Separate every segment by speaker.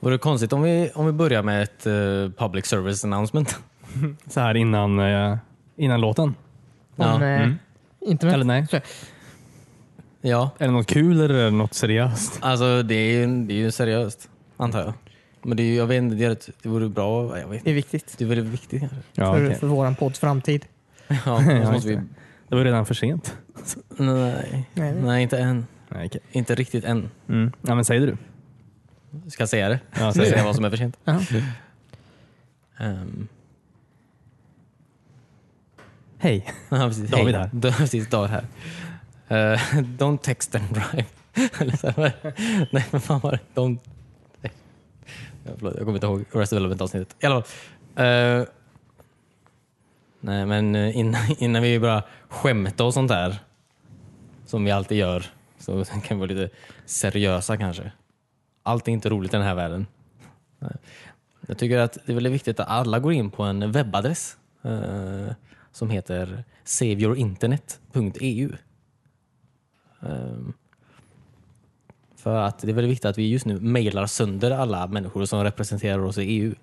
Speaker 1: Vore det konstigt om vi, om vi börjar med ett eh, public service announcement?
Speaker 2: Så här innan, eh, innan låten. Mm.
Speaker 1: Ja.
Speaker 3: Om, eh, internet.
Speaker 2: Eller nej.
Speaker 3: Så,
Speaker 1: Ja,
Speaker 2: Är det något kul eller är det något seriöst?
Speaker 1: alltså det är, ju- det är ju seriöst, antar jag. Men det, är, ju- jag vet inte, det, är, ett- det vore bra, jag vet
Speaker 3: det
Speaker 1: inte.
Speaker 3: är viktigt
Speaker 1: Det vore viktigt kanske.
Speaker 2: Ja,
Speaker 3: för,
Speaker 2: okej.
Speaker 3: för vår podds framtid.
Speaker 1: Ja, så
Speaker 2: Ja,
Speaker 1: måste vi...
Speaker 2: just Det var redan för sent.
Speaker 1: Nej,
Speaker 3: Nej, det-
Speaker 1: nej, inte än.
Speaker 2: Nej, okej.
Speaker 1: Inte riktigt än.
Speaker 2: Mm. Ja, men säg det du.
Speaker 1: Ska jag säga det?
Speaker 2: Ja,
Speaker 1: Ska
Speaker 2: säg
Speaker 1: jag
Speaker 2: det.
Speaker 1: säga vad som är för sent?
Speaker 3: Ja.
Speaker 1: Ehm,
Speaker 2: Hej.
Speaker 1: ja, precis.
Speaker 2: David
Speaker 1: Hej.
Speaker 2: här.
Speaker 1: Da- precis, David här. Eh, don't text and drive. Eller så här. Nej, men fan var det? Don't... Nej. Ja, förlåt, jag kommer inte ihåg Rest Development-avsnittet. I alla fall. Eh, nej, men eh, innan, innan vi bara skämta och sånt där, som vi alltid gör, så kan vi vara lite seriösa kanske. Allt är inte roligt i den här världen. Jag tycker att det är väldigt viktigt att alla går in på en webbadress eh, som heter saveyourinternet.eu. Ehm, för att det är väldigt viktigt att vi just nu mejlar sönder alla människor som representerar oss i EU.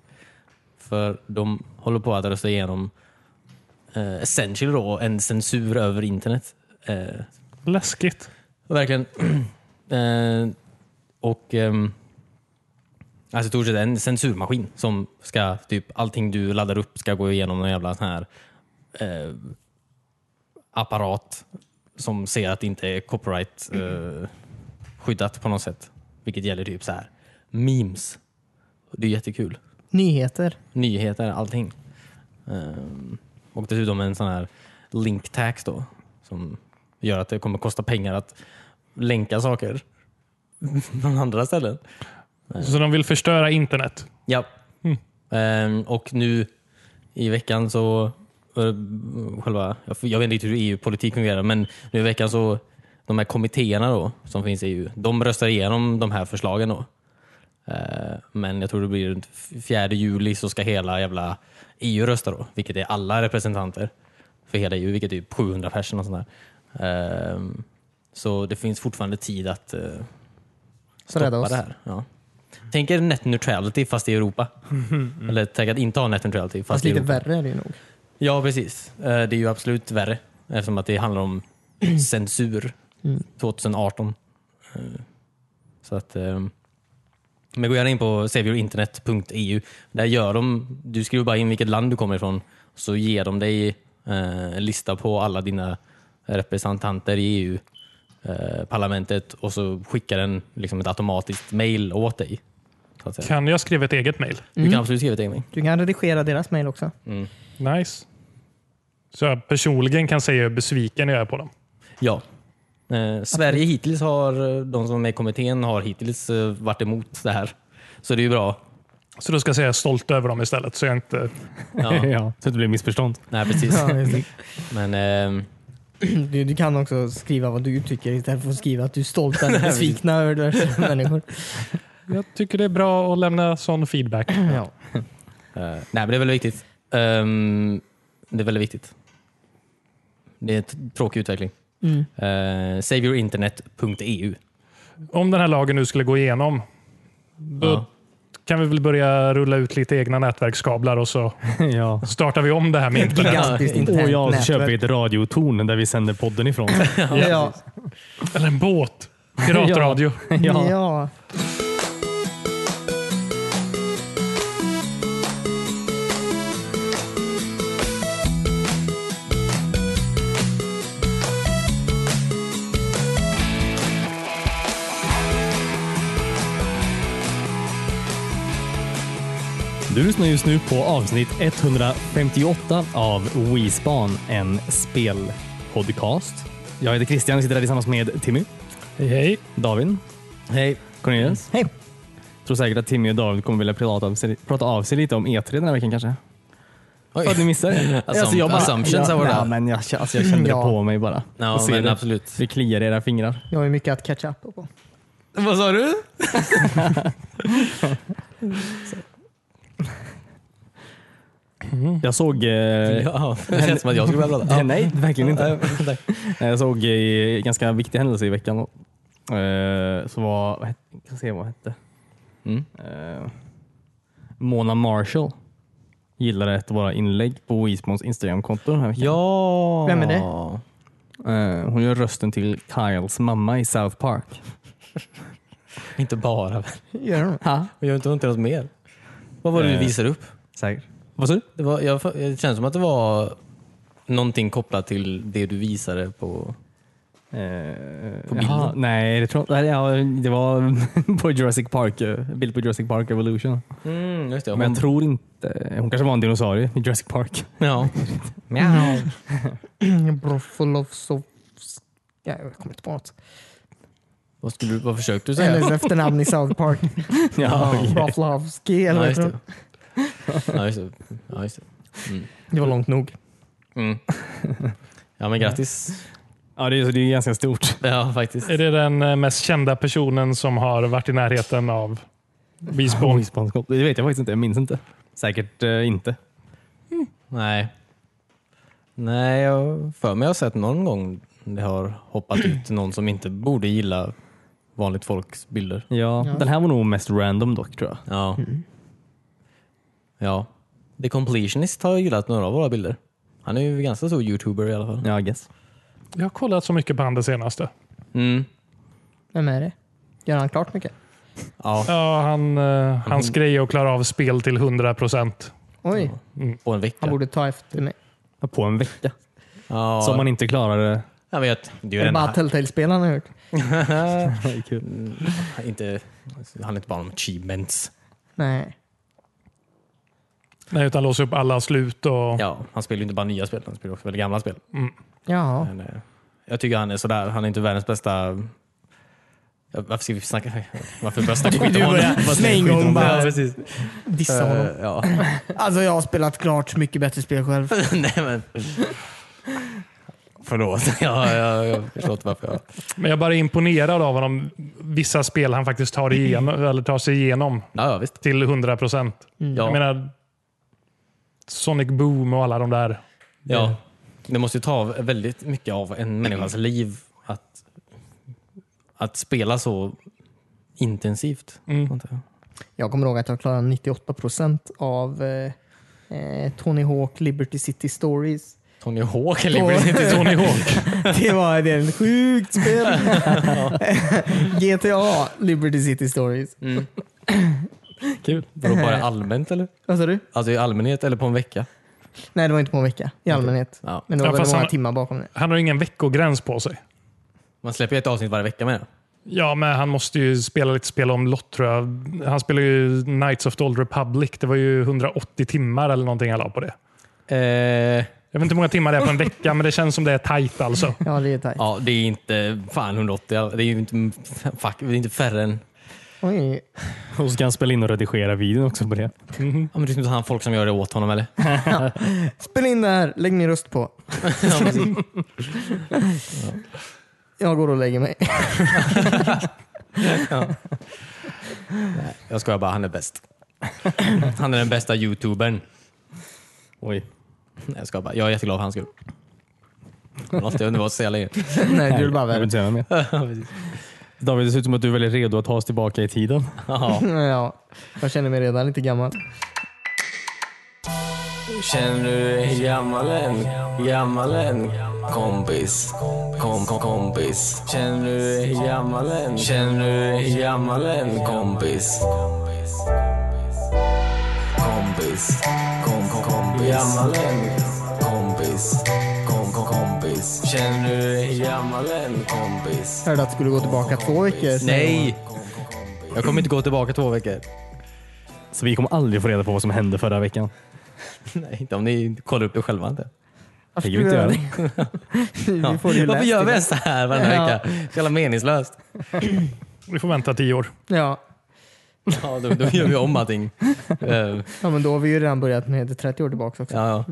Speaker 1: För de håller på att rösta igenom eh, essentially då, en censur över internet. Eh,
Speaker 4: Läskigt.
Speaker 1: Verkligen. eh, och ehm, alltså i stort sett en censurmaskin som ska, typ allting du laddar upp ska gå igenom någon jävla sån här eh, apparat som ser att det inte är copyright eh, skyddat på något sätt. Vilket gäller typ så här memes. Det är jättekul
Speaker 3: Nyheter.
Speaker 1: nyheter, allting. Ehm, och dessutom en sån här link tax då, som gör att det kommer kosta pengar att länka saker från andra ställen.
Speaker 4: Så de vill förstöra internet.
Speaker 1: Ja. Ehm, och nu i veckan så, eh, själva, jag- jag vet inte riktigt hur EU-politik fungerar, men nu i veckan så, de här kommittéerna då, som finns i EU, de röstar igenom de här förslagen. då. Eh, Men jag tror det blir runt 4 juli så ska hela jävla EU rösta då, vilket är alla representanter för hela EU, vilket är typ 700 personer och sånt där. Ehm, Så det finns fortfarande tid att eh,
Speaker 3: Så rädda oss.
Speaker 1: det här. Ja. Tänk er net neutrality fast i Europa. Eller tänk att inte ha net neutrality fast,
Speaker 3: Fast
Speaker 1: i
Speaker 3: lite
Speaker 1: Europa.
Speaker 3: värre är det ju nog.
Speaker 1: Ja, precis. Eh, Det är ju absolut värre eftersom att det handlar om censur
Speaker 3: Mm.
Speaker 1: 2018. Eh, Så att, eh, men gå gärna in på saveyourinternet.eu. E Där gör de, du skriver bara in vilket land du kommer ifrån så ger de dig eh, en lista på alla dina representanter i EU eh, parlamentet och så skickar den liksom ett automatiskt mail åt dig. Så att säga.
Speaker 4: Kan jag skriva ett eget mejl?
Speaker 1: Du kan absolut skriva ett eget mail.
Speaker 3: Du kan redigera deras mejl också.
Speaker 4: Nice. Så jag personligen kan säga hur besviken jag är på dem.
Speaker 1: Ja. Eh, Sverige hittills har, eh, de som är med i kommittén har hittills eh, varit emot det här. Så det är ju bra.
Speaker 4: Så då ska jag säga stolt över dem istället. Så jag inte...
Speaker 1: Ja.
Speaker 2: ja, så det blir missförstånd.
Speaker 1: Nej, precis.
Speaker 3: Ja, just det.
Speaker 1: Men ehm,
Speaker 3: du, du kan också skriva vad du tycker istället för att skriva att du är stolt eller besviken över diverse människor.
Speaker 4: Jag tycker det är bra att lämna sån feedback.
Speaker 3: Ja.
Speaker 1: eh, nej, men det är väldigt viktigt. Ehm, det är väldigt viktigt. Det är en t- tråkig utveckling.
Speaker 3: Mm.
Speaker 1: Eh, saveyourinternet.eu
Speaker 4: Om den här lagen nu skulle gå igenom, då
Speaker 1: Ja.
Speaker 4: kan vi väl börja rulla ut lite egna nätverkskablar och så
Speaker 2: ja.
Speaker 4: startar vi om det här med internet.
Speaker 3: Gigantiskt internt
Speaker 2: Och jag så
Speaker 3: nätverk.
Speaker 2: köper vi ett radiotorn där vi sänder podden ifrån.
Speaker 3: Ja.
Speaker 4: Eller en båt. Piratradio.
Speaker 3: Ja.
Speaker 2: ja.
Speaker 3: ja.
Speaker 2: Du lyssnar just nu på avsnitt 158 av WeSpan, en spelpodcast. Jag heter Christian och sitter här tillsammans med Timmy,
Speaker 4: Hej, hej.
Speaker 2: David,
Speaker 1: Hej.
Speaker 2: Cornelius.
Speaker 3: Hej.
Speaker 2: Tror säkert att Timmy och David kommer vilja prata av sig, prata av sig lite om E3 den här veckan kanske.
Speaker 1: Oj.
Speaker 2: Vad ni missar. det.
Speaker 1: Assum- assumptions
Speaker 2: jag,
Speaker 1: var det.
Speaker 2: ja, men jag, alltså, jag kände
Speaker 3: Ja.
Speaker 2: det på mig bara.
Speaker 1: Ja,
Speaker 2: Jag ser
Speaker 1: men
Speaker 2: det.
Speaker 1: absolut.
Speaker 2: Det kliar i era fingrar.
Speaker 3: Jag har ju mycket att catch up på.
Speaker 1: Vad sa du?
Speaker 2: Jag såg... Eh,
Speaker 1: Ja, det känns som att jag skulle börja prata.
Speaker 2: Nej, verkligen inte.
Speaker 1: Ja. Tack.
Speaker 2: Eh, Jag såg eh, ganska viktig händelse i veckan. Eh, Så var, vad hette, jag ska se vad hette.
Speaker 1: Mm.
Speaker 2: Eh, Mona Marshall gillade ett av våra inlägg på Wismons Instagramkonto den här veckan.
Speaker 1: Ja!
Speaker 3: Vem är det?
Speaker 2: Eh, hon gör rösten till Kyles mamma i South Park.
Speaker 1: Inte bara.
Speaker 3: Gör de?
Speaker 2: Ha?
Speaker 1: Och gör inte hon inte något mer? Vad var det du
Speaker 2: Eh.
Speaker 1: visade upp?
Speaker 2: Säkert. Vad sa du?
Speaker 1: Det, var, jag, det känns som att det var någonting kopplat till det du visade på...
Speaker 2: Eh,
Speaker 1: På
Speaker 2: jaha,
Speaker 1: bilden?
Speaker 2: nej, det, tror, nej, ja, det var på Jurassic Park, eh, bild på Jurassic Park Evolution.
Speaker 1: Mm, just det.
Speaker 2: Men jag
Speaker 1: Hon-
Speaker 2: tror inte... Hon kanske var en dinosaurie i Jurassic Park.
Speaker 1: Ja.
Speaker 3: Brofolof Ja, jag kommer inte på något.
Speaker 1: Vad, skulle, du- vad försökte du säga?
Speaker 3: Hennes efternamn i South Park.
Speaker 2: ja, okej.
Speaker 3: Broflovski eller
Speaker 1: Ja,
Speaker 3: vad
Speaker 1: just
Speaker 3: heter
Speaker 1: det.
Speaker 3: hon?
Speaker 1: Ja, just det. Ja, just det. Mm.
Speaker 3: Det var långt nog.
Speaker 1: Mm. Ja, men grattis.
Speaker 2: ja det, är, så det är ganska stort.
Speaker 1: Ja, faktiskt.
Speaker 4: Är det den eh, mest kända personen som har varit i närheten av Wisborn?
Speaker 2: Responskort. Det vet jag faktiskt inte. Jag minns inte. Säkert eh, inte.
Speaker 1: Nej. Nej, jag för mig har sett någon gång det har hoppat ut någon som inte borde gilla vanligt folks bilder.
Speaker 2: Ja,
Speaker 3: Ja.
Speaker 2: Den här var nog mest random dock tror jag.
Speaker 1: Ja. Ja. The Completionist har gillat några av våra bilder. Han är ju ganska stor youtuber i alla fall.
Speaker 2: Ja, I guess.
Speaker 4: Jag har kollat så mycket på han det senaste.
Speaker 1: Mm.
Speaker 3: Vem är det? Gör han klart mycket?
Speaker 1: Ja,
Speaker 4: Ja, han, eh, hans
Speaker 1: Mm.
Speaker 4: grej är att klara av spel till 100 procent.
Speaker 3: Oj,
Speaker 1: på en
Speaker 3: han
Speaker 1: vecka.
Speaker 3: borde ta efter mig.
Speaker 2: På en vecka.
Speaker 1: Ja,
Speaker 2: Som man inte klarade.
Speaker 1: jag vet. Det är
Speaker 3: Det
Speaker 1: ju
Speaker 3: är bara
Speaker 1: en...
Speaker 3: Telltale-spelen har gjort.
Speaker 1: inte... Det handlar inte bara om achievements.
Speaker 3: Nej.
Speaker 4: Nej, utan låsa upp alla slut och
Speaker 1: Ja, han spelar ju inte bara nya spel, han spelar också väldigt gamla spel.
Speaker 3: Jaha.
Speaker 1: Men, eh, jag tycker han är sådär. Han är inte världens bästa... Ja, Varför ska vi snacka? Varför börjar jag snacka skit om
Speaker 3: Du
Speaker 1: honom?
Speaker 3: börjar
Speaker 1: Varför snackar
Speaker 3: med
Speaker 1: jag
Speaker 3: en
Speaker 1: skit om
Speaker 3: gång
Speaker 1: honom?
Speaker 3: bara-
Speaker 1: Ja, precis.
Speaker 3: Dissa honom.
Speaker 1: Eh, ja.
Speaker 3: Alltså jag har spelat klart mycket bättre spel själv.
Speaker 1: Nej men. Förlåt. Ja, jag, jag förstår inte varför jag...
Speaker 4: Men jag är bara imponerad av honom. Vissa spel han faktiskt tar,
Speaker 1: Mm.
Speaker 4: igenom, eller tar sig igenom
Speaker 1: Ja, ja visst.
Speaker 4: till 100 procent.
Speaker 3: Mm.
Speaker 4: Jag
Speaker 1: Ja,
Speaker 4: menar, Sonic Boom och alla de där.
Speaker 1: ja. Det måste ju ta väldigt mycket av en människas liv att, att spela så intensivt.
Speaker 4: Mm.
Speaker 1: antar jag.
Speaker 3: Jag kommer ihåg att jag klarade 98% av eh, eh, Tony Hawk Liberty City Stories.
Speaker 1: Tony Hawk eller Liberty
Speaker 4: Tony Hawk.
Speaker 3: Det var det är ett sjukt spel. GTA Liberty City Stories.
Speaker 1: mm.
Speaker 2: Kul.
Speaker 1: Vadå, bara allmänt eller?
Speaker 3: Vad sa du?
Speaker 1: Alltså i allmänhet eller på en vecka?
Speaker 3: Nej, det var inte på en vecka i allmänhet.
Speaker 1: Ja.
Speaker 3: Men det var
Speaker 4: Ja,
Speaker 3: väldigt
Speaker 4: fast
Speaker 3: många
Speaker 4: han-
Speaker 3: timmar bakom det.
Speaker 4: Han har ingen veckogräns på sig.
Speaker 1: Man släpper ju ett avsnitt varje vecka med det.
Speaker 4: Ja, men han måste ju spela lite spel om lott tror jag. Han spelar ju Knights of the Old Republic. Det var ju 180 timmar eller någonting han la på det.
Speaker 1: Eh,
Speaker 4: Jag vet inte hur många timmar det är på en vecka, men det känns som det är tajt alltså.
Speaker 3: Ja, det är tajt.
Speaker 1: ja, det är inte fan 180. all- Det är ju inte, fuck, det är inte färre än...
Speaker 3: Oj.
Speaker 2: Och så ska han spela in och redigera videon också på det.
Speaker 1: Ja, men det är inte han folk som gör det åt honom eller?
Speaker 3: Spela in det här, lägg min röst på. Jag går och lägger mig.
Speaker 1: Jag skojar bara, han är bäst. Han är den bästa youtubern.
Speaker 2: Oj.
Speaker 1: Nej, Jag skojar bara, jag är jätteglad för hans skull. Han har inte varit så jävla länge.
Speaker 3: Nej, du är
Speaker 2: Jag
Speaker 3: bara
Speaker 2: vill
Speaker 3: värre.
Speaker 2: inte säga något mer. David, det ser ut som att du är väldigt redo att ta oss tillbaka i tiden.
Speaker 1: Ja.
Speaker 3: Ja, jag känner mig redan lite gammal.
Speaker 5: Känner du dig gammal än? Gammal än? Kompis. Kom, kom, kompis. Känner du dig gammal än? Känner du dig gammal än? Kompis. Kompis. Kom, kom, kompis. Gammal än? Kompis. Kom, kom, kompis. Känner du dig gammal än? Kompis.
Speaker 3: Hörde att det skulle gå tillbaka två veckor.
Speaker 1: Nej,
Speaker 5: Kom, kom, kompis.
Speaker 1: jag kommer inte gå tillbaka två veckor.
Speaker 2: Så vi kommer aldrig få reda på vad som hände förra veckan.
Speaker 1: Nej, inte om ni kollar upp det själva inte.
Speaker 3: Varför
Speaker 2: Det kan vi
Speaker 3: skulle
Speaker 2: inte
Speaker 3: jag det? Alltså, Vi får det ju
Speaker 1: Varför
Speaker 3: läst
Speaker 1: gör vi
Speaker 3: idag.
Speaker 1: ens så här varje
Speaker 3: Ja.
Speaker 1: vecka? Så jävla meningslöst.
Speaker 4: Vi får vänta tio år.
Speaker 3: Ja.
Speaker 1: Ja, då, då gör vi om allting. Eh,
Speaker 3: ja, men då har vi ju redan börjat med 30 år tillbaka också.
Speaker 1: Ja, ja.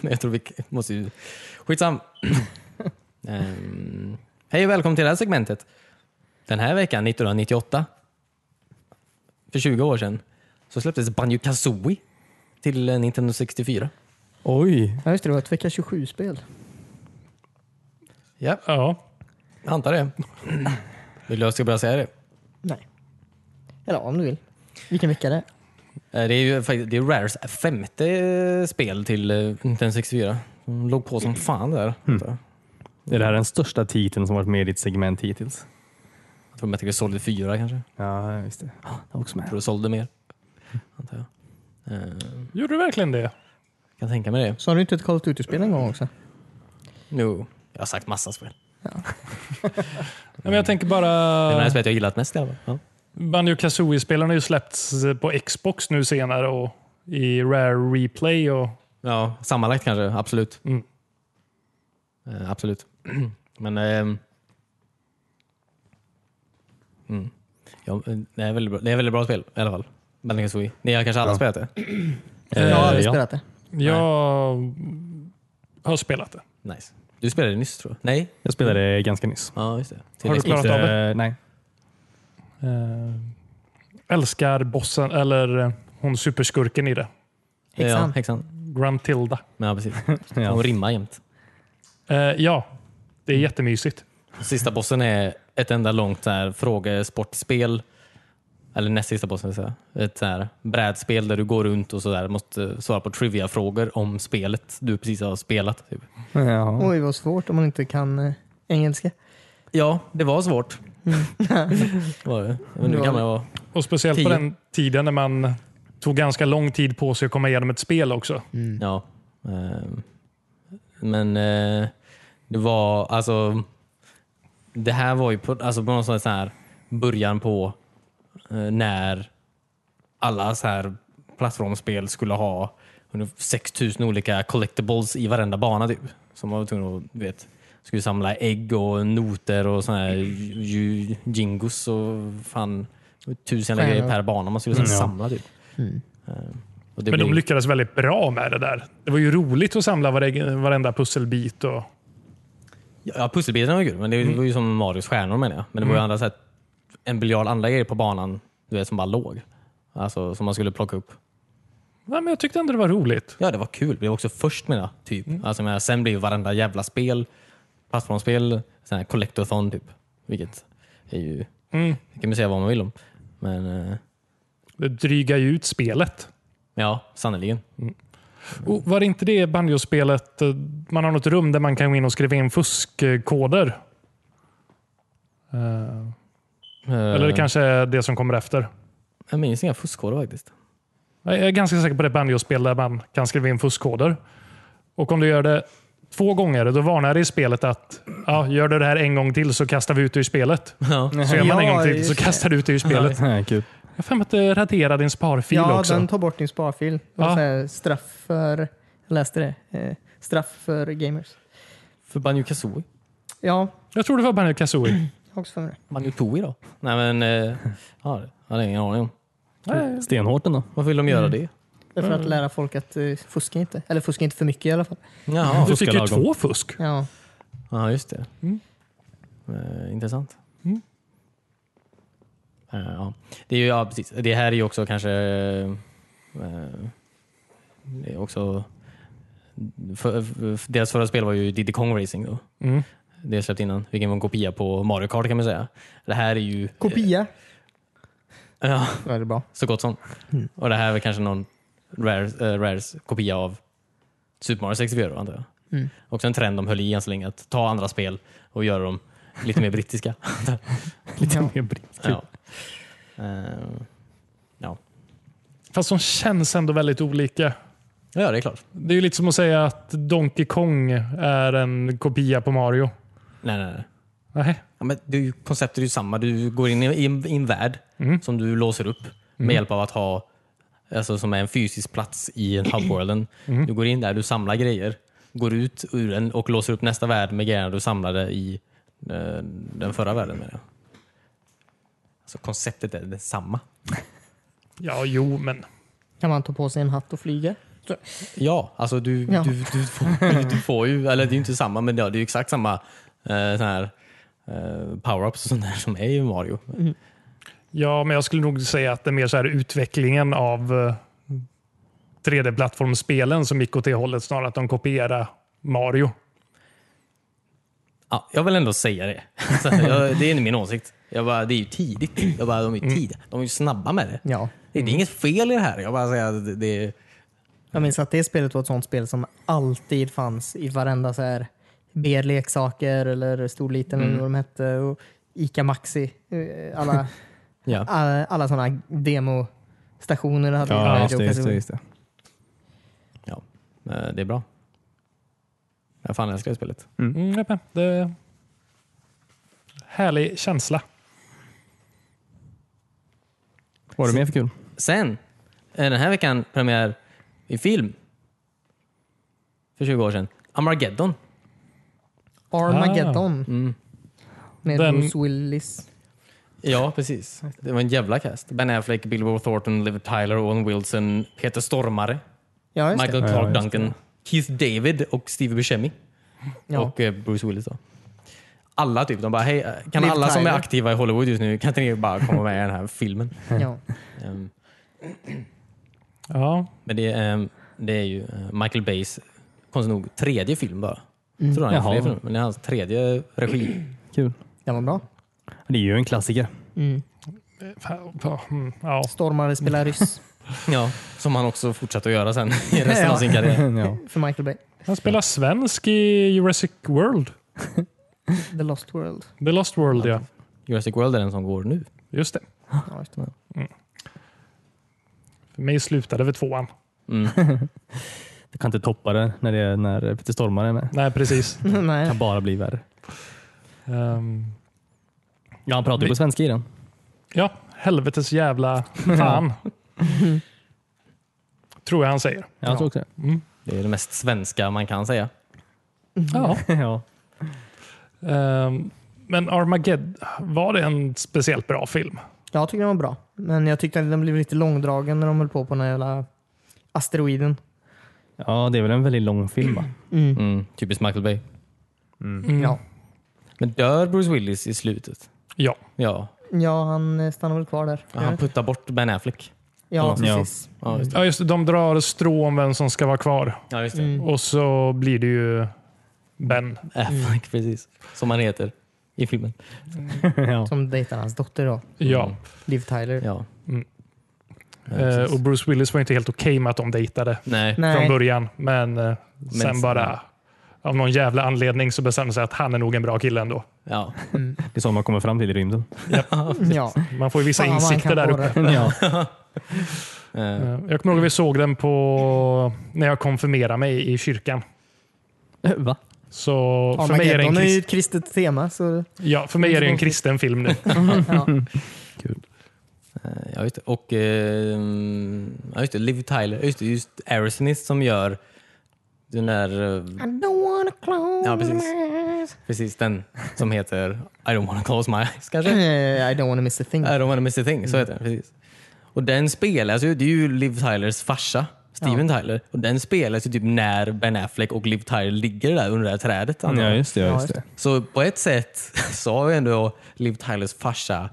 Speaker 1: Men jag tror vi måste ju... Skitsam. Ehm, hej och välkommen till det här segmentet. Den här veckan, 1998, för 20 år sedan, så släpptes Banjo Kazooie till eh, Nintendo 64.
Speaker 2: Oj.
Speaker 3: Ja, just det. Det var ett vecka 27-spel.
Speaker 1: Ja,
Speaker 4: Ja.
Speaker 1: jag antar det. Vill du att jag ska börja säga det?
Speaker 3: Nej. Eller om du vill. Vilken vecka är det?
Speaker 1: Eh, Det är ju faktiskt- det är Rares femte eh, spel till eh, Nintendo 64. De låg på som fan där. Mm.
Speaker 2: Är det här den största titeln som varit med i ditt segment hittills?
Speaker 1: Jag tror Metal Gear Solid 4 kanske.
Speaker 2: Ja, visst det. Ah, det var också
Speaker 1: Jag
Speaker 2: med.
Speaker 1: tror det sålde mer. Antar jag. Eh,
Speaker 4: Gjorde du verkligen det?
Speaker 1: kan tänka mig det.
Speaker 3: Så har du inte ett Call of Duty-spel en gång också?
Speaker 1: Jo, jag har sagt massa spel.
Speaker 4: Nej, men jag tänker
Speaker 1: Mm. Det är det här
Speaker 4: bara...
Speaker 1: spelet jag gillat mest i alla fall. Ja.
Speaker 4: Banjo Kazooie-spelen har ju släppts på Xbox nu senare och i Rare Replay. Och,
Speaker 1: Ja, sammanlagt kanske, absolut.
Speaker 4: Mm.
Speaker 1: Eh, absolut. Men... ehm, mm. ja, eh, det, är väldigt bra, det är väldigt bra spel i alla fall. Banjo Kazooie. Ni har kanske alla
Speaker 2: Ja.
Speaker 1: spelat det?
Speaker 2: Eh,
Speaker 3: jag har aldrig
Speaker 2: ja.
Speaker 3: spelat det.
Speaker 4: jag har spelat det.
Speaker 1: Nice. Du spelade det nyss tror jag? Nej?
Speaker 2: Jag spelade ganska nyss.
Speaker 1: Ja, just det. Till
Speaker 4: Har du
Speaker 1: Xbox.
Speaker 4: klarat av det?
Speaker 2: Eh, nej.
Speaker 4: Eh, älskar bossen, eller eh, hon superskurken i det.
Speaker 1: Ja,
Speaker 3: Häxan.
Speaker 1: häxan.
Speaker 4: Grumtilda.
Speaker 1: Ja, precis. De
Speaker 2: Ja.
Speaker 1: rimmar jämt.
Speaker 4: Eh, ja, det är
Speaker 1: Mm.
Speaker 4: jättemysigt.
Speaker 1: Sista bossen är ett enda långt så här, frågesportspel. Eller näst sista bossen, vill säga. Ett så här, brädspel där du går runt och så där, måste svara på trivia-frågor om spelet du precis har spelat. Typ.
Speaker 2: Jaha.
Speaker 3: Oj, vad svårt om man inte kan eh, engelska.
Speaker 1: Ja, det var svårt. var Mm. det? Jag vet inte hur gammal jag var.
Speaker 4: Och speciellt på
Speaker 1: Tio.
Speaker 4: den tiden när man tog ganska lång tid på sig att komma igenom ett spel också.
Speaker 2: Mm.
Speaker 1: Ja. ehm, Men eh, det var alltså... Det här var ju på, alltså på något sätt så här början på eh, när alla så här plattformsspel skulle ha ungefär 6000 olika collectibles i varenda bana. Typ. Som man var tvungen att, du vet, skulle samla ägg och noter och såna här ju- ju- jingos och fan tusen
Speaker 3: Stjärnor.
Speaker 1: grejer per bana man skulle så här
Speaker 2: Mm, ja. Mm.
Speaker 1: samla. Typ. Eh, och det
Speaker 4: Men de
Speaker 1: blev-
Speaker 4: lyckades väldigt bra med det där. Det var ju roligt att samla vare- varenda pusselbit. Och,
Speaker 1: Ja, pusselbitarna var kul, men det
Speaker 4: Mm.
Speaker 1: var ju som Marios stjärnor menar jag. Men det var ju andra sätt, en biljard andra grejer på banan du vet, som bara låg. Alltså som man skulle plocka upp.
Speaker 4: nej, men jag tyckte ändå det var roligt.
Speaker 1: Ja, det var kul. Det var också först menar jag. Typ.
Speaker 4: Mm.
Speaker 1: Alltså, men sen blev ju varenda jävla spel, plattformsspel, sån här collectathon typ. Vilket är ju,
Speaker 4: Mm.
Speaker 1: det kan man säga vad man vill om. Men eh,
Speaker 4: Det drygar ju ut spelet.
Speaker 1: ja, sannerligen.
Speaker 4: Och var det inte det banjospelet? eh, Man har något rum där man kan gå in och skriva in fuskkoder. Eh, Eller det
Speaker 1: Eh,
Speaker 4: kanske är det som kommer efter.
Speaker 1: Jag minns inga fuskkoder faktiskt.
Speaker 4: Jag är ganska säker på det banjospel där man kan skriva in fuskkoder. Och om du gör det två gånger, då varnar det i spelet att ja, gör du det här en gång till så kastar vi ut dig ur spelet.
Speaker 1: Ja.
Speaker 4: Så gör man en
Speaker 3: Ja,
Speaker 4: gång till
Speaker 3: just
Speaker 4: så
Speaker 3: det.
Speaker 4: kastar du ut dig ur spelet.
Speaker 2: Ja, kul.
Speaker 4: Jag har för mig att det raderar din sparfil
Speaker 3: ja,
Speaker 4: också.
Speaker 3: den tar bort din sparfil. Det var
Speaker 4: Ja.
Speaker 3: så här straff för... Jag läste det. Eh, straff för gamers.
Speaker 1: För Banjo Kazooie.
Speaker 3: Ja,
Speaker 4: Jag tror det var Banjo Kazooie.
Speaker 3: jag har också för mig det.
Speaker 1: Banjo Tooie då? Nej men, eh, ja, det hade jag ingen aning om.
Speaker 2: Stenhårt ändå.
Speaker 1: Varför vill de göra
Speaker 4: Mm.
Speaker 1: det?
Speaker 3: Det är för att
Speaker 2: Mm.
Speaker 3: lära folk att eh, fuska inte. Eller fuska inte för mycket i alla fall.
Speaker 1: Jaha.
Speaker 4: Du fick ju
Speaker 2: lagom.
Speaker 4: två fusk.
Speaker 3: Ja.
Speaker 1: Ja, just det. Eh, intressant. Eh, ja. Det, är ju, ja, precis. det här är ju också kanske... eh, det är också för, för, deras förra spel var ju Diddy Kong Racing. Då.
Speaker 4: Mm.
Speaker 1: Det släppte innan, vilken var en kopia på Mario Kart kan man säga. Det här är ju...
Speaker 2: Eh.
Speaker 1: eh,
Speaker 3: Kopia.
Speaker 1: Ja,
Speaker 3: Ja, det är bra.
Speaker 1: så gott som. Och det här är kanske någon Rare, eh, Rares kopia av Super Mario 64 då, antar jag.
Speaker 3: Mm.
Speaker 1: Också en trend de höll i än så länge, att ta andra spel och göra dem lite mer brittiska.
Speaker 2: Lite mer britt.
Speaker 1: ja. Ehm,
Speaker 4: Fast de känns ändå väldigt olika.
Speaker 1: ja, det är klart.
Speaker 4: Det är ju lite som att säga att Donkey Kong är en kopia på Mario.
Speaker 1: Nej, nej, nej.
Speaker 4: Nej.
Speaker 1: Ja, men det är ju, konceptet är ju samma. Du går in i, i, en- i en värld som du låser upp med hjälp av att ha Alltså som är en fysisk plats i en hubworlden. Du går in där, du samlar grejer, går ut ur den och låser upp nästa värld med grejerna du samlade i eh, den förra världen. Menar jag. Alltså konceptet är detsamma.
Speaker 4: Ja, jo, men
Speaker 3: Kan man ta på sig en hatt och flyga?
Speaker 1: Ja, alltså du,
Speaker 3: Ja.
Speaker 1: Du, du, får, du får ju, eller det är ju inte samma, men ja, det är ju exakt samma eh, sån här, eh, power-ups och sånt där som är i Mario.
Speaker 4: Ja, men jag skulle nog säga att det är mer så här utvecklingen av eh, 3D-plattformsspelen som gick åt det hållet snarare att de kopierar Mario.
Speaker 1: Ja, jag vill ändå säga det. Så att jag, det är min åsikt. Jag bara, det är ju tidigt. Jag bara, de är ju tidiga. De är ju snabba med det.
Speaker 3: Ja.
Speaker 1: Det är inget fel i det här. Jag bara säger att det, det
Speaker 3: Jag minns att det spelet var ett sånt spel som alltid fanns i varenda så här BR-leksaker eller stor liten
Speaker 2: Mm.
Speaker 3: eller vad de hette. Och Ica Maxi. eh, Alla,
Speaker 1: ja.
Speaker 3: alla, alla sådana demostationer hade
Speaker 2: Ja,
Speaker 3: ju
Speaker 2: just det,
Speaker 3: Joker
Speaker 2: just det,
Speaker 3: Zone.
Speaker 2: just det.
Speaker 1: Ja, eh, det är bra. Jag fan älskar det spelet.
Speaker 4: Mm, jag med. det är härlig känsla.
Speaker 2: Vad är det mer för kul?
Speaker 1: Sen, eh, den här veckan premiär i film. För 20 år sedan. Armageddon.
Speaker 3: Armageddon. Med
Speaker 4: Den-
Speaker 3: Bruce Willis.
Speaker 1: Ja, precis. Det var en jävla cast. Ben Affleck, Bilbo Thornton, Liv Tyler, Owen Wilson, Peter Stormare,
Speaker 3: Ja, just
Speaker 1: Michael
Speaker 3: det.
Speaker 1: Clark
Speaker 2: Ja, just
Speaker 1: Duncan, Keith David och Steve Buscemi.
Speaker 3: Ja.
Speaker 1: Och eh, Bruce Willis då. Alla typ. De bara, hej, eh, kan
Speaker 3: Liv
Speaker 1: alla som är
Speaker 3: Tyler.
Speaker 1: aktiva i Hollywood just nu, kan inte ni bara komma med i den här filmen?
Speaker 3: Ja.
Speaker 1: Ehm,
Speaker 4: Ja,
Speaker 1: Men det, är, eh, det är ju eh, Michael Bays, konstigt nog, tredje film bara. Mm. Tror han har
Speaker 2: Jaha.
Speaker 1: fler filmer, men det är hans tredje regi.
Speaker 2: Kul.
Speaker 3: Den var bra.
Speaker 2: Det är ju en klassiker.
Speaker 4: Fan, fan, mm, ja.
Speaker 3: Stormare spelar ryss
Speaker 1: Ja, som han också fortsatt att göra sen i resten av sin karriär.
Speaker 2: ja.
Speaker 3: för Michael Bay.
Speaker 4: Han spelar svensk i Jurassic World.
Speaker 3: The Lost World.
Speaker 4: The Lost World, ja.
Speaker 1: Jurassic World är den som går nu.
Speaker 4: Just det.
Speaker 3: Ja, just det.
Speaker 4: För mig slutade vid tvåan.
Speaker 1: Mm.
Speaker 2: Det kan inte toppa det när, det är, när Peter Stormare är med.
Speaker 4: Nej, precis.
Speaker 2: Det
Speaker 3: Nej.
Speaker 2: kan bara bli värre.
Speaker 4: Ehm,
Speaker 2: Ja, han pratar ju på svenska i den.
Speaker 4: ja, helvetes jävla fan. Tror jag han säger.
Speaker 2: Ja, Jag tror också det.
Speaker 1: Det är det mest svenska man kan säga.
Speaker 4: Ja.
Speaker 2: ja.
Speaker 4: Ehm, men Armageddon, var det en speciellt bra film?
Speaker 3: Jag tyckte den var bra. Men jag tyckte att den blev lite långdragen när de höll på på den här jävla asteroiden.
Speaker 2: ja, det är väl en väldigt lång film va?
Speaker 1: Mm, typiskt Michael Bay.
Speaker 4: Mm,
Speaker 3: Ja.
Speaker 1: Men dör Bruce Willis i slutet?
Speaker 4: Ja.
Speaker 1: Ja,
Speaker 3: ja, han eh, stannar väl kvar där.
Speaker 1: ja Ah, han puttar bort Ben Affleck.
Speaker 3: Ja,
Speaker 2: Ja.
Speaker 3: precis.
Speaker 1: Ja, just det. Mm.
Speaker 4: ja just det, de drar strå om vem som ska vara kvar.
Speaker 1: Ja, just det.
Speaker 3: Mm.
Speaker 4: Och så blir det ju Ben.
Speaker 1: Affleck, precis. Som han heter i filmen.
Speaker 2: ja.
Speaker 3: Som dejtar hans dotter då,
Speaker 4: Ja.
Speaker 3: Liv Tyler.
Speaker 1: Ja. Mm.
Speaker 4: Mm.
Speaker 1: Ja,
Speaker 4: Eh,
Speaker 1: precis.
Speaker 4: och Bruce Willis var inte helt okej med att de dejtade
Speaker 1: Nej.
Speaker 4: från
Speaker 3: Nej,
Speaker 4: början. Men eh, sen
Speaker 1: sen-
Speaker 4: bara av någon jävla anledning så bestämde sig att han är nog en bra kille ändå.
Speaker 1: Ja.
Speaker 2: Det är så man kommer fram till i rymden.
Speaker 3: ja.
Speaker 4: Man får ju vissa
Speaker 3: Mm. Fan, vad han kan
Speaker 4: insikter där uppe.
Speaker 3: vara.
Speaker 2: ja.
Speaker 1: Eh,
Speaker 4: Eh, Jag kommer ihåg att vi såg den på när jag konfirmerade mig i kyrkan.
Speaker 2: Va?
Speaker 4: Så för mig är det en,
Speaker 3: Armageddon är ju Mm.
Speaker 4: krist...
Speaker 3: ett kristet tema. Så...
Speaker 4: ja, för mig är det en kristen film nu.
Speaker 3: Ja.
Speaker 1: Ja, just det. Och eh, ja, just det, Liv Tyler, just det, just Aerosmith som gör den där, eh,
Speaker 3: I don't wanna close
Speaker 1: Ja, precis.
Speaker 3: my eyes.
Speaker 1: precis den som heter I don't wanna close my eyes kanske? I
Speaker 3: Eh, I don't wanna miss a
Speaker 2: Mm.
Speaker 3: thing.
Speaker 1: don't wanna miss a thing, så heter den. Precis. Och den spelas ju, det är ju Liv Tylers farsa, Steven Tyler, och den spelas ju typ när Ben Affleck och Liv Tyler ligger där under det här trädet. antar
Speaker 2: Ja,
Speaker 1: jag.
Speaker 2: just det. Ja, just det.
Speaker 1: Så på ett sätt så har ju ändå Liv Tylers farsa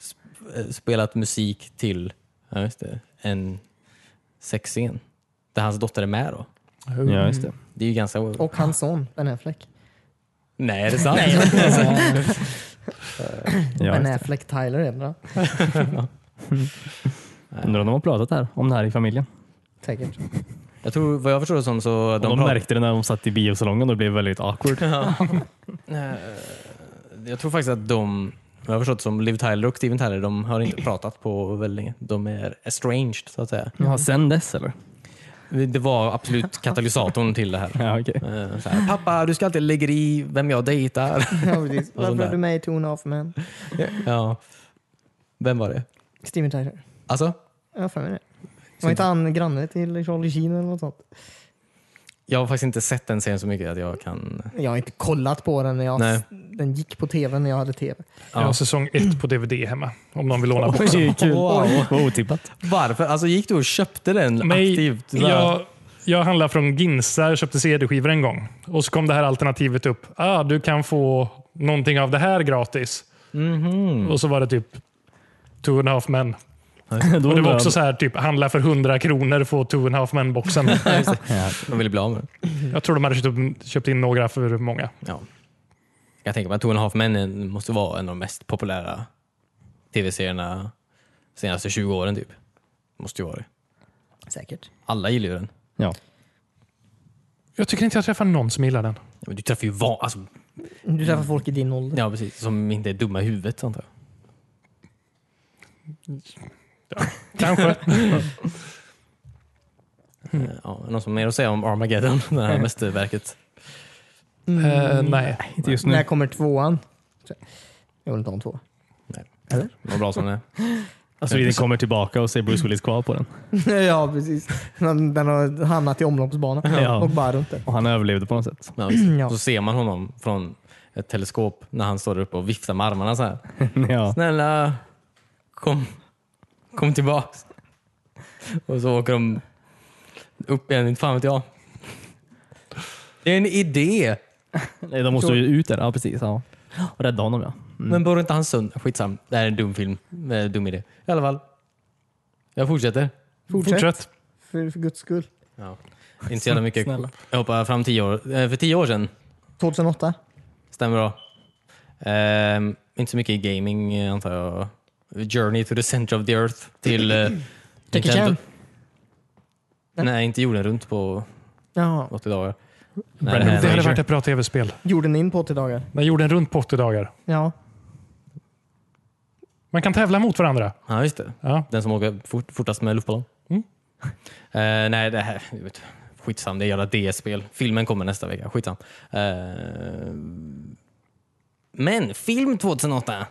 Speaker 1: sp- eh, spelat musik till ja, just det, en sexscen där hans dotter är med. då.
Speaker 2: Ja, just det.
Speaker 1: Det är ju ganska...
Speaker 3: Och hans son, Ben Affleck.
Speaker 1: Nej, är det sant?
Speaker 2: Ja,
Speaker 3: ben
Speaker 2: just det.
Speaker 3: Affleck Tyler är det bra.
Speaker 2: Undrar om de har pratat här, om det här i familjen.
Speaker 3: Säkert.
Speaker 1: Jag tror, vad jag förstår det som så...
Speaker 2: De, de
Speaker 1: pratar-
Speaker 2: märkte det när de satt i biosalongen och det blev väldigt awkward.
Speaker 1: Eh, jag tror faktiskt att de... vad Jag har förstått som Liv Tyler och Steven Tyler, de har inte pratat på väldigt länge. De är estranged, så att säga.
Speaker 2: Ja, sen dess eller?
Speaker 1: Det var absolut katalysatorn till det här.
Speaker 2: Ja, okej.
Speaker 1: Eh, Så här, Pappa, du ska alltid lägga dig i vem jag dejtar.
Speaker 3: Ja, precis.
Speaker 1: sån
Speaker 3: Varför
Speaker 1: där.
Speaker 3: är du med i Two and a Half Men?
Speaker 1: Ja. Vem var det?
Speaker 3: Steven Tyler.
Speaker 1: Alltså?
Speaker 3: Jag har för mig det. Var inte han granne till Charlie Sheen eller något sånt?
Speaker 1: Jag har faktiskt inte sett den serien så mycket att jag kan...
Speaker 3: Jag har inte kollat på den. när Jag,
Speaker 1: Nej.
Speaker 3: den gick på tv när jag hade tv.
Speaker 4: Jag har säsong ett på DVD hemma. Om någon vill låna bort
Speaker 2: Det är kul.
Speaker 1: Wow.
Speaker 2: Vad otippat.
Speaker 1: Varför? Alltså gick du och köpte den
Speaker 4: Nej,
Speaker 1: aktivt? Så här-
Speaker 4: jag, jag handlade från Ginza, jag köpte CD-skivor en gång. Och så kom det här alternativet upp. Ah, du kan få någonting av det här gratis.
Speaker 3: Mhm.
Speaker 4: Och så var det typ Two and a half men.
Speaker 2: Då
Speaker 4: Och det var
Speaker 2: undrar
Speaker 4: också
Speaker 2: jag-
Speaker 4: så här, typ handla för 100 kronor få Two and a half men-boxen.
Speaker 1: De ville bli av med den.
Speaker 4: jag tror de hade köpt, upp- köpt in några för många.
Speaker 1: Ja. Jag tänker mig att Two and a half Men måste vara en av de mest populära tv-serierna senaste 20 åren typ. Måste ju vara det.
Speaker 3: Säkert.
Speaker 1: Alla gillar ju den.
Speaker 2: Ja.
Speaker 4: Jag tycker inte jag träffar någon som gillar den.
Speaker 1: Ja, Men du träffar ju van... Alltså,
Speaker 3: Du
Speaker 2: Mm.
Speaker 3: träffar folk i din ålder.
Speaker 1: ja, precis. Som inte är dumma i huvudet antar jag.
Speaker 4: Kanske.
Speaker 1: Eh, Ja, någon som har mer att säga om Armageddon, det här mästerverket?
Speaker 4: Eh, nej.
Speaker 2: Inte just
Speaker 3: När
Speaker 2: nu.
Speaker 3: kommer tvåan? Jag vill inte ha en tvåa.
Speaker 1: Vad bra som det är.
Speaker 2: Alltså, den kommer tillbaka och säger Bruce Willis kvar på den.
Speaker 3: ja, precis. Den, den har hamnat i omloppsbanan
Speaker 2: Ja.
Speaker 3: och bara runt det.
Speaker 2: Och han överlevde på något sätt.
Speaker 1: Ja, visst.
Speaker 3: Ja.
Speaker 1: Så ser man honom från ett teleskop när han står där uppe och viftar med armarna så här.
Speaker 2: Ja.
Speaker 1: Snälla, kom, kom tillbaks. Och så åker de upp igen, inte fan vet jag. Det är en idé,
Speaker 2: Nej, De måste ju ut där. Ja, precis. Ja. Mm. Och rädda honom ja.
Speaker 1: men borde inte han sönder? Skitsam, det här är en dum film. Eh, Dum idé. I alla fall, jag fortsätter.
Speaker 3: Fortsätt,
Speaker 4: Fortsätt.
Speaker 3: För, för guds skull.
Speaker 1: Inte så jävla mycket.
Speaker 2: Snälla.
Speaker 1: Jag hoppar fram tio år. Eh, För tio år sedan
Speaker 3: 2008?
Speaker 1: Stämmer bra. Ehm, inte så mycket gaming eh, antar jag. Journey to the center of the earth till eh,
Speaker 3: Jackie Chan?
Speaker 1: Nej, inte jorden runt på
Speaker 3: Ja,
Speaker 1: 80 dagar.
Speaker 2: Brandon
Speaker 1: nej,
Speaker 4: Det hade
Speaker 1: nej.
Speaker 4: varit ett bra tv-spel.
Speaker 3: jorden in på 80 dagar.
Speaker 4: Den gjorde en runt på 80 dagar.
Speaker 3: Ja.
Speaker 4: Man kan tävla mot varandra.
Speaker 1: Ja, just det.
Speaker 4: Ja.
Speaker 1: Den som åker fort, fortast med luftballong.
Speaker 4: Mm.
Speaker 1: Eh, nej, det här... jag Vet, skitsam, det är jävla DS-spel. Filmen kommer nästa vecka. Skitsam. Ehm, men film 2008?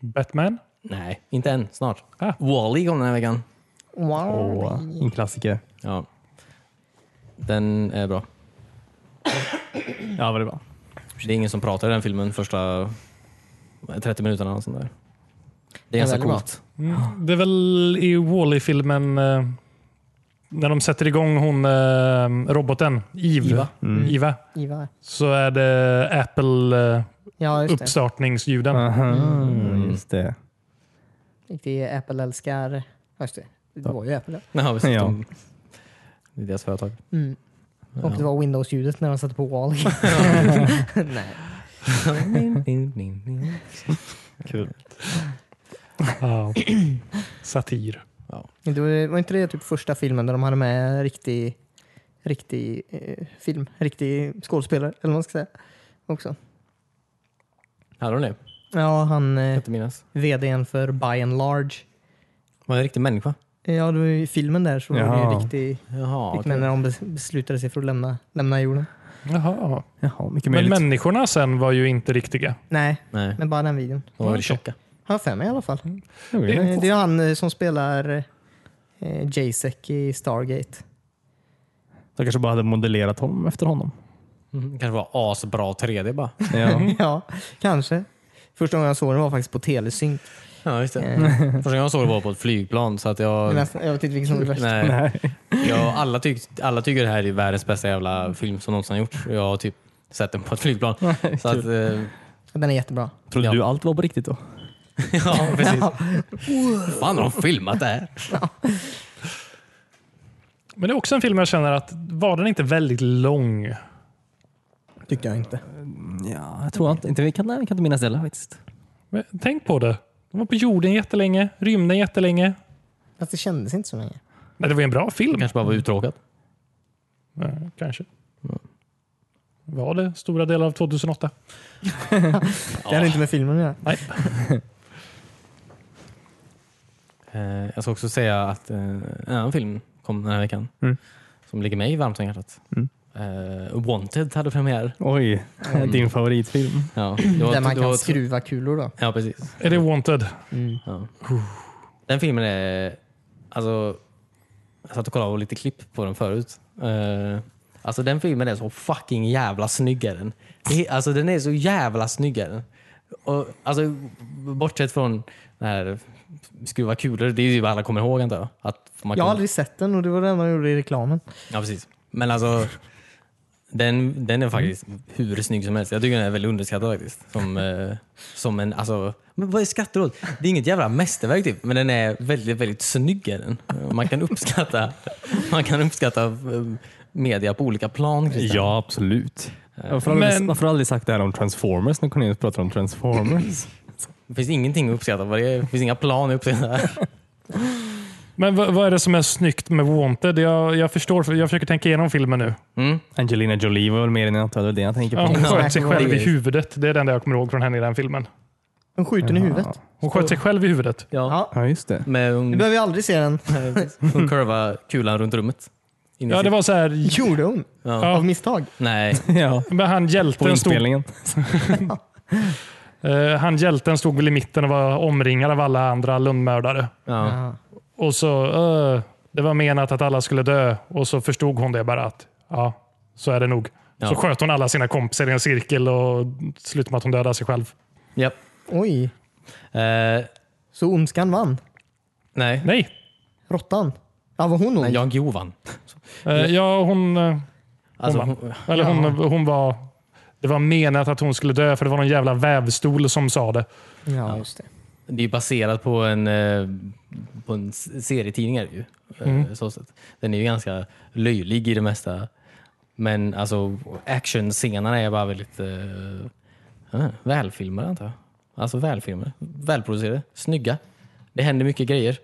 Speaker 4: Batman?
Speaker 1: Nej, inte än. Snart.
Speaker 4: Ah.
Speaker 1: Wall-E kom den här veckan.
Speaker 3: Wow.
Speaker 2: Och en klassiker.
Speaker 1: Ja. Den är bra.
Speaker 2: Ja, väldigt bra.
Speaker 1: Det är ingen som pratar i den filmen första 30 minuterna. Och sånt där. Det är
Speaker 3: Ja,
Speaker 1: ganska
Speaker 3: väldigt bra.
Speaker 1: coolt.
Speaker 4: Mm. Det är väl i Wall-E-filmen eh, när de sätter igång hon eh, roboten Eve.
Speaker 3: Iva.
Speaker 2: Mm.
Speaker 4: Iva.
Speaker 3: Ivar.
Speaker 4: Så är det Apple-uppstartningsljuden.
Speaker 3: Ja, just det.
Speaker 4: uppstartningsljuden.
Speaker 2: Aha, just det.
Speaker 3: Riktig Apple-älskar. Ja, just det. Det var ju Apple.
Speaker 1: Ja, visst,
Speaker 2: Ja.
Speaker 1: De, det är deras företag.
Speaker 3: ja. Mm. Och det var Windows-ljudet när de satte på wall. Nej.
Speaker 2: Kul.
Speaker 4: Ja. Satir.
Speaker 3: Det var, var inte det typ första filmen där de hade med riktig, riktig eh, film, riktig skådespelare eller vad man ska säga. Också.
Speaker 1: Hade de det? Jag
Speaker 3: Ja, han
Speaker 1: kan
Speaker 3: eh,
Speaker 1: inte minnas.
Speaker 3: vdn för By and Large.
Speaker 1: Var det en riktig människa?
Speaker 3: Ja, det var ju i filmen där så var det
Speaker 2: Jaha.
Speaker 3: ju riktig,
Speaker 1: Jaha,
Speaker 3: riktigt när de bes- beslutade sig för att lämna, lämna jorden.
Speaker 4: Jaha.
Speaker 2: Jaha, mycket
Speaker 4: Men
Speaker 2: möjligt.
Speaker 4: människorna sen var ju inte riktiga.
Speaker 3: Nej,
Speaker 1: Nej,
Speaker 3: men bara den videon.
Speaker 1: de var väldigt tjocka.
Speaker 3: Har jag för mig i alla fall.
Speaker 2: Okej.
Speaker 3: Eh, Det är han eh, som spelar eh, Jacek i Stargate.
Speaker 2: Jag kanske bara hade modellerat honom efter honom.
Speaker 1: Mm. kanske var asbra 3D bara.
Speaker 2: Ja.
Speaker 3: ja, kanske. Första gången jag såg den var faktiskt på Telesynk.
Speaker 1: Ja, just det.
Speaker 3: Eh,
Speaker 1: Första gången jag såg det var på ett flygplan. Så att jag,
Speaker 3: nästan- jag vet inte vilken som är värst.
Speaker 1: nej,
Speaker 2: Nej.
Speaker 1: jag, alla, tyck, alla tycker det här är världens bästa jävla film som någonsin har gjorts. Jag har typ sett den på ett flygplan. Så att, eh,
Speaker 3: Den är jättebra.
Speaker 2: Trodde
Speaker 1: Ja.
Speaker 2: du allt var på riktigt då?
Speaker 1: ja, precis. fan har de filmat det här?
Speaker 4: Men det är också en film jag känner att var den inte väldigt lång?
Speaker 3: Tyckte jag inte.
Speaker 2: Ja, jag tror inte. inte vi, kan, nej, vi kan inte minnas det heller faktiskt.
Speaker 4: Men Tänk på det. De var på jorden jättelänge, rymden jättelänge.
Speaker 3: Fast det kändes inte så länge.
Speaker 4: Nej, det var ju en bra film.
Speaker 1: kanske bara var uttråkad.
Speaker 4: Ja, kanske. Var det stora delar av 2008?
Speaker 3: Det hade inte med filmen att göra.
Speaker 4: Nej.
Speaker 1: Eh, jag ska också säga att eh, en annan film kom den här veckan
Speaker 2: Mm.
Speaker 1: som ligger mig varmt om hjärtat.
Speaker 2: Mm.
Speaker 1: Eh, Wanted hade premiär.
Speaker 2: Oj, din favoritfilm.
Speaker 1: Ja, det var-
Speaker 3: Där man
Speaker 1: det
Speaker 3: kan
Speaker 1: var- Mm.
Speaker 3: skruva kulor då.
Speaker 1: Ja, precis.
Speaker 4: Är det Wanted?
Speaker 1: Ja. Den filmen är... Alltså, jag satt och kollade på lite klipp på den förut. Eh, alltså den filmen är så fucking jävla snygg är den. Det är- Alltså den är så jävla snygg är den. Och, alltså, bortsett från den här skruva kulor, det är ju vad alla kommer ihåg antar jag. Att man
Speaker 3: Jag har
Speaker 1: kan-
Speaker 3: aldrig sett den och det var det enda de gjorde i reklamen.
Speaker 1: Ja, precis. Men alltså, den, den är faktiskt hur snygg som helst. Jag tycker den är väldigt underskattad faktiskt. Som, eh, som en, alltså, men vad är skatter åt? Det är inget jävla mästerverk typ, men den är väldigt, väldigt snygg. Är den. Man kan uppskatta, man kan uppskatta eh, media på olika plan. Christian.
Speaker 2: Ja, absolut. Varför har, du aldrig,
Speaker 4: Men-
Speaker 2: varför har du aldrig sagt det här om Transformers när Cornelius pratar om Transformers?
Speaker 1: Det finns ingenting att uppskatta. vad Det är. Det finns inga plan att uppskatta. här.
Speaker 4: Men vad, vad är det som är snyggt med Wanted? Jag, jag förstår, för jag försöker tänka igenom filmen nu.
Speaker 1: Mm.
Speaker 2: Angelina Jolie var väl mer än något, det var det jag tänker
Speaker 4: Ja,
Speaker 2: på.
Speaker 4: hon sköt sig själv i
Speaker 1: Exactly.
Speaker 4: huvudet. Det är det enda jag kommer ihåg från henne i den filmen.
Speaker 3: De skjuter i huvudet.
Speaker 4: Hon sköt sig själv i huvudet.
Speaker 1: Ja.
Speaker 3: Ja.
Speaker 2: Ja, just det.
Speaker 1: Med
Speaker 3: Du
Speaker 1: hon, eh,
Speaker 3: behöver ju aldrig se den.
Speaker 1: hon kurva kulan runt rummet. In i
Speaker 4: Ja, det
Speaker 1: sitt-
Speaker 4: var så här...
Speaker 3: Gjorde hon?
Speaker 1: Ja.
Speaker 3: Av misstag?
Speaker 1: Nej.
Speaker 2: Ja,
Speaker 4: Men han
Speaker 2: på
Speaker 4: hjälten stod
Speaker 2: inspelningen.
Speaker 4: Eh, han hjälten stod väl i mitten och var omringad av alla andra Lundmördare.
Speaker 1: Ja.
Speaker 3: Ja.
Speaker 4: Och så, eh, det var menat att alla skulle dö och så förstod hon det bara att, ja, så är det nog.
Speaker 1: Ja.
Speaker 4: Så sköt hon alla sina kompisar i en cirkel och slutade med att hon dödade sig själv.
Speaker 1: Japp.
Speaker 3: Oj,
Speaker 1: Eh,
Speaker 3: så ondskan vann.
Speaker 1: nej.
Speaker 4: Nej,
Speaker 3: Råttan. Ja, var hon ond?
Speaker 1: Jan Guillou vann.
Speaker 4: eh, ja, hon, eh,
Speaker 1: Alltså,
Speaker 4: vann.
Speaker 1: hon,
Speaker 4: eller hon, hon var... Det var menat att hon skulle dö för det var någon jävla vävstol som sa det.
Speaker 3: Ja, just det.
Speaker 1: det är ju baserat på en, eh, på en s- serietidning. Är det ju. Eh,
Speaker 2: Mm.
Speaker 1: Så sätt. Den är ju ganska löjlig i det mesta. Men alltså, actionscenerna är bara väldigt eh, eh, välfilmade antar jag. Alltså välfilmade, välproducerade, snygga. Det händer mycket grejer.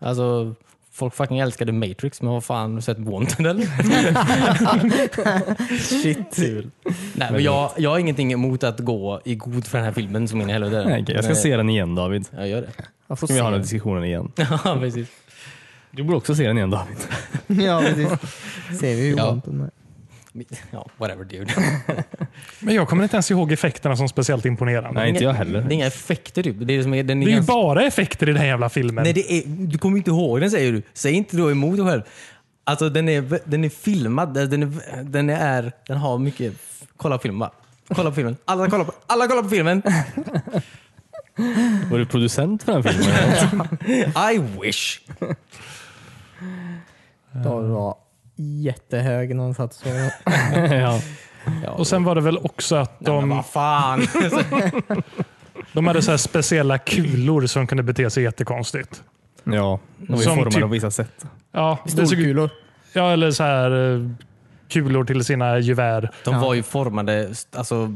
Speaker 1: Alltså, folk fucking älskade Matrix, men vad fan, har du sett Wanted eller?
Speaker 3: Shit.
Speaker 1: Nej, men jag, jag har ingenting emot att gå i god för den här filmen som in i helvete.
Speaker 2: Nej, okej, jag ska
Speaker 1: Nej,
Speaker 2: se den igen David.
Speaker 1: Jag gör det.
Speaker 3: Jag får
Speaker 2: Ska vi ha den här
Speaker 3: se.
Speaker 2: diskussionen igen?
Speaker 1: ja, precis.
Speaker 2: Du borde också se den igen David.
Speaker 3: Ja, precis. Ser vi hur
Speaker 1: Ja.
Speaker 3: ont hon är.
Speaker 1: Ja, whatever dude.
Speaker 4: Men jag kommer inte ens ihåg effekterna som speciellt imponerande.
Speaker 2: Nej, inte jag
Speaker 1: Det
Speaker 2: heller.
Speaker 1: är inga effekter typ. Det är, det som är, den är
Speaker 4: Det är ju
Speaker 1: ganska-
Speaker 4: bara effekter i den här jävla filmen.
Speaker 1: Nej, det är, du kommer ju inte ihåg den säger du. Säg inte då emot dig själv. Alltså den är, den är filmad. Den, är, den, är, den har mycket... Kolla på filmen bara. Kolla på filmen. Alla kollar på, alla kollar på filmen.
Speaker 2: Var du producent för den filmen?
Speaker 1: I wish.
Speaker 3: David var jättehög när han satt så.
Speaker 2: ja.
Speaker 4: Och sen var det väl också att
Speaker 1: Men
Speaker 4: de,
Speaker 1: vad fan.
Speaker 4: de hade så här speciella kulor som kunde bete sig jättekonstigt.
Speaker 2: ja, de är
Speaker 4: Som
Speaker 2: formade
Speaker 4: typ-
Speaker 2: på vissa sätt.
Speaker 4: Ja, det såg, ut-
Speaker 3: Storkulor.
Speaker 4: ja, eller så här eh, kulor till sina gevär.
Speaker 1: De var ju formade alltså,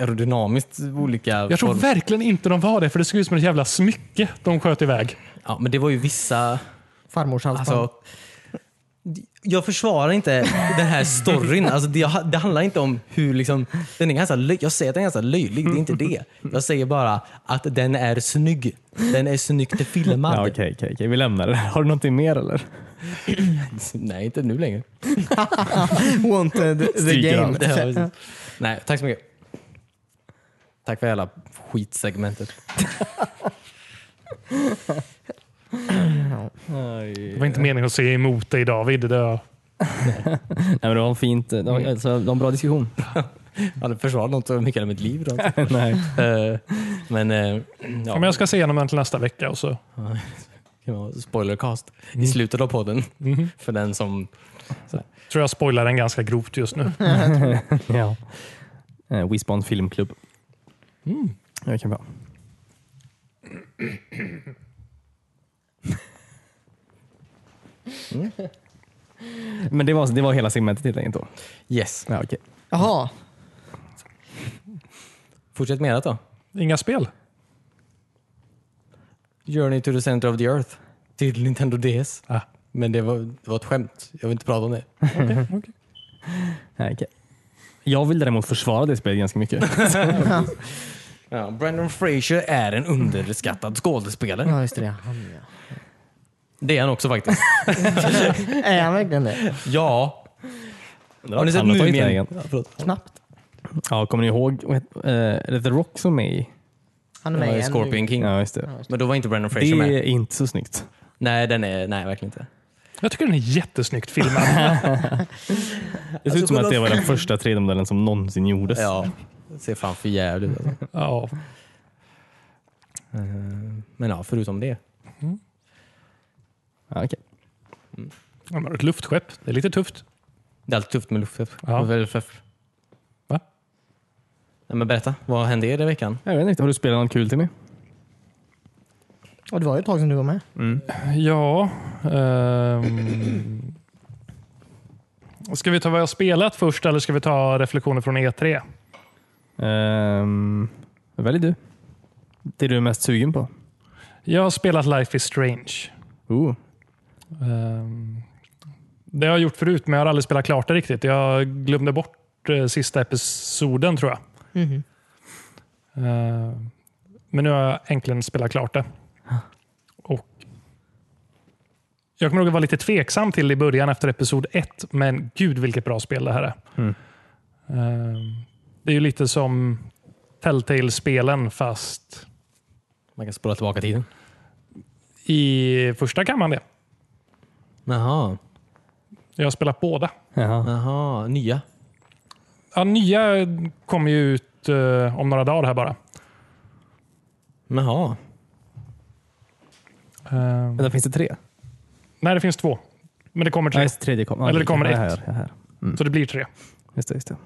Speaker 1: aerodynamiskt olika.
Speaker 4: Jag tror
Speaker 1: form-
Speaker 4: verkligen inte de var det, för det såg ut som ett jävla smycke de sköt iväg.
Speaker 1: ja, men det var ju vissa...
Speaker 3: Farmors halsband.
Speaker 1: Alltså, jag försvarar inte den här storyn. Alltså, det, det handlar inte om hur... Liksom, den är ganska löj, jag säger att den är ganska löjlig, det är inte det. Jag säger bara att den är snygg. Den är snyggt filmad.
Speaker 2: Ja, Okej, okej, okej. vi lämnar det. Har du någonting mer eller?
Speaker 1: Nej, inte nu längre.
Speaker 3: Wanted eh, the
Speaker 2: Stryker
Speaker 3: game.
Speaker 2: allt.
Speaker 1: Det var- Nej, tack så mycket. Tack för hela skitsegmentet.
Speaker 4: Det var inte meningen att säga emot dig David. Det var,
Speaker 2: Nej, men det var en fint. Det var, alltså, det var en bra diskussion.
Speaker 1: Jag hade försvarat något så mycket av mitt liv. Då.
Speaker 2: Nej.
Speaker 1: Eh, Men, eh, ja,
Speaker 4: Men jag ska se igenom den till nästa vecka. Och så.
Speaker 1: kan vara spoilercast i slutet av podden. För den som...
Speaker 4: tror jag spoilar den ganska grovt just nu.
Speaker 2: ja. Eh, Wispon filmklubb. Mm. Jag kan bra. Men det var, det var hela segmentet helt enkelt då?
Speaker 1: Yes.
Speaker 2: Ja, okej.
Speaker 3: Jaha,
Speaker 1: Fortsätt med det då.
Speaker 4: Inga spel.
Speaker 1: Journey to the center of the earth till Nintendo DS.
Speaker 4: Ah.
Speaker 1: Men det var, det var ett skämt. Jag vill inte prata om det.
Speaker 2: Ja, okej. Jag vill däremot försvara det spelet ganska mycket.
Speaker 1: Ja, Brandon Fraser är en underskattad skådespelare.
Speaker 3: ja just det. Han, ja.
Speaker 1: Det är han också faktiskt.
Speaker 3: Är han verkligen det?
Speaker 1: ja.
Speaker 2: Har
Speaker 1: Har ni sett
Speaker 2: han har tagit
Speaker 1: Mumien?
Speaker 2: vägen.
Speaker 1: Ja, förlåt.
Speaker 3: Knappt.
Speaker 2: Ja, kommer ni ihåg vad het- eh, är det The Rock som är med i?
Speaker 3: Han är
Speaker 1: Han
Speaker 3: med
Speaker 1: var
Speaker 3: i
Speaker 1: ju
Speaker 3: en
Speaker 1: Scorpion King.
Speaker 2: Ja, just det.
Speaker 1: Men då var inte Brandon Fraser
Speaker 2: Det
Speaker 1: med.
Speaker 2: är inte så snyggt.
Speaker 1: Nej, den är, nej, verkligen inte.
Speaker 4: Jag tycker den är jättesnyggt filmad.
Speaker 2: Det ser ut
Speaker 1: Alltså,
Speaker 2: som att det
Speaker 1: kolla-
Speaker 2: var den första 3D-modellen som någonsin gjordes.
Speaker 1: Ja, det ser fan för jävligt ut. Alltså.
Speaker 4: Ja.
Speaker 1: Eh, Men ja, förutom det.
Speaker 2: Ja, okej.
Speaker 4: De har ett luftskepp. Det är lite tufft.
Speaker 1: Det är alltid tufft med luftskepp.
Speaker 4: Ja. Va?
Speaker 1: Nej, men berätta, vad hände er i veckan?
Speaker 2: Jag vet inte, har du spelat något kul till mig?
Speaker 3: Och det var ju ett tag sedan du var med.
Speaker 4: Ja. ehm. Ska vi ta vad jag spelat först eller ska vi E ta reflektioner från E3?
Speaker 2: Um, välj Ehm, du. Det du är mest sugen på?
Speaker 4: Jag har spelat Life is Strange.
Speaker 2: Oh.
Speaker 4: Ehm, Det har jag gjort förut, men jag har aldrig spelat klart det riktigt. Jag glömde bort eh, sista episoden tror jag.
Speaker 3: Mhm.
Speaker 4: Ehm, Men nu har jag äntligen spelat klart det. Och jag kommer ihåg att jag var lite tveksam till i början efter episod ett, men gud vilket bra spel det här är.
Speaker 2: Mm.
Speaker 4: Ehm, Det är ju lite som Telltale-spelen fast
Speaker 1: Man kan spola tillbaka tiden.
Speaker 4: i första kammaren. Det.
Speaker 1: Jaha,
Speaker 4: Jag har spelat båda.
Speaker 2: Jaha.
Speaker 1: Jaha. nya.
Speaker 4: Ja, nya kommer ju ut eh, om några dagar här bara.
Speaker 1: Jaha.
Speaker 4: Eh,
Speaker 2: Men där finns det tre.
Speaker 4: nej, det finns två. Men det kommer
Speaker 2: Nej,
Speaker 4: tre.
Speaker 2: just tredje kom. ja,
Speaker 4: Eller det
Speaker 2: lika.
Speaker 4: kommer
Speaker 2: Ja,
Speaker 4: ett.
Speaker 2: Här, här, här.
Speaker 4: Så det blir tre.
Speaker 2: Just det, just det.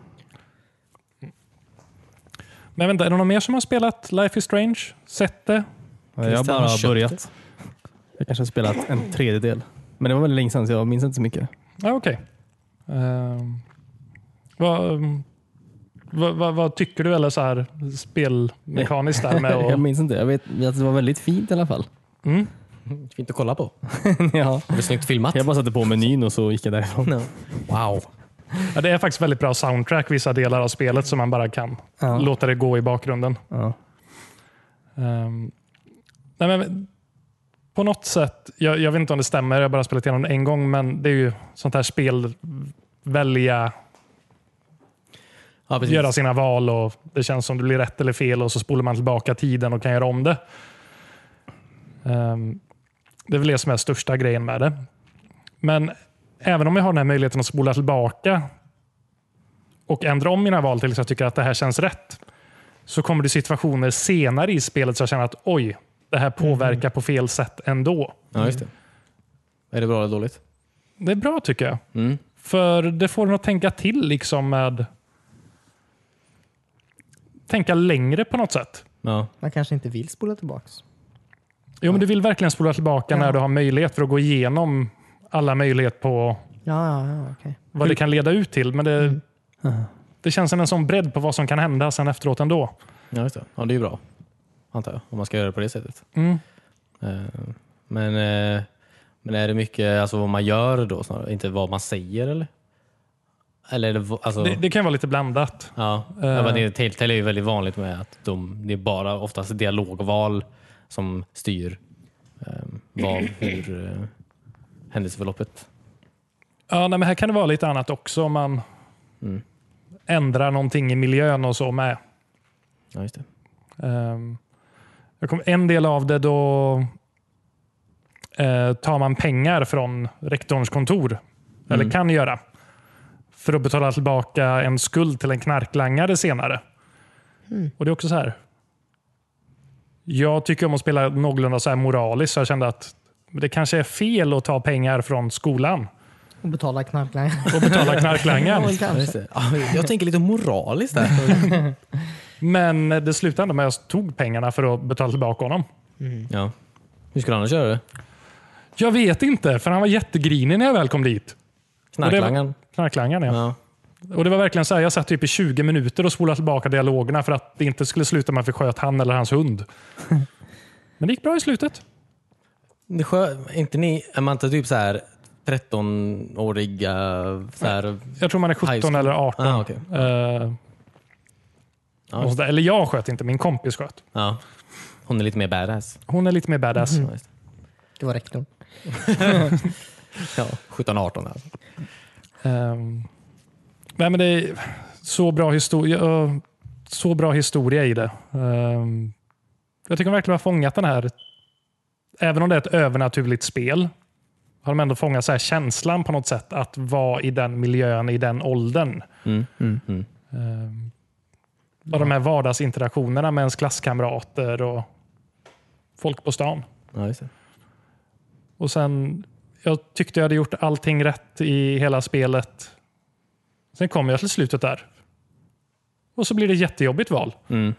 Speaker 4: Men vänta, är det någon mer som har spelat Life is Strange? Sett det?
Speaker 2: Jag har
Speaker 1: Christian har
Speaker 2: bara
Speaker 1: köpt
Speaker 2: börjat. Jag kanske har spelat en tredjedel. Men det var väldigt länge sedan så jag minns inte så mycket.
Speaker 4: Ja, okej. Ehm, vad, mm, vad, vad, vad tycker du eller så här spelmekaniskt där med
Speaker 2: Jag
Speaker 4: och,
Speaker 2: minns inte. Jag vet att det var väldigt fint i alla fall.
Speaker 4: mm?
Speaker 1: Fint att kolla på.
Speaker 2: ja.
Speaker 1: Det är snyggt filmat.
Speaker 2: Jag bara satte på menyn och så gick jag därifrån.
Speaker 1: No. Wow.
Speaker 4: ja, Det är faktiskt väldigt bra soundtrack vissa delar av spelet som man bara kan
Speaker 2: Ja.
Speaker 4: låta det gå i bakgrunden.
Speaker 2: Ja.
Speaker 4: Ehm, nej men, på något sätt, jag, jag vet inte om det stämmer, jag har bara spelat igenom det en gång, men det är ju sånt här spel, välja,
Speaker 1: Ja, precis.
Speaker 4: göra sina val och det känns som det blir rätt eller fel och så spolar man tillbaka tiden och kan göra om det. Ehm, det är väl det som är största grejen med det. Men även om jag har den här möjligheten att spola tillbaka och ändra om mina val tills jag tycker att det här känns rätt, så kommer det situationer senare i spelet så jag känner att oj, det här påverkar på fel sätt ändå.
Speaker 1: Ja, just det. Är det bra eller dåligt?
Speaker 4: Det är bra tycker jag.
Speaker 1: Mm.
Speaker 4: För det får en att tänka till liksom med... Tänka längre på något sätt.
Speaker 1: Ja.
Speaker 3: Man kanske inte vill spola tillbaks.
Speaker 4: Jo, men du vill verkligen spola tillbaka
Speaker 3: Ja.
Speaker 4: när du har möjlighet för att gå igenom alla möjligheter på
Speaker 3: Ja, ja, ja okej.
Speaker 4: vad det kan leda ut till. Men det, det känns som en sån bredd på vad som kan hända sen efteråt ändå.
Speaker 1: ja, just det. Ja, det är ju bra. Antar jag. Om man ska göra det på det sättet.
Speaker 4: Mm.
Speaker 1: Eh, Men, eh, men är det mycket alltså, vad man gör då snarare? Inte vad man säger eller? Eller är det, v- alltså,
Speaker 4: Det, det kan vara lite blandat.
Speaker 1: Ja,
Speaker 4: Eh.
Speaker 1: uh, men det, Telltale är ju väldigt vanligt med att de, det är bara oftast dialogval som styr eh, vad, hur eh, händelseförloppet.
Speaker 4: Ja, nej, men här kan det vara lite annat också om man
Speaker 1: Mm.
Speaker 4: ändrar någonting i miljön och så med.
Speaker 1: Ja, just det.
Speaker 4: Ehm, jag kom, en del av det då eh, tar man pengar från rektorns kontor, eller kan göra, för att betala tillbaka en skuld till en knarklangare senare. Och det är också så här. Jag tycker om att spela någorlunda så här moraliskt, så jag kände att det kanske är fel att ta pengar från skolan
Speaker 3: Och betala knarklangaren.
Speaker 4: och betala knarklangaren.
Speaker 3: Ja,
Speaker 1: Ja, just
Speaker 3: kanske.
Speaker 1: det. Ja, jag tänker lite moraliskt där.
Speaker 4: Men det slutade ändå med att jag tog pengarna för att betala tillbaka honom.
Speaker 1: ja. Hur skulle du annars göra det?
Speaker 4: Jag vet inte, för han var jättegrinig när jag väl kom dit.
Speaker 1: Knarklangaren?
Speaker 4: Knarklangaren, ja.
Speaker 1: Ja.
Speaker 4: Och det var verkligen så här, jag satt typ i 20 minuter och spolade tillbaka dialogerna för att det inte skulle sluta med att vi sköt han eller hans hund. Men det gick bra i slutet.
Speaker 1: Det skö, inte ni, är man inte typ så här 13-åriga så här,
Speaker 4: Jag tror man är
Speaker 1: High
Speaker 4: 17
Speaker 1: school.
Speaker 4: eller 18.
Speaker 1: Ah, okej.
Speaker 4: Eh,
Speaker 1: Ja.
Speaker 4: och sådär. Eller jag sköt inte, min kompis sköt.
Speaker 1: ja. Hon är lite mer badass.
Speaker 4: Hon är lite mer badass.
Speaker 1: Ja, just
Speaker 3: Det var rektorn.
Speaker 1: det. Ja, 17-18 alltså.
Speaker 4: Ehm, nej, men det är så bra historia, ja, så bra historia i det. Ehm, jag tycker de verkligen har fångat den här, även om det är ett övernaturligt spel, har de ändå fångat så här känslan på något sätt att vara i den miljön, i den åldern.
Speaker 1: Mm. Mm. Mm.
Speaker 4: Ehm, och de här vardagsinteraktionerna med ens klasskamrater och folk på stan.
Speaker 1: Ja, just det.
Speaker 4: Och sen, jag tyckte jag hade gjort allting rätt i hela spelet. Sen kom jag till slutet där. Och så blir det ett jättejobbigt val.
Speaker 1: Mm.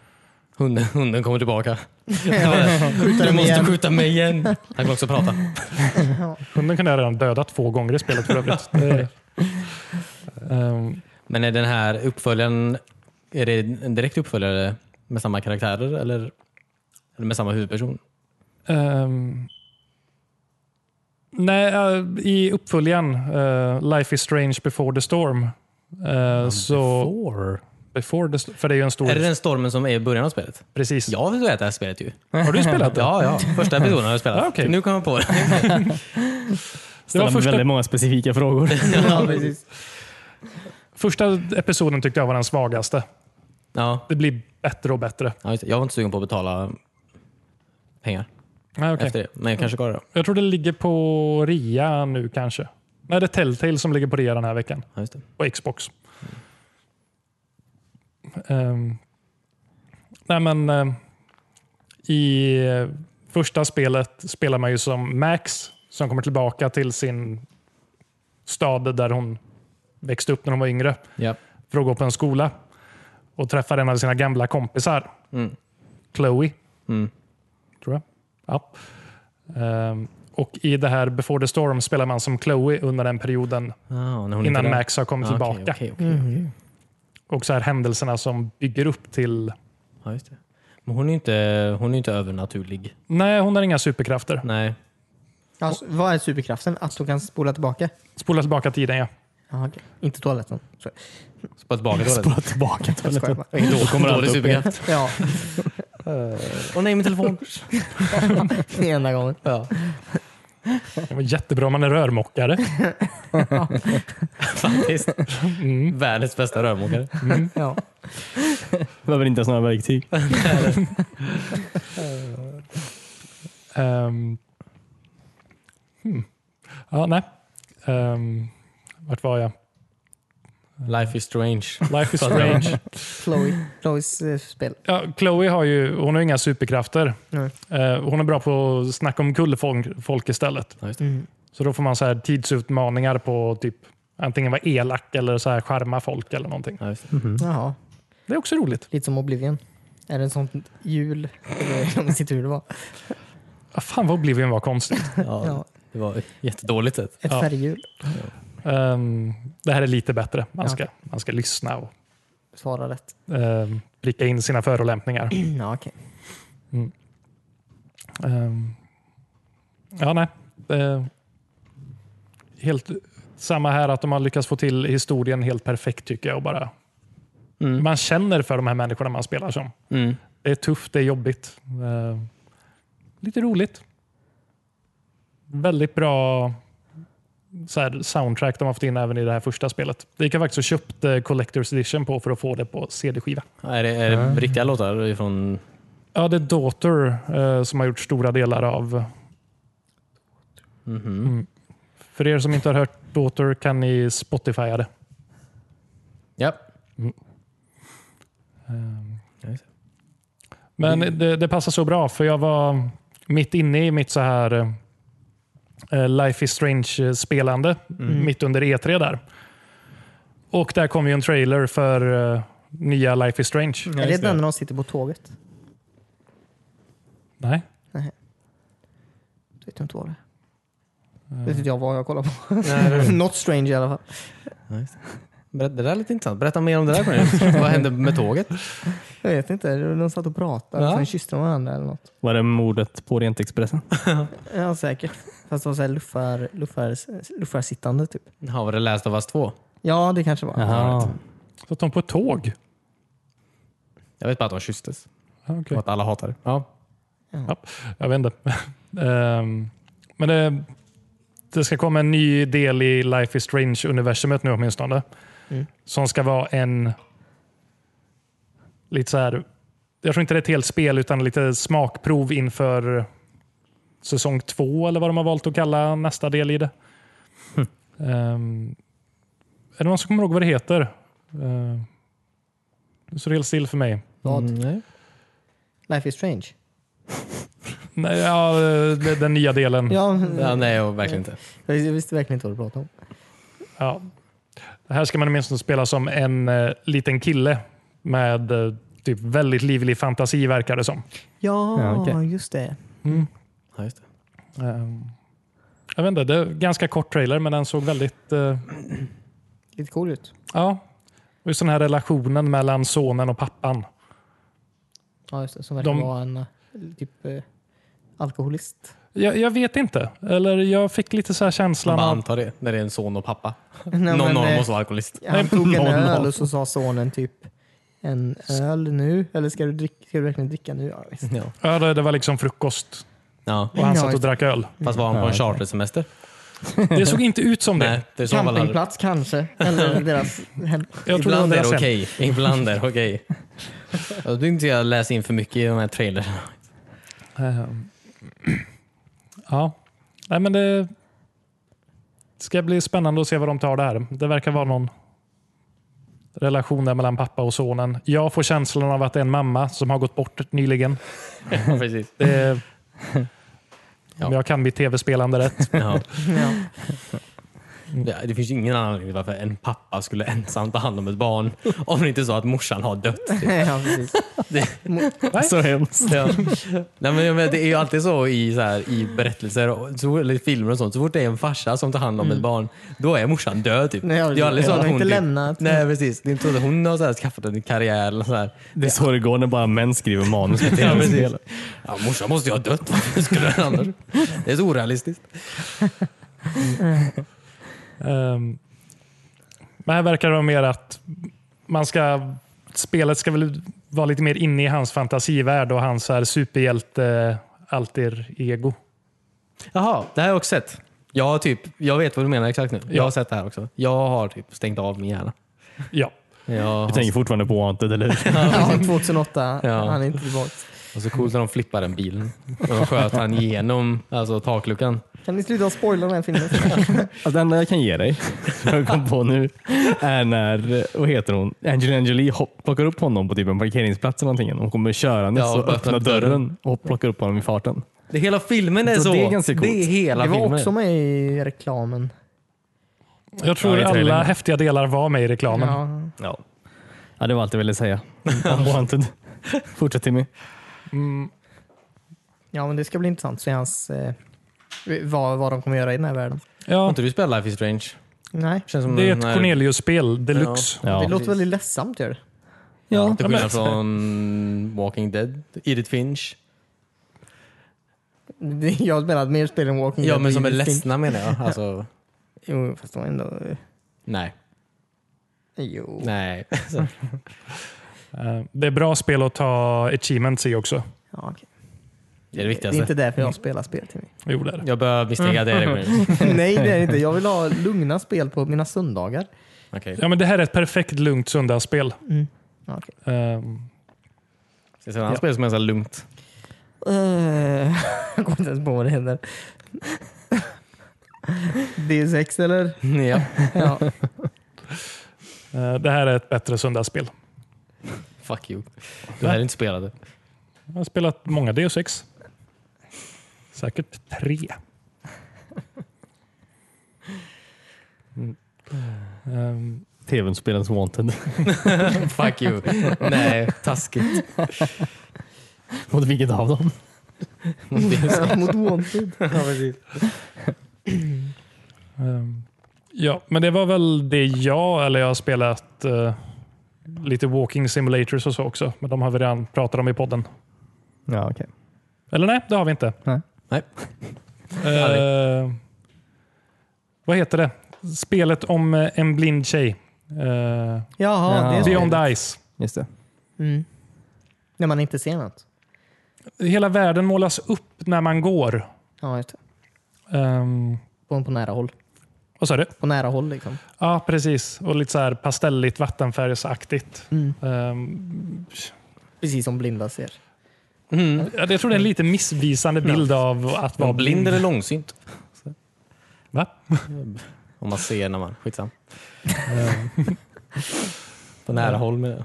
Speaker 1: Hunden, hunden kommer tillbaka.
Speaker 3: Skjuta
Speaker 1: Du
Speaker 3: dem
Speaker 1: måste
Speaker 3: igen.
Speaker 1: skjuta mig igen. Han kan också prata.
Speaker 4: Hunden kunde jag redan döda två gånger i spelet för övrigt. Det- Ehm,
Speaker 1: Men är den här uppföljaren, är det en direkt uppföljare med samma karaktärer? Eller? Eller med samma huvudperson?
Speaker 4: Ehm, nej, eh, i uppföljaren eh, Life is strange before the storm. eh, så,
Speaker 2: Four.
Speaker 4: before the, st- för det är ju en stor...
Speaker 1: Är det den stormen som är i början av spelet?
Speaker 4: Precis.
Speaker 1: Jag har spelat det här spelet ju.
Speaker 4: Har du spelat det?
Speaker 1: Ja, ja. Första episoden har jag spelat.
Speaker 4: Ja, okej.
Speaker 1: Nu kom jag på det.
Speaker 4: det var
Speaker 2: Ställer
Speaker 4: första,
Speaker 2: väldigt många specifika frågor.
Speaker 3: Ja, precis.
Speaker 4: första episoden tyckte jag var den svagaste.
Speaker 1: Ja,
Speaker 4: Det blir bättre och bättre.
Speaker 1: ja, just det. jag var inte sugen på att betala pengar
Speaker 4: Nej, okej.
Speaker 1: efter det. Men jag kanske ska det då.
Speaker 4: Jag tror det ligger på rea nu kanske. Nej, det är Telltale som ligger på rea den här veckan.
Speaker 1: Ja, just det.
Speaker 4: På Xbox. Ehm, nej, men ehm, i eh, första spelet spelar man ju som Max som kommer tillbaka till sin stad där hon växte upp när hon var yngre
Speaker 1: Ja.
Speaker 4: för att gå på en skola och träffar en av sina gamla kompisar.
Speaker 1: Mm.
Speaker 4: Chloe.
Speaker 1: Mm.
Speaker 4: Tror jag. Ja. Ehm, och i det här Before the Storm spelar man som Chloe under den perioden
Speaker 1: Ah, när hon inte
Speaker 4: innan
Speaker 1: är där.
Speaker 4: Max har kommit
Speaker 1: Ah, okej,
Speaker 4: tillbaka.
Speaker 1: okej, okej.
Speaker 3: Mm.
Speaker 4: Och så här händelserna som bygger upp till...
Speaker 1: Ja, just det. Men hon är ju inte, hon är ju inte övernaturlig.
Speaker 4: Nej, hon har inga superkrafter.
Speaker 1: Nej.
Speaker 3: Alltså, vad är superkraften? Att hon kan spola tillbaka?
Speaker 4: Spola tillbaka tiden, ja.
Speaker 3: Ja, okej. Inte toaletten. Sorry.
Speaker 1: Spola tillbaka
Speaker 2: Spola tillbaka
Speaker 3: Jag skojar
Speaker 2: toaletten.
Speaker 3: bara.
Speaker 1: Då kommer
Speaker 2: allt
Speaker 1: Dålig
Speaker 2: upp igen.
Speaker 1: superkraft.
Speaker 3: Ja,
Speaker 1: Åh nej, min telefon.
Speaker 3: det är enda gången.
Speaker 1: ja.
Speaker 4: Det var jättebra om man är rörmokare.
Speaker 1: Faktiskt.
Speaker 4: Mm.
Speaker 1: Världens bästa rörmokare.
Speaker 3: Ja.
Speaker 2: Behöver inte ens några verktyg.
Speaker 4: Ehm. Hmm. Ja, nej. Um, vart var jag?
Speaker 1: Life is strange.
Speaker 4: Life is strange.
Speaker 3: Chloe. Chloes eh, spel.
Speaker 4: Ja, Chloe har ju hon har ju inga superkrafter.
Speaker 3: Nej.
Speaker 4: Eh, hon är bra på att snacka om folk, folk istället.
Speaker 1: Ja, just
Speaker 3: Mm.
Speaker 4: Så då får man så här tidsutmaningar på typ antingen vara elak eller så här charma folk eller någonting.
Speaker 1: Ja, just det.
Speaker 2: Mhm.
Speaker 3: Jaha,
Speaker 4: Det är också roligt.
Speaker 3: lite som Oblivion. Är det en sånt hjul? Eller Jag minns inte hur det var.
Speaker 4: Ah, fan vad Oblivion var konstigt.
Speaker 1: Ja,
Speaker 3: Ja,
Speaker 1: det var jättedåligt sett.
Speaker 3: ett
Speaker 4: Ja.
Speaker 3: färghjul
Speaker 4: Ehm, det här är lite bättre. Man
Speaker 3: Ja.
Speaker 4: ska, man ska lyssna och
Speaker 3: svarar rätt.
Speaker 4: ehm, pricka in sina förolämpningar.
Speaker 3: Ja, okej.
Speaker 4: Ehm, ja, nej. Eh, helt samma här, att de har lyckats få till historien helt perfekt tycker jag. Och bara,
Speaker 1: Mm.
Speaker 4: Man känner för de här människorna man spelar som.
Speaker 1: Mm.
Speaker 4: Det är tufft, det är jobbigt. Eh, lite roligt. Väldigt bra så här, soundtrack de har fått in även i det här första spelet. Det gick jag faktiskt och köpte Collector's Edition på för att få det på CD-skiva.
Speaker 1: Är det, är det riktiga låtar från...
Speaker 4: Ja, det är Daughter eh, som har gjort stora delar av...
Speaker 1: Mhm.
Speaker 4: För er som inte har hört Daughter kan ni Spotifya det.
Speaker 1: Ja.
Speaker 4: Ehm,
Speaker 1: Ja, just
Speaker 4: Men det, det passar så bra för jag var mitt inne i mitt så här eh, Life is Strange-spelande mitt under E3 där. Och där kom ju en trailer för eh, nya Life is Strange.
Speaker 3: Är det den när de sitter på tåget?
Speaker 4: Nej.
Speaker 3: Jag vet inte vad det är.
Speaker 4: Mm. Ehm,
Speaker 3: Vet inte jag vad jag kollar på. Not strange i alla fall.
Speaker 1: Ber- Det där är lite intressant. Berätta mer om det där Cornelius. Vad hände med tåget?
Speaker 3: Jag vet inte. De satt och pratade
Speaker 1: Ja.
Speaker 3: och sen kysste de varandra eller något.
Speaker 2: Var det mordet på Rent Expressen?
Speaker 3: Ja, säkert. Fast det var så här luffar, luffar, luffarsittande typ.
Speaker 1: Ja, var det Last of Us 2?
Speaker 3: Ja, det kanske var.
Speaker 2: Jaha.
Speaker 4: Satt de på ett tåg?
Speaker 1: Jag vet bara att de kysstes.
Speaker 4: Ja, okej.
Speaker 1: Och att alla hatar det. Ja.
Speaker 4: Jag vet inte. Ehm, Men det, det ska komma en ny del i Life is Strange-universumet nu åtminstone.
Speaker 3: Mm.
Speaker 4: Som ska vara en... Lite så här... Jag tror inte det är ett helt spel utan lite smakprov inför säsong två eller vad de har valt att kalla nästa del i det. Ehm, är det någon som kommer ihåg vad det heter? Ehm, Nu står det helt still för mig.
Speaker 3: Vad?
Speaker 1: Mm, nej.
Speaker 3: Life is strange.
Speaker 4: Nej, ja, det- den nya delen.
Speaker 1: Mm.
Speaker 3: Ja,
Speaker 1: Ja, nej, jag- verkligen inte.
Speaker 3: Jag vis- jag visste verkligen inte vad du pratade om.
Speaker 4: Ja. Det här ska man åtminstone spela som en eh, liten kille med eh, typ väldigt livlig fantasi verkar det som.
Speaker 3: Ja,
Speaker 2: Ja, okej.
Speaker 3: just det.
Speaker 1: Ja, just det.
Speaker 4: Ehm, jag vet inte, det är en ganska kort trailer men den såg väldigt... Eh,
Speaker 3: Lite cool ut.
Speaker 4: ja. Och just den här relationen mellan sonen och pappan.
Speaker 3: Ja, just det. Som verkar
Speaker 4: De-
Speaker 3: vara en... Typ eh, alkoholist.
Speaker 4: Jag, jag vet inte. Eller jag fick lite så här känslan
Speaker 1: Man bara
Speaker 4: av...
Speaker 1: antar det när det är en son och pappa.
Speaker 3: Nej,
Speaker 1: Någon
Speaker 3: men,
Speaker 1: av dem
Speaker 3: eh,
Speaker 1: måste vara alkoholist.
Speaker 3: Han tog en
Speaker 4: Någon
Speaker 3: öl
Speaker 4: av-
Speaker 3: och så sa sonen typ en öl nu? Eller ska du, drick, ska du verkligen dricka nu? Ja, visst.
Speaker 1: Ja.
Speaker 4: Ja, det, det var liksom frukost
Speaker 1: Ja.
Speaker 4: och han
Speaker 3: Ja,
Speaker 4: satt och
Speaker 3: just det.
Speaker 4: drack öl.
Speaker 1: Fast var han på en chartersemester?
Speaker 4: Det såg inte ut som det.
Speaker 1: Nej, det är så fall hade...
Speaker 3: Campingplats kanske? Eller deras hem.
Speaker 4: Jag tror det var
Speaker 1: Ibland är det
Speaker 4: deras hem.
Speaker 1: okej. Ibland är det okej. Jag tycker inte jag läser in för mycket i de här trailerna.
Speaker 4: Ehm. Ja. Nej, men det ska bli spännande att se vad de tar där. Det verkar vara någon relation där mellan pappa och sonen. Jag får känslan av att det är en mamma som har gått bort nyligen.
Speaker 1: Ja, precis.
Speaker 4: Det är,
Speaker 1: Ja.
Speaker 4: Om jag kan mitt tv-spelande rätt.
Speaker 1: Ja.
Speaker 3: Ja.
Speaker 1: Ja, Det finns ju ingen anledning till varför en pappa skulle ensam ta hand om ett barn om det inte är så att morsan har dött.
Speaker 3: ja, precis.
Speaker 2: Så hemskt.
Speaker 1: Ja. Nej, men, jag menar, det är ju alltid så i, så här, i berättelser och så, eller i filmer och sånt. Så fort det är en farsa som tar hand om ett barn, då är morsan död. Typ.
Speaker 3: Mm. Nej, ja,
Speaker 1: det är ju aldrig så
Speaker 3: hon
Speaker 1: att
Speaker 3: har
Speaker 1: hon...
Speaker 3: inte
Speaker 1: typ-
Speaker 3: lämnat.
Speaker 1: Nej, precis. Det är inte så att hon har så här, skaffat en karriär. Eller så här.
Speaker 2: Det är så det går när bara män skriver manus till
Speaker 1: Ja, precis.
Speaker 2: tv-spel.
Speaker 1: Ja, morsan måste ju ha dött. Varför skulle den annars? Det är så orealistiskt.
Speaker 4: Ehm, Men här verkar det vara mer att man ska, spelet ska väl vara lite mer inne i hans fantasivärld och hans så här superhjälte alter ego.
Speaker 1: Jaha, det här har jag också sett. Jag, har typ, jag vet vad du menar exakt nu. Jag har sett det här också. Jag har typ stängt av min hjärna.
Speaker 4: Ja.
Speaker 1: Jag har
Speaker 2: Du tänker fortfarande på Wanted, eller hur?
Speaker 3: Ja, 2008.
Speaker 1: Ja.
Speaker 3: Han är inte tillbaka.
Speaker 1: Och så coolt när de flippar den bilen. Och de sköt han genom alltså, takluckan.
Speaker 3: Kan ni sluta spoila den här filmen?
Speaker 2: Alltså, det enda jag kan ge dig, som jag kom på nu, är när, eh, vad heter hon, Angelina Jolie hopp, plockar upp honom på typ en parkeringsplats eller någonting. Hon kommer körandes
Speaker 1: Ja,
Speaker 2: och
Speaker 1: och öppnar
Speaker 2: öppnar
Speaker 1: upp dörren.
Speaker 2: dörren och plockar upp honom i farten.
Speaker 1: Det, hela filmen är
Speaker 2: Så
Speaker 1: så.
Speaker 2: det är ganska coolt.
Speaker 1: Det är hela
Speaker 3: Det var
Speaker 1: filmen.
Speaker 3: också med i reklamen.
Speaker 4: Jag tror
Speaker 2: Ja, i trailern.
Speaker 4: alla häftiga delar var med i reklamen.
Speaker 3: Ja.
Speaker 2: Ja. ja, det var allt jag ville säga om Wanted. Fortsätt Timmy.
Speaker 4: Mm,
Speaker 3: ja, men det ska bli intressant att se hans, eh, vad, vad de kommer göra i den här världen.
Speaker 1: Har
Speaker 4: ja,
Speaker 1: inte du spelat Life is Strange?
Speaker 3: Nej.
Speaker 1: Känns som eh,
Speaker 4: det är
Speaker 1: den
Speaker 4: ett
Speaker 1: här-
Speaker 4: Cornelius-spel deluxe.
Speaker 2: Ja.
Speaker 3: det låter väldigt ledsamt. Gör det.
Speaker 1: Ja, till
Speaker 4: Ja, men-
Speaker 1: skillnad från Walking Dead, Edith Finch.
Speaker 3: Det- Jag har spelat mer spel än Walking
Speaker 1: Ja,
Speaker 3: Dead
Speaker 1: men
Speaker 3: och
Speaker 1: som är
Speaker 3: Evil Twin.
Speaker 1: ledsna menar jag. Alltså,
Speaker 3: Jo, fast de är ändå... eh,
Speaker 1: nej.
Speaker 3: Jo.
Speaker 1: Nej.
Speaker 4: Eh, Det är bra spel att ta achievements i också.
Speaker 3: Ja, okej.
Speaker 1: Det är det
Speaker 3: Det är inte
Speaker 1: viktigaste.
Speaker 3: därför jag spelar spel till mig.
Speaker 4: Jo, det är det.
Speaker 1: Jag börjar misstänka att det är det.
Speaker 3: Nej, det är det inte. Jag vill ha lugna spel på mina söndagar.
Speaker 1: Okej.
Speaker 4: Ja, men det här är ett perfekt lugnt söndagsspel.
Speaker 1: Mm.
Speaker 3: Ja, okej.
Speaker 4: Ehm,
Speaker 1: Det är ett annat spel som är så här lugnt.
Speaker 3: Eh, Jag kommer inte ens på vad det heter. D6 eller?
Speaker 1: Ja.
Speaker 3: Ja.
Speaker 4: eh, Det här är ett bättre söndagsspel.
Speaker 1: Fuck you. Du hade inte spelat det.
Speaker 4: Jag har spelat många DO6. Säkert tre. Mm. Ehm,
Speaker 2: Tv-spelens Wanted.
Speaker 1: Fuck you. Nej, taskigt.
Speaker 2: Mot vilket av dem?
Speaker 3: Mot Wanted.
Speaker 4: ehm, ja, men det var väl det jag, eller jag har spelat eh, lite walking simulators och så också. Men de har vi redan pratat om i podden.
Speaker 2: Ja, okej.
Speaker 4: Eller nej, det har vi inte.
Speaker 2: Nej.
Speaker 1: Nej.
Speaker 4: Eh, vad heter det? Spelet om eh, en blind tjej. Eh,
Speaker 3: Jaha,
Speaker 2: Ja.
Speaker 3: Ah, det är så.
Speaker 4: Beyond Ice.
Speaker 2: Just det.
Speaker 3: Mm. När man inte ser något.
Speaker 4: Hela världen målas upp när man går.
Speaker 3: Ja, just det.
Speaker 4: Ehm,
Speaker 3: På, på nära håll.
Speaker 4: Vad sa du?
Speaker 3: På nära håll liksom.
Speaker 4: Ja, precis. Och lite så här pastelligt, vattenfärgsaktigt.
Speaker 3: Mm.
Speaker 4: Ehm,
Speaker 3: Precis som blinda ser.
Speaker 1: Mm.
Speaker 4: ja, jag tror det är en lite missvisande bild av att vara
Speaker 1: Var blind
Speaker 4: blind.
Speaker 1: eller långsynt?
Speaker 4: Va?
Speaker 1: Om man ser när man... Skitsam. På nära håll med det.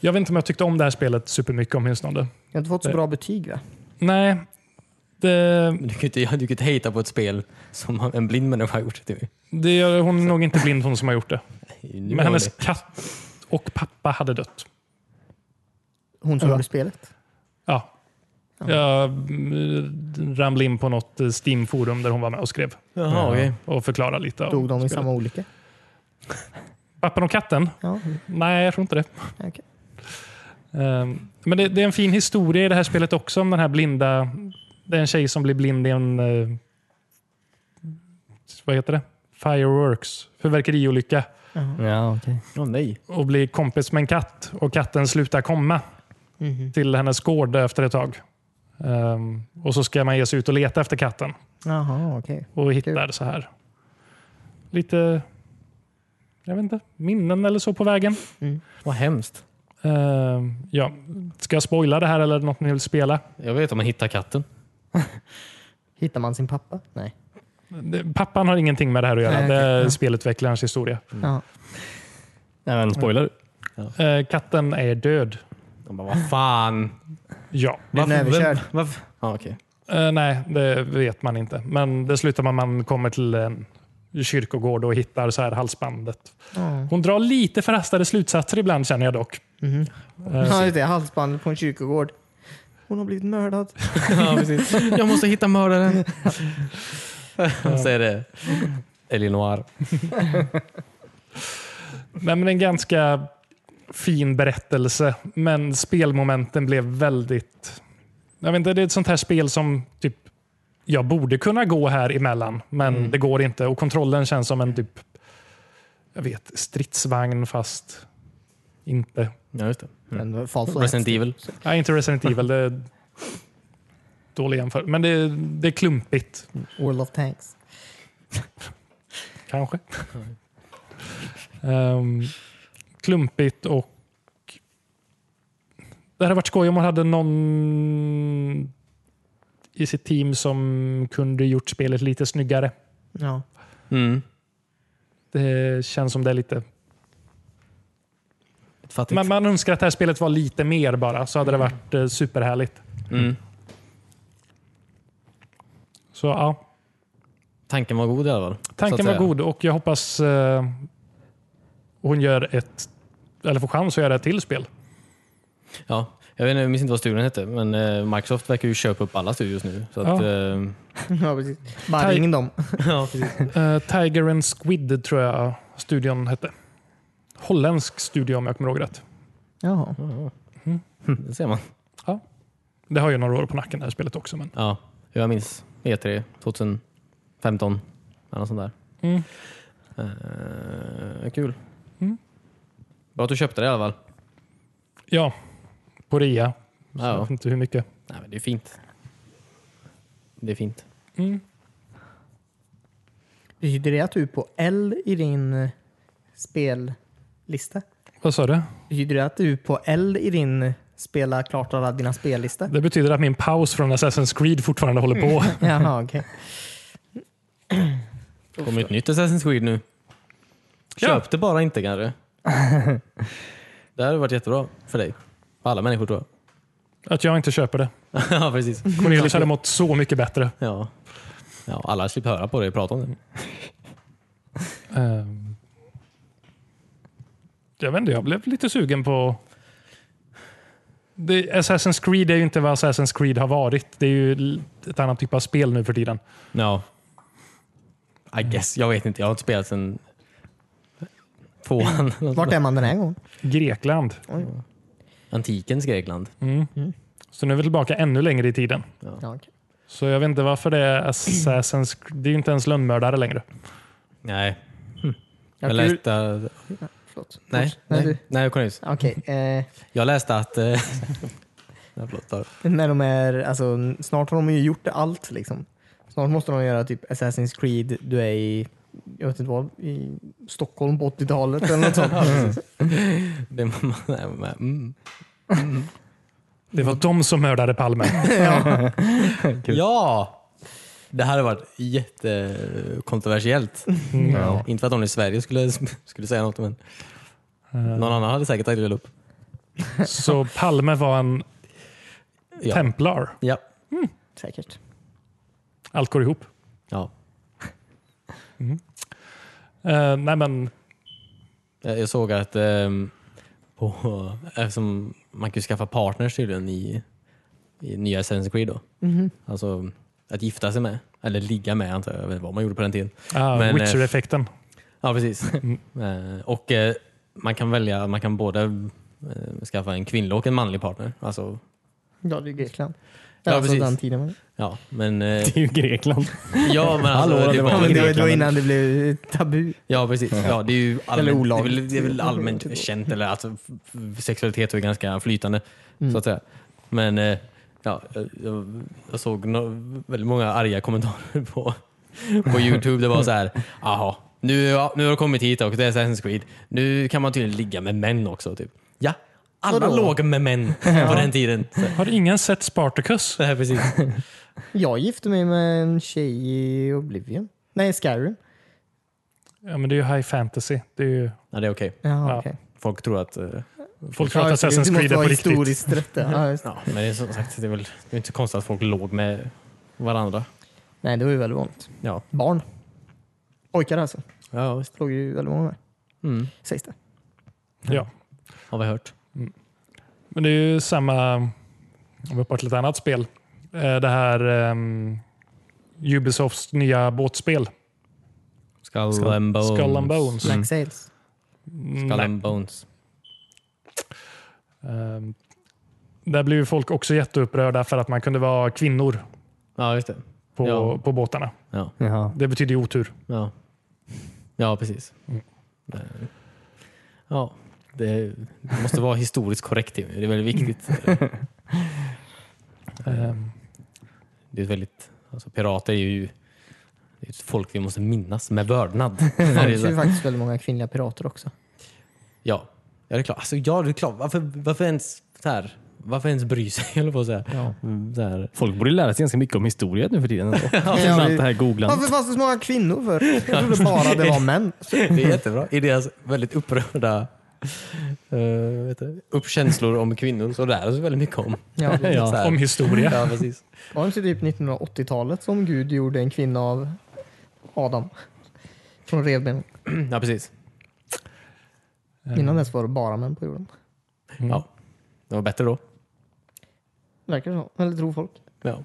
Speaker 4: Jag vet inte om jag tyckte om det här spelet supermycket om åtminstone.
Speaker 3: Jag har inte fått så bra betyg va?
Speaker 4: Nej, det,
Speaker 1: Men Du kan ju inte, du kan inte hejta på ett spel som en blind människa har gjort. Typ.
Speaker 4: det, gör- hon är nog inte blind hon som har gjort det.
Speaker 1: Nu
Speaker 4: Men
Speaker 1: har
Speaker 4: hennes
Speaker 1: det-
Speaker 4: katt och pappa hade dött.
Speaker 3: Hon som gjorde spelet.
Speaker 4: Ja. Jag mm, ramlade in på något eh, Steam-forum där hon var med och skrev
Speaker 1: Jaha, okej.
Speaker 4: och förklarade lite. om
Speaker 3: Dog de i
Speaker 4: spelet.
Speaker 3: samma olycka?
Speaker 4: Pappan och katten?
Speaker 3: Ja, mm,
Speaker 4: Nej, jag tror inte det.
Speaker 3: okej.
Speaker 4: Ehm, Men det, det är en fin historia i det här spelet också om den här blinda... Det är en tjej som blir blind i en... eh, Vad heter det? Fireworks. Fyrverkeriolycka.
Speaker 2: Ja, okej.
Speaker 1: Åh nej.
Speaker 4: Och blir kompis med en katt. Och katten slutar komma
Speaker 3: Mhm.
Speaker 4: till hennes gård efter ett tag. Ehm, och så ska man ge sig ut och leta efter katten.
Speaker 3: Jaha, okej.
Speaker 4: Och hittar så här. Lite... Jag vet inte. Minnen eller så på vägen.
Speaker 1: Vad hemskt.
Speaker 4: Ehm, ja. Ska jag spoila det här eller är det något ni vill spela?
Speaker 1: Jag vet om man hittar katten.
Speaker 3: Hittar man sin pappa? Nej.
Speaker 4: Det- Pappan har ingenting med det här att göra.
Speaker 3: Nej,
Speaker 4: det
Speaker 3: okej.
Speaker 4: är
Speaker 3: Ja.
Speaker 4: spelutvecklarens historia.
Speaker 3: Ja.
Speaker 2: Nej, men spoiler.
Speaker 4: Eh, katten är död.
Speaker 1: De bara, vad fan.
Speaker 4: Ja.
Speaker 3: Blev den överkörd?
Speaker 1: vem- varför? Ja, okej.
Speaker 4: Eh, nej, det vet man inte. Men det slutar med att man kommer till en kyrkogård och hittar så här halsbandet.
Speaker 3: Ja. Mhm.
Speaker 4: Hon drar lite förhastade slutsatser ibland känner jag dock. Eh,
Speaker 3: Ja, just det. Halsbandet på en kyrkogård. Hon har blivit mördad.
Speaker 1: Ja, precis. Jag måste hitta mördaren. Och så är det Elinor.
Speaker 4: Nej, men en ganska fin berättelse, men spelmomenten blev väldigt... Jag vet inte, det är ett sånt här spel som typ jag borde kunna gå här emellan, men det går inte. Och kontrollen känns som en typ, jag vet, stridsvagn fast inte.
Speaker 1: Ja, just det.
Speaker 3: Men det var Fallout.
Speaker 1: Resident Evil.
Speaker 4: Nej, inte Resident Evil. Det är dålig jämförelse. Men det, det är klumpigt,
Speaker 3: World of Tanks.
Speaker 4: kanske. Ehm, klumpigt och... Det hade varit skoj om man hade någon i sitt team som kunde gjort spelet lite snyggare.
Speaker 3: Ja.
Speaker 1: Mm.
Speaker 4: Det känns som det är lite...
Speaker 1: Ett fattigt.
Speaker 4: Man, man önskar att det här spelet var lite mer bara, så hade det varit eh, superhärligt.
Speaker 1: Mm.
Speaker 4: Så ja,
Speaker 1: Tanken var god i alla fall. så
Speaker 4: Tanken
Speaker 1: att
Speaker 4: var
Speaker 1: säga.
Speaker 4: god och jag hoppas eh, hon gör ett, eller får chans att göra ett till spel.
Speaker 1: Ja. Jag, vet inte, jag minns inte vad studion hette, men eh, Microsoft verkar ju köpa upp alla studios nu. Så
Speaker 4: Ja.
Speaker 1: att, eh,
Speaker 3: ja, precis. Bara
Speaker 4: Taj-
Speaker 3: ring dem.
Speaker 1: ja, precis.
Speaker 4: Eh, Tiger and Squid tror jag studion hette. Holländsk studio om jag kommer ihåg rätt.
Speaker 3: Jaha.
Speaker 1: Det ser man.
Speaker 4: Det har ju några år på nacken det här spelet också. Men,
Speaker 1: Ja, jag minns E3 2015. Eller något sånt där.
Speaker 4: Mm.
Speaker 1: Eh, kul.
Speaker 4: Mm.
Speaker 1: Bra att du köpte det i alla fall.
Speaker 4: ja, på rea. Så Jag
Speaker 1: Ja,
Speaker 4: vet inte hur mycket.
Speaker 1: Nej, men det är fint. Det är fint.
Speaker 4: Mm.
Speaker 3: Betyder det att du är på L i din eh, spellista?
Speaker 4: Vad sa du?
Speaker 3: Betyder det att du är på L i din spela klart alla dina spellista?
Speaker 4: Det betyder att min paus från Assassin's Creed fortfarande håller på.
Speaker 3: Jaha, okej.
Speaker 1: Det kommer ett nytt Assassin's Creed nu.
Speaker 4: Ja.
Speaker 1: Köp det bara inte kanske. det hade varit jättebra för dig. För alla människor tror
Speaker 4: Att jag inte köper det.
Speaker 1: jag. ja, precis.
Speaker 4: Cornelius hade mått så mycket bättre.
Speaker 1: Ja. Ja, alla slipper höra på dig och prata om det.
Speaker 4: Eh, jag vet inte, jag blev lite sugen på... Det, Assassin's Creed är ju inte vad Assassin's Creed har varit. Det är ju l- ett annat typ av spel nu för tiden.
Speaker 1: Ja. I guess. Jag vet inte. Jag har inte spelat sedan tvåan.
Speaker 3: Vart är man den här gången?
Speaker 4: Grekland. Mm.
Speaker 1: Antikens Grekland.
Speaker 4: Så nu är vi tillbaka ännu längre i tiden.
Speaker 3: Ja, okej.
Speaker 4: Så jag vet inte varför det är Assassin's Creed. Det är ju inte ens lönnmördare längre.
Speaker 1: Nej.
Speaker 3: Ja,
Speaker 1: Jag
Speaker 3: kul.
Speaker 1: läste...
Speaker 3: Förlåt.
Speaker 1: Nej,
Speaker 3: Nej,
Speaker 1: nej,
Speaker 3: du-
Speaker 1: nej Cornelius.
Speaker 3: Okej. Eh,
Speaker 1: Jag läste att... eh, Nej, förlåt, ta det.
Speaker 3: när de är, alltså, snart har de ju gjort allt liksom. Snart måste de göra typ Assassin's Creed, du är i, jag vet inte vad, i Stockholm på 80-talet eller något sånt.
Speaker 1: det är- nej, men- mm.
Speaker 4: Det var de som mördade Palme.
Speaker 1: Ja! Det här har varit jättekontroversiellt. Eh,
Speaker 2: Ja.
Speaker 1: Inte för att någon i Sverige skulle, skulle säga något, men någon annan hade säkert tagit det upp.
Speaker 4: Så Palme var en
Speaker 1: Ja.
Speaker 4: templar.
Speaker 1: Ja.
Speaker 3: Säkert.
Speaker 4: Allt går ihop.
Speaker 1: ja.
Speaker 4: Eh, nej men,
Speaker 1: Eh, Jag jag såg att ehm, på, eftersom man kan ju skaffa partners tydligen i, i nya Assassin's Creed. Då. Alltså att gifta sig med, eller ligga med antar jag. Jag vet inte vad man gjorde på den tiden.
Speaker 4: ah,
Speaker 1: Men, eh,
Speaker 4: Witcher-effekten.
Speaker 1: Ja, precis. Eh, och eh, man kan välja, man kan både eh, skaffa en kvinnlig och en manlig partner. Alltså,
Speaker 3: Ja, det är Grekland.
Speaker 1: Ja,
Speaker 3: alltså
Speaker 1: precis.
Speaker 3: den tiden. Men.
Speaker 1: ja, men... eh,
Speaker 2: Det är ju Grekland.
Speaker 1: Ja, men alltså,
Speaker 2: Hallå, det
Speaker 1: det
Speaker 2: var-
Speaker 1: var,
Speaker 3: Ja, men det var
Speaker 2: Grekland.
Speaker 3: då innan det blev tabu.
Speaker 1: ja, precis. Ja, det är ju
Speaker 3: Eller
Speaker 1: allmänt, det är
Speaker 3: olagligt.
Speaker 1: väl, det är väl allmänt känt, eller alltså, f- f- sexualitet är ganska flytande, så att säga. Men eh, ja, jag, jag såg no- väldigt många arga kommentarer på, på Youtube. Det var så här, aha, nu, ja, nu har de kommit hit och det är Assassin's Creed. Nu kan man tydligen ligga med män också. Typ. Ja, alla
Speaker 3: Vadå?
Speaker 1: låg med män på den tiden. Så,
Speaker 4: Har ingen sett Spartacus?
Speaker 1: det här precis.
Speaker 3: Jag gifte mig med en tjej i Oblivion. Nej, Skyrim.
Speaker 4: Ja, men det är ju high fantasy. Det är ju,
Speaker 1: Ja, det är okej.
Speaker 3: Jaha,
Speaker 4: Ja.
Speaker 3: okej.
Speaker 1: Folk tror att eh,
Speaker 4: folk tror
Speaker 3: Ja, just
Speaker 4: att
Speaker 3: det. Det
Speaker 4: Assassin's Creed
Speaker 3: måste
Speaker 4: är
Speaker 3: vara
Speaker 4: på riktigt.
Speaker 3: historiskt rätt. ja. Ja, just det.
Speaker 1: Ja, men det är som sagt, det är väl det är inte konstigt att folk låg med varandra.
Speaker 3: Nej, det var ju väldigt vanligt.
Speaker 1: Ja,
Speaker 3: Barn. Pojkar alltså.
Speaker 1: ja visst.
Speaker 3: Låg ju väldigt många med.
Speaker 1: Mm.
Speaker 3: Sägs det.
Speaker 4: Ja.
Speaker 1: Har vi hört.
Speaker 4: Men det är ju samma, om vi hoppar till ett annat spel. Eh, Det här ehm, Ubisofts nya båtspel.
Speaker 1: Skull, and bones.
Speaker 4: Skull and Bones.
Speaker 3: Black Sails.
Speaker 1: Skull and bones.
Speaker 4: Ehm, Där blev ju folk också jätteupprörda för att man kunde vara kvinnor
Speaker 1: Ja, just det.
Speaker 4: på,
Speaker 1: Ja.
Speaker 4: på båtarna.
Speaker 1: Ja,
Speaker 2: Jaha.
Speaker 4: Det betyder ju otur.
Speaker 1: ja. ja precis.
Speaker 4: Mm.
Speaker 1: Eh, Ja, det det måste vara historiskt korrekt. Timmy. Det är väldigt viktigt.
Speaker 4: Ehm,
Speaker 1: Det är ett väldigt, alltså, pirater är ju det är ett folk vi måste minnas med vördnad. Det är
Speaker 3: Det
Speaker 1: så
Speaker 3: finns ju
Speaker 1: här-
Speaker 3: faktiskt väldigt många kvinnliga pirater också.
Speaker 1: Ja, ja det är klart. Alltså, ja, det är klart. Varför, varför ens så här? Varför ens bry sig? Eller på att säga.
Speaker 3: Ja.
Speaker 1: Mm, så här.
Speaker 2: Folk borde lära sig ganska mycket om historia nu för tiden. ändå.
Speaker 3: Ja,
Speaker 2: Med
Speaker 3: det-
Speaker 2: allt det här googlandet.
Speaker 3: Varför fanns det så många kvinnor för? Jag trodde bara det var män.
Speaker 1: Det är jättebra. I deras väldigt upprörda uh, vet du, uppkänslor om kvinnor så lär oss väldigt mycket om.
Speaker 3: Ja, det-
Speaker 1: Så här.
Speaker 4: Om historia.
Speaker 1: Ja, precis.
Speaker 3: var det inte typ 1980-talet som Gud gjorde en kvinna av Adam? Från revbenen.
Speaker 1: Ja, precis.
Speaker 3: Innan dess var det bara män på jorden.
Speaker 1: Ja. Det var bättre då.
Speaker 3: Verkar så. Eller tror folk.
Speaker 1: Ja.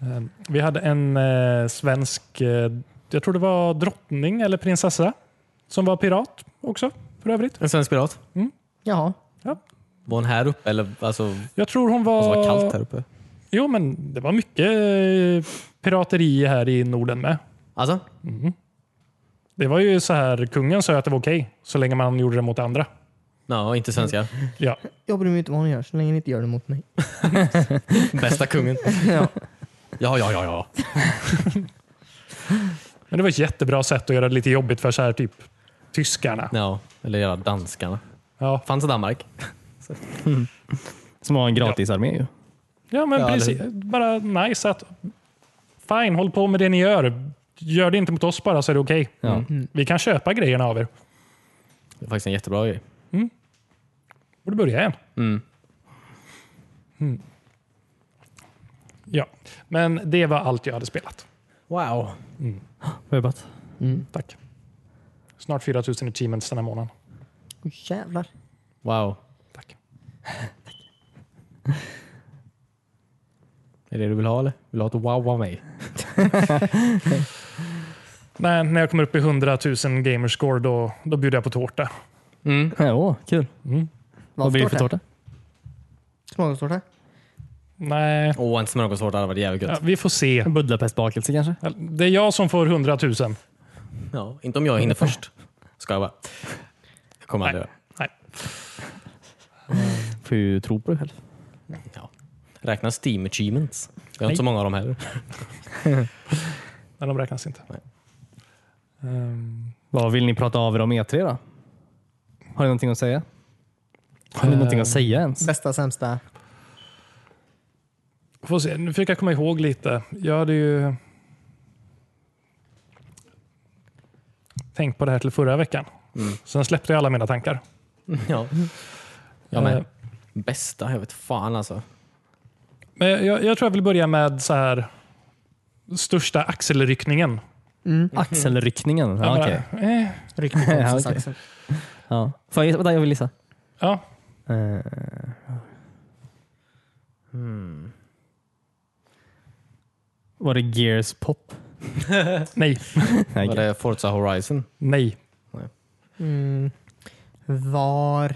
Speaker 4: Ehm, Vi hade en eh, svensk, eh, jag tror det var drottning eller prinsessa, som var pirat också för övrigt.
Speaker 1: En svensk pirat.
Speaker 3: Jaha.
Speaker 1: Var hon här uppe eller alltså, måste
Speaker 4: Jag tror hon var...
Speaker 1: vara kallt här uppe?
Speaker 4: Jo, men det var mycket eh, pirateri här i Norden med.
Speaker 1: Alltså?
Speaker 4: Det var ju så här, kungen sa ju att det var okej, så länge man gjorde det mot andra.
Speaker 1: Ja, inte svenskar.
Speaker 4: Ja,
Speaker 3: Jag bryr mig inte vad hon gör så länge ni inte gör det mot mig.
Speaker 1: Bästa kungen.
Speaker 3: Ja.
Speaker 1: Ja, ja, ja, ja.
Speaker 4: men det var ett jättebra sätt att göra det lite jobbigt för så här typ tyskarna.
Speaker 1: ja. Eller jävla danskarna.
Speaker 4: Ja,
Speaker 1: Fanns i Danmark.
Speaker 2: Som har en gratisarmé ju.
Speaker 4: ja men
Speaker 1: Ja,
Speaker 4: precis. Bara nice att fine, håll på med det ni gör. Gör det inte mot oss bara så är det okej. Mm. Vi kan köpa grejerna av er.
Speaker 1: Mm. Det är faktiskt en jättebra grej.
Speaker 4: Och du börjar igen. Mm.
Speaker 1: Mm.
Speaker 4: Ja, men det var allt jag hade spelat.
Speaker 1: Wow.
Speaker 2: Jobbat.
Speaker 4: Tack. Snart 4000 achievements den här månaden.
Speaker 3: Åh, jävlar.
Speaker 1: Wow.
Speaker 4: Tack.
Speaker 1: Är det det du vill ha eller? Vill du ha ett wow av mig?
Speaker 4: Nej, när jag kommer upp i 100 000 gamerscore då, då bjuder jag på tårta.
Speaker 1: Mm.
Speaker 2: Ja, åh, kul. Vad blir det för tårta?
Speaker 3: Smörgåstårta?
Speaker 4: Nej,
Speaker 1: Åh, en smörgåstårta hade varit jävligt gött.
Speaker 4: ja, vi får se.
Speaker 2: En buddlapestbakelse kanske?
Speaker 4: Det är jag som får 100 000.
Speaker 1: Ja, inte om jag hinner först. Ska jag bara. Jag kommer aldrig göra.
Speaker 4: Nej.
Speaker 2: Får ju tro på dig själv.
Speaker 1: Ja. Räkna Steam achievements. Jag har inte så många av dem heller.
Speaker 4: Men de räknas inte. Ehm,
Speaker 2: Vad vill ni prata av er om E3 då? Har ni någonting att säga? Har ni någonting att säga ens?
Speaker 3: Bästa, sämsta?
Speaker 4: får se. Nu fick jag komma ihåg lite. Jag hade ju tänkt på det här till förra veckan.
Speaker 2: Mm.
Speaker 4: Sen släppte jag alla mina tankar.
Speaker 1: Ja. Jag med.
Speaker 4: Eh,
Speaker 1: Bästa? Jag vet fan alltså.
Speaker 4: Men jag, jag, jag tror jag vill börja med så här största axelryckningen.
Speaker 3: Mm.
Speaker 2: Axelryckningen? Mm. Ja,
Speaker 4: Jag
Speaker 2: okej.
Speaker 4: bara, eh,
Speaker 3: Riktigt
Speaker 2: Ja, okej.
Speaker 3: konstigt axel.
Speaker 2: Ja. Får jag gissa? Vänta, jag vill gissa.
Speaker 4: ja.
Speaker 2: Eh, Hmm. Var det Gears Pop?
Speaker 4: Nej,
Speaker 2: Nej,
Speaker 1: Var det Forza Horizon?
Speaker 4: nej.
Speaker 3: Mm. var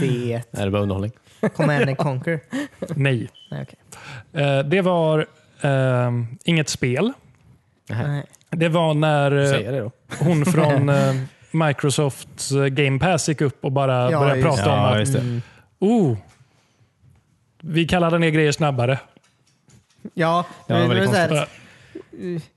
Speaker 3: det
Speaker 1: Det är bara underhållning.
Speaker 3: Command and Conquer?
Speaker 4: Nej.
Speaker 3: Nej, okej.
Speaker 4: Eh, det var eh, inget spel.
Speaker 3: Nej.
Speaker 4: Det var när eh,
Speaker 1: Säger det då.
Speaker 4: hon från eh, Microsofts eh, Game Pass gick upp och bara
Speaker 3: Ja,
Speaker 4: började
Speaker 3: just
Speaker 4: prata om
Speaker 2: Ja,
Speaker 4: att
Speaker 2: just det.
Speaker 3: Mm.
Speaker 4: oh, vi kallade ner grejer snabbare. Eh,
Speaker 3: Ja,
Speaker 2: Ja,
Speaker 3: men det var
Speaker 2: väldigt
Speaker 3: så här,
Speaker 4: konstigt.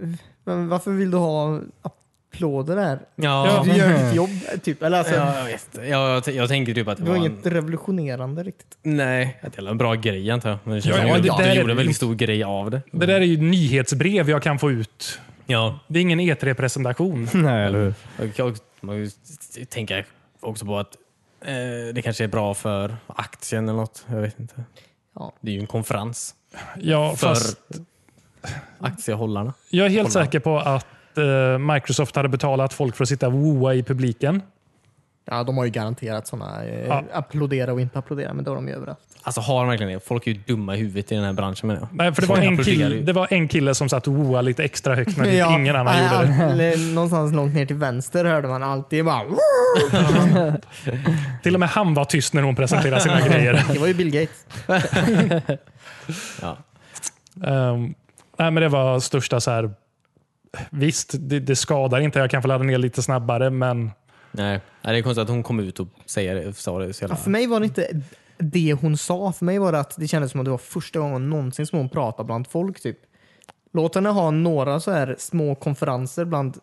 Speaker 3: Uh, men varför vill du ha applåder där?
Speaker 1: Ja,
Speaker 3: Du gör ditt jobb, typ. Eller alltså,
Speaker 1: ja, jag vet. Ja, jag, t- jag tänker typ att det
Speaker 3: det var
Speaker 1: var
Speaker 3: inget
Speaker 1: en,
Speaker 3: revolutionerande riktigt.
Speaker 1: nej, att det var en bra grej antar jag. Men det känns
Speaker 4: Ja,
Speaker 1: som att
Speaker 4: det
Speaker 1: du
Speaker 4: där är-
Speaker 1: gjorde en väldigt stor grej av det.
Speaker 4: Det där är ju nyhetsbrev jag kan få ut.
Speaker 1: Ja,
Speaker 4: Det är ingen E E3-presentation.
Speaker 2: Nej, eller hur?
Speaker 1: Jag kan också- Man kan ju tänka också på att eh, det kanske är bra för aktien eller något. Jag vet inte.
Speaker 3: Ja.
Speaker 1: Det är ju en konferens
Speaker 4: Ja,
Speaker 1: för
Speaker 4: fast
Speaker 1: aktiehållarna.
Speaker 4: jag är helt
Speaker 1: Kolla.
Speaker 4: säker på att eh, Microsoft hade betalat folk för att sitta och woa i publiken.
Speaker 3: Ja, de har ju garanterat sådana eh,
Speaker 4: Ja.
Speaker 3: applådera och inte applådera, men det har de ju överallt.
Speaker 1: Alltså har de verkligen det? Folk är ju dumma i huvudet i den här branschen menar jag.
Speaker 4: Nej, för det var,
Speaker 1: Folk
Speaker 4: en
Speaker 1: applåderar
Speaker 4: kille,
Speaker 1: ju.
Speaker 4: det var en kille som satt och woa lite extra högt när typ
Speaker 3: Ja,
Speaker 4: ingen annan
Speaker 3: nej,
Speaker 4: gjorde det.
Speaker 3: all- eller Någonstans långt ner till vänster hörde man alltid bara
Speaker 4: Till och med han var tyst när hon presenterade sina grejer.
Speaker 3: Det var ju Bill Gates.
Speaker 1: Ja.
Speaker 4: Ehm, nej, men det var största så här. Visst, det, det skadar inte. Jag kan få ladda ner lite snabbare, men
Speaker 1: Nej. Nej, det är konstigt att hon kom ut och säger det, sa det så jävla...
Speaker 3: Ja, för mig var det inte det hon sa. För mig var det att det kändes som att det var första gången någonsin som hon pratade bland folk. Typ. Låt henne ha några så här små konferenser bland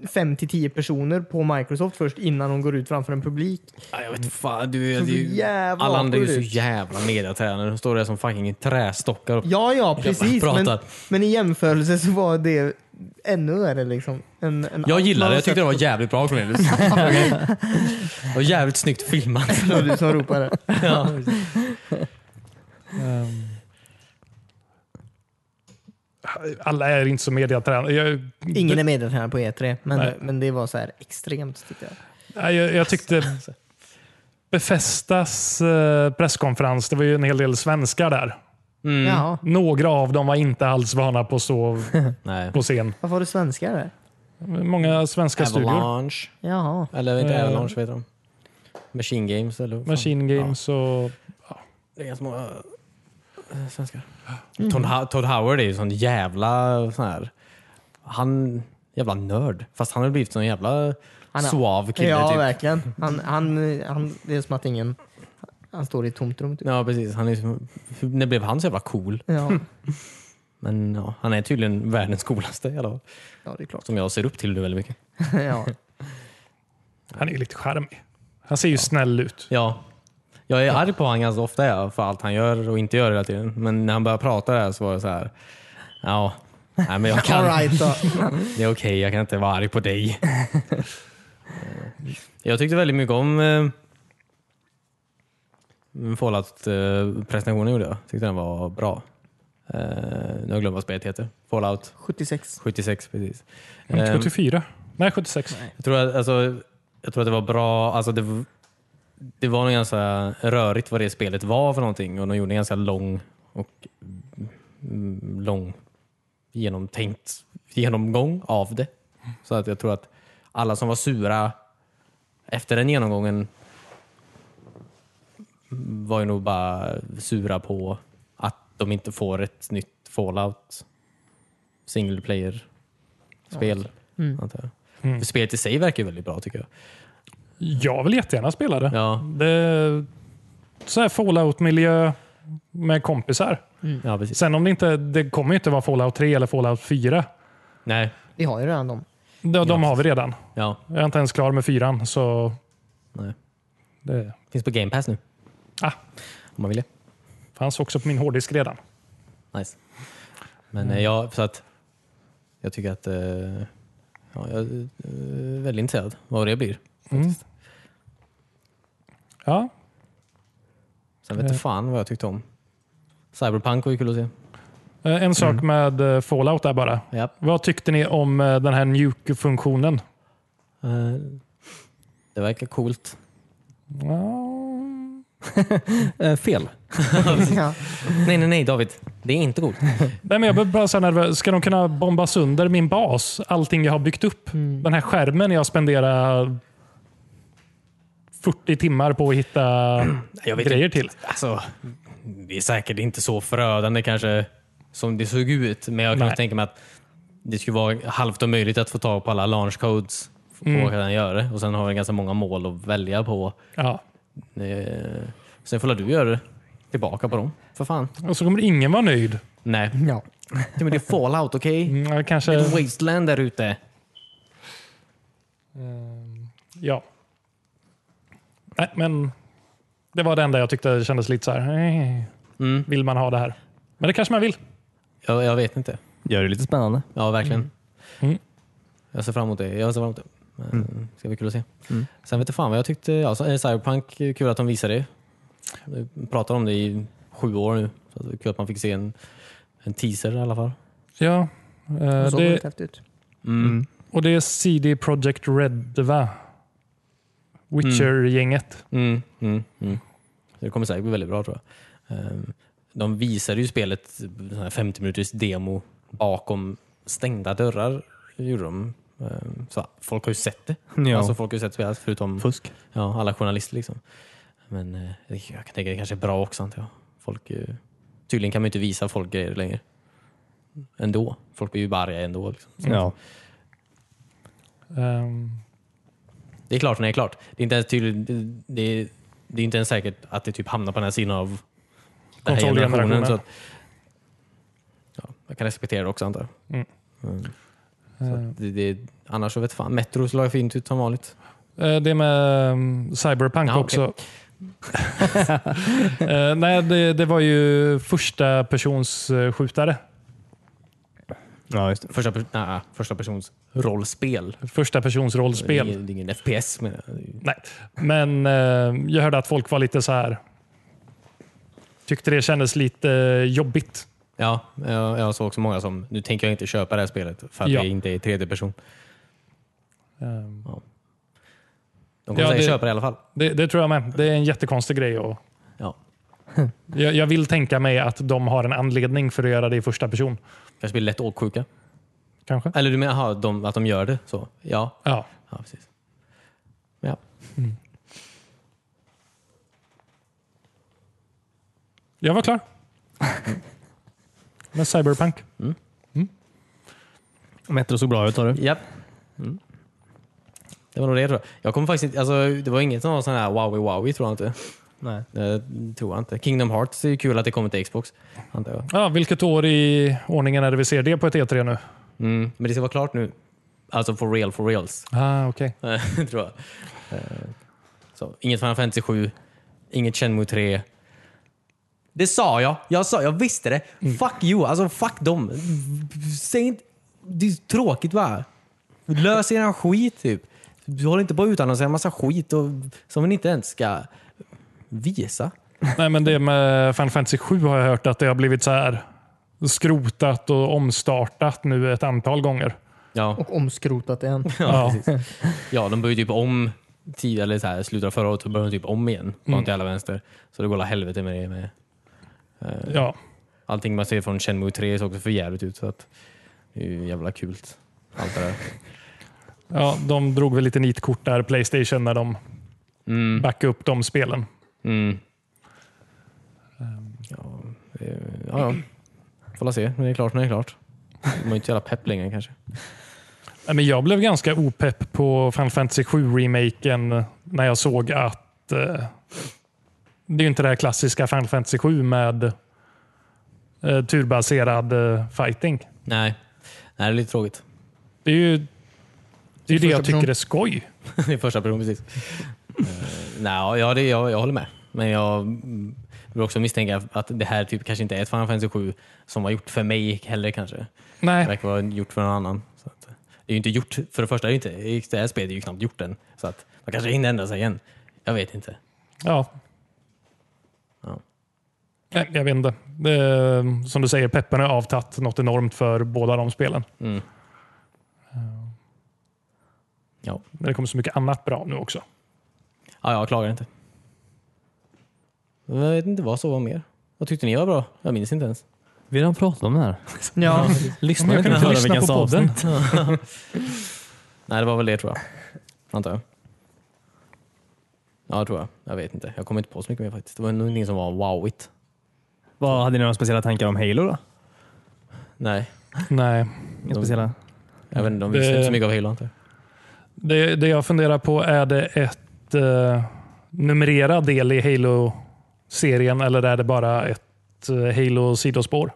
Speaker 3: 5-10 personer på Microsoft först innan hon går ut framför en publik.
Speaker 1: Ja, jag vet fan, du, är-
Speaker 3: Så
Speaker 1: det är ju,
Speaker 3: jävla
Speaker 1: alla andra är ju så
Speaker 3: absurd.
Speaker 1: jävla mediatränade. De står där som fucking trästockar. och-
Speaker 3: Ja, ja, precis.
Speaker 1: bara
Speaker 3: Men,
Speaker 1: pratar.
Speaker 3: men i jämförelse så var det ännu värre. Liksom. En, en
Speaker 1: Jag gillar det. Jag tyckte det
Speaker 3: det.
Speaker 1: var jävligt bra Cornelius. det var jävligt snyggt filmat.
Speaker 3: var du som ropade.
Speaker 1: Ja.
Speaker 2: Ehm.
Speaker 4: alla är inte så mediatränade. Jag,
Speaker 3: Ingen är mediatränare på E3, men,
Speaker 4: Nej.
Speaker 3: men det var så här extremt tyckte jag.
Speaker 4: Nej, jag, jag tyckte Befestas eh, presskonferens, det var ju en hel del svenskar där.
Speaker 1: Mm.
Speaker 3: Jaha,
Speaker 4: Några av dem var inte alls vana på så
Speaker 1: Nej.
Speaker 4: på scen.
Speaker 3: varför har du svenskar där?
Speaker 4: Många svenska studior.
Speaker 1: Avalanche.
Speaker 3: Jaha.
Speaker 1: Eller inte
Speaker 4: Eh.
Speaker 1: Avalanche, vad heter de? Machine Games eller? vad fan?
Speaker 4: Machine Games och...
Speaker 1: Det är ganska många eh, svenskar. Todd, Ho- Todd Howard är ju sån jävla sån här... Han... Jävla nörd. Fast han har blivit sån jävla
Speaker 3: Han är-
Speaker 1: suav kille
Speaker 3: ja,
Speaker 1: typ.
Speaker 3: verkligen. Han, han, han, det är som att ingen... Han står i ett tomt rum. Typ.
Speaker 1: Ja, precis. Han är som, hur- när blev han så jävla cool?
Speaker 3: Ja,
Speaker 1: Men ja, han är tydligen världens coolaste i alla fall.
Speaker 3: ja, det är klart.
Speaker 1: Som jag ser upp till nu väldigt mycket.
Speaker 3: Ja.
Speaker 4: Han är ju lite charmig. Han ser ju snäll ut.
Speaker 1: Ja. Jag är arg på honom ganska ofta ja, för allt han gör och inte gör hela tiden. Men när han började prata där så var det så här... Ja, nej, men jag kan,
Speaker 3: All right, då.
Speaker 1: Det är okej, jag kan inte vara arg på dig. jag tyckte väldigt mycket om eh, Fallout-presentationen gjorde jag. Tyckte den var bra. Eh, nu har jag glömt vad spelet heter. Fallout
Speaker 3: 76.
Speaker 1: 76 precis.
Speaker 4: Inte
Speaker 1: Ehm,
Speaker 4: 74? Nej, 76.
Speaker 1: jag, tror att, alltså, jag tror att det var bra. Alltså, det, v- det var nog ganska rörigt vad det spelet var för någonting och de gjorde en ganska lång och mm, lång genomtänkt genomgång av det. Så att jag tror att alla som var sura efter den genomgången var ju nog bara sura på att de inte får ett nytt fallout single player spel. Antar jag. Mm. För spelet i sig verkar ju väldigt bra tycker jag.
Speaker 4: Jag vill jättegärna spela det.
Speaker 1: Ja,
Speaker 4: det är så här Fallout-miljö med kompisar.
Speaker 1: Mm. ja precis.
Speaker 4: Sen om det inte... Det kommer ju inte vara Fallout 3 eller Fallout 4.
Speaker 1: Nej,
Speaker 3: Vi har ju redan dem.
Speaker 4: De, de har vi redan.
Speaker 1: ja.
Speaker 4: Jag är inte ens klar med fyran, så...
Speaker 1: Nej.
Speaker 4: Det
Speaker 1: Finns på Game Pass nu.
Speaker 4: Ah.
Speaker 1: Om man vill det.
Speaker 4: fanns också på min hårddisk redan.
Speaker 1: Nice. Men eh, ja, så att jag tycker att eh, ja, jag är eh, väldigt intresserad vad det blir.
Speaker 4: Ja,
Speaker 1: Sen vet inte fan vad jag tyckte om. Cyberpunk var ju kul att se.
Speaker 4: eh, en sak med eh, Fallout där bara.
Speaker 1: Ja.
Speaker 4: Vad tyckte ni om eh, den här nuke-funktionen?
Speaker 1: Eh, det verkar coolt.
Speaker 4: Ja,
Speaker 1: Eh, fel.
Speaker 3: ja.
Speaker 1: Nej, nej, nej David. Det är inte coolt.
Speaker 4: Nej, men jag blir bara så här nervös. Ska de kunna bomba sönder min bas? Allting jag har byggt upp? Den här skärmen jag spenderar 40 timmar på att hitta
Speaker 1: Jag vet
Speaker 4: grejer
Speaker 1: inte.
Speaker 4: till.
Speaker 1: Alltså, det är säkert inte så förödande kanske som det såg ut, men jag kan
Speaker 4: Nej.
Speaker 1: tänka mig att det skulle vara halvt omöjligt att få tag på alla launch codes på
Speaker 4: Mm.
Speaker 1: hur den gör det. Och sen har den ganska många mål att välja på.
Speaker 4: Ja.
Speaker 1: Eh, Sen får du göra tillbaka på dem. För fan.
Speaker 4: Och så kommer ingen vara nöjd.
Speaker 1: Nej,
Speaker 3: ja.
Speaker 1: men det är fallout, okej?
Speaker 4: Mm, ja,
Speaker 1: Det är
Speaker 4: kanske,
Speaker 1: ett wasteland där ute.
Speaker 4: ja. Nej, men det var det enda jag tyckte kändes lite så här. eh,
Speaker 1: Mm.
Speaker 4: Vill man ha det här? Men det kanske man vill.
Speaker 1: Jag, jag vet inte.
Speaker 2: Gör det lite spännande.
Speaker 1: Ja, verkligen.
Speaker 4: Mm.
Speaker 1: Jag ser fram emot det. Jag ser fram emot det. Men, Det ska bli kul att se.
Speaker 4: Mm.
Speaker 1: Sen vet jag fan vad jag tyckte. Ja, så- eh, Cyberpunk, eh, kul att de visade det. Vi pratar om det i sju år nu. Så det är kul att man fick se en, en teaser i alla fall.
Speaker 4: Ja. eh,
Speaker 3: Det såg
Speaker 4: Det,
Speaker 3: väldigt häftigt ut.
Speaker 1: Mm.
Speaker 4: och det är CD Projekt Red, va? Witcher-gänget.
Speaker 1: Mm, mm, mm. Så Det kommer säkert bli väldigt bra tror jag. Ehm, De visade ju spelet, eh, sån här 50 minuters demo, bakom stängda dörrar. Gjorde de. Ehm, Så folk har ju sett det.
Speaker 2: Ja.
Speaker 1: Alltså folk har ju sett spelet förutom
Speaker 2: Fusk.
Speaker 1: Ja, alla journalister liksom. Men eh, jag kan tänka det kanske är bra också antar jag. Folk, eh, tydligen kan man ju inte visa folk grejer längre. Ändå. Folk blir ju bara arga ändå. Liksom.
Speaker 2: Ja.
Speaker 4: Ehm,
Speaker 1: Det är klart när det är klart. Det är inte ens, tydligt, det, det, det är inte ens säkert att det typ hamnar på den här sidan av den här
Speaker 4: Konsolgenerationen.
Speaker 1: generationen. Så att, ja, jag kan respektera det också antar jag.
Speaker 4: Mm.
Speaker 1: Mm. Så
Speaker 4: eh,
Speaker 1: att det, det, annars så vet fan. Metro såg fint ut som vanligt.
Speaker 4: Eh, Det med mm, Cyberpunk
Speaker 1: Ja,
Speaker 4: också. Eh, Nej, det, det var ju första persons eh, skjutare.
Speaker 2: ja, just det.
Speaker 1: Första, per- nej, första persons rollspel.
Speaker 4: Första persons rollspel.
Speaker 1: Alltså, Det är, det är ingen FPS menar jag.
Speaker 4: Nej. Men eh, jag hörde att folk var lite så här. Tyckte det kändes lite jobbigt.
Speaker 1: Ja, jag, jag såg också många som, nu tänker jag inte köpa det här spelet för att
Speaker 4: Ja.
Speaker 1: det inte är tredje person.
Speaker 4: Eh,
Speaker 1: De kommer
Speaker 4: Ja,
Speaker 1: säkert
Speaker 4: det-
Speaker 1: köpa det i alla fall.
Speaker 4: Det, det tror jag med. Det är en jättekonstig grej. Och
Speaker 1: Ja.
Speaker 4: jag, jag vill tänka mig att de har en anledning för att göra det i första person.
Speaker 1: Kanske blir lätt åksjuka.
Speaker 4: Kanske.
Speaker 1: Eller du menar aha, de, att de gör det så? Ja,
Speaker 4: Ja.
Speaker 1: ja precis. Ja.
Speaker 4: Jag var klar. Med Cyberpunk.
Speaker 2: Metro såg bra ut sa du.
Speaker 1: Japp. Mm. Det var nog det tror jag. Jag kommer faktiskt inte, alltså, det var inget som var sån här wowie wowie tror jag inte.
Speaker 2: Nej.
Speaker 1: Det tror jag inte. Kingdom Hearts är ju kul att det kommer till Xbox. Antar jag.
Speaker 4: Ja, vilket år i ordningen är det vi ser det på ett E3 nu?
Speaker 1: Mm. Men det ska vara klart nu. Alltså for real, for reals.
Speaker 4: Ah, okej.
Speaker 1: tror jag. Eh, Så, inget Final Fantasy 7, inget Shenmue 3. Det sa jag. Jag, sa, jag visste det. Fuck you. Alltså fuck dem. Säg inte... Det är tråkigt va? Lös er skit typ. Du håller inte på utan att säga massa skit och, som ni inte ens ska visa.
Speaker 4: Nej, men det med Final Fantasy 7 har jag hört att det har blivit så här skrotat och omstartat nu ett antal gånger.
Speaker 1: Ja,
Speaker 3: Och omskrotat igen.
Speaker 4: Ja,
Speaker 1: ja de började typ om tid, eller så här, slutet av förra året så började de typ om igen. Bara till alla vänster. Så det går la helvete med det med. eh,
Speaker 4: ja.
Speaker 1: Allting man ser från Shenmue 3 såg också för jävligt ut. Så att det är ju jävla kul. Allt det där.
Speaker 4: ja de drog väl lite nitkort där, Playstation, när de
Speaker 1: Mm,
Speaker 4: backade upp de spelen.
Speaker 1: mm. Ja, det är- ja, ja. Får la se. Men det är klart när det är klart. Man är inte så jävla pepp längre kanske.
Speaker 4: Nej, men jag blev ganska opepp på Final Fantasy 7-remaken när jag såg att eh, det är ju inte det här klassiska Final Fantasy 7 med eh, turbaserad eh, fighting.
Speaker 1: Nej, Nej det är lite tråkigt.
Speaker 4: Det är ju det, är ju det
Speaker 3: Första
Speaker 4: jag tycker
Speaker 3: person.
Speaker 4: är skoj.
Speaker 1: det är första person precis. Eh, nej, ja, det, jag, jag håller med. Men jag mm, vill också misstänka att det här typ kanske inte är ett Final Fantasy 7 som var gjort för mig heller kanske. Det
Speaker 4: Nej,
Speaker 1: verkar vara gjort för någon annan. Så att, eh, det är ju inte gjort, för det första är det inte, det här spelet är ju knappt gjort än. Så att man kanske hinner ändra sig igen. Jag vet inte.
Speaker 4: ja.
Speaker 1: Ja.
Speaker 4: Nej, jag vet inte. Det är, som du säger, peppen har avtagit något enormt för båda de spelen.
Speaker 1: Mm. Ja.
Speaker 4: Men det kommer så mycket annat bra nu också.
Speaker 1: ja, jag klagar inte. Men Jag vet inte vad som var mer. Vad tyckte ni var bra? Jag minns inte ens.
Speaker 2: Vi har redan pratat om det här.
Speaker 3: Ja,
Speaker 2: Lyssna
Speaker 4: jag kan inte lyssna på podden.
Speaker 1: Nej, det var väl det tror jag. Antar jag. Ja, det tror jag. Jag vet inte. Jag kommer inte på så mycket mer faktiskt. Det var nog ingenting som var wowigt.
Speaker 2: Vad Hade ni några speciella tankar om Halo då?
Speaker 1: Nej,
Speaker 4: Nej.
Speaker 2: Inga speciella?
Speaker 1: jag vet inte. De visste inte
Speaker 4: Det-
Speaker 1: så mycket av Halo antar jag.
Speaker 4: Det, det jag funderar på, är det ett eh, numrerad del i Halo-serien eller är det bara ett eh, Halo-sidospår?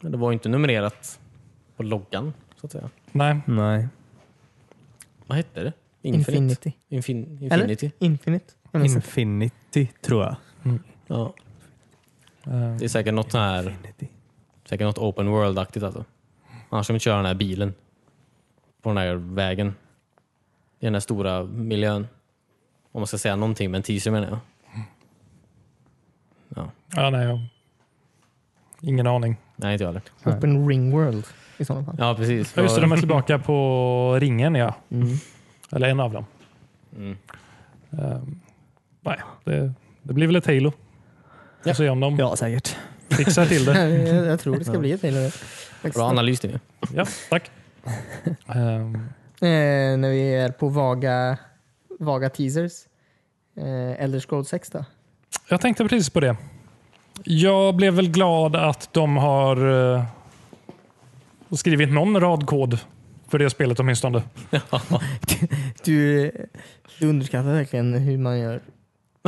Speaker 1: Men det var ju inte numrerat på loggan så att säga.
Speaker 4: Nej.
Speaker 2: Nej.
Speaker 1: Vad hette det?
Speaker 3: Infinity.
Speaker 1: Infin-
Speaker 3: Eller?
Speaker 1: Infinity.
Speaker 3: Infinite. Jag minns inte.
Speaker 2: Infinity tror jag.
Speaker 1: Ja.
Speaker 4: Eh,
Speaker 1: Det är säkert något, sån här,
Speaker 2: Infinity.
Speaker 1: säkert något open world-aktigt alltså. Annars kan vi inte köra den här bilen på den här vägen. I den här stora miljön. Om man ska säga någonting med en teaser menar jag.
Speaker 4: ja, nej, jag... Ingen aning.
Speaker 1: Nej, inte jag heller.
Speaker 3: Open Ring World i sådana fall.
Speaker 1: Ja, precis.
Speaker 4: Ja, just det, de är tillbaka på ringen, ja. Eller en av dem.
Speaker 1: Mm.
Speaker 4: Eh, nej, det, det blir väl ett Halo. Vi får se om de
Speaker 2: Ja, säkert.
Speaker 4: fixar till det.
Speaker 3: jag, jag tror det ska bli ett Halo.
Speaker 1: Bra analys det.
Speaker 4: Ja, tack. Ehm,
Speaker 3: Eh, när vi är på vaga, vaga teasers. Eh, Elder Scrolls 6 då?
Speaker 4: Jag tänkte precis på det. Jag blev väl glad att de har eh, skrivit någon rad kod för det spelet åtminstone.
Speaker 3: Du, du underskattar verkligen hur man gör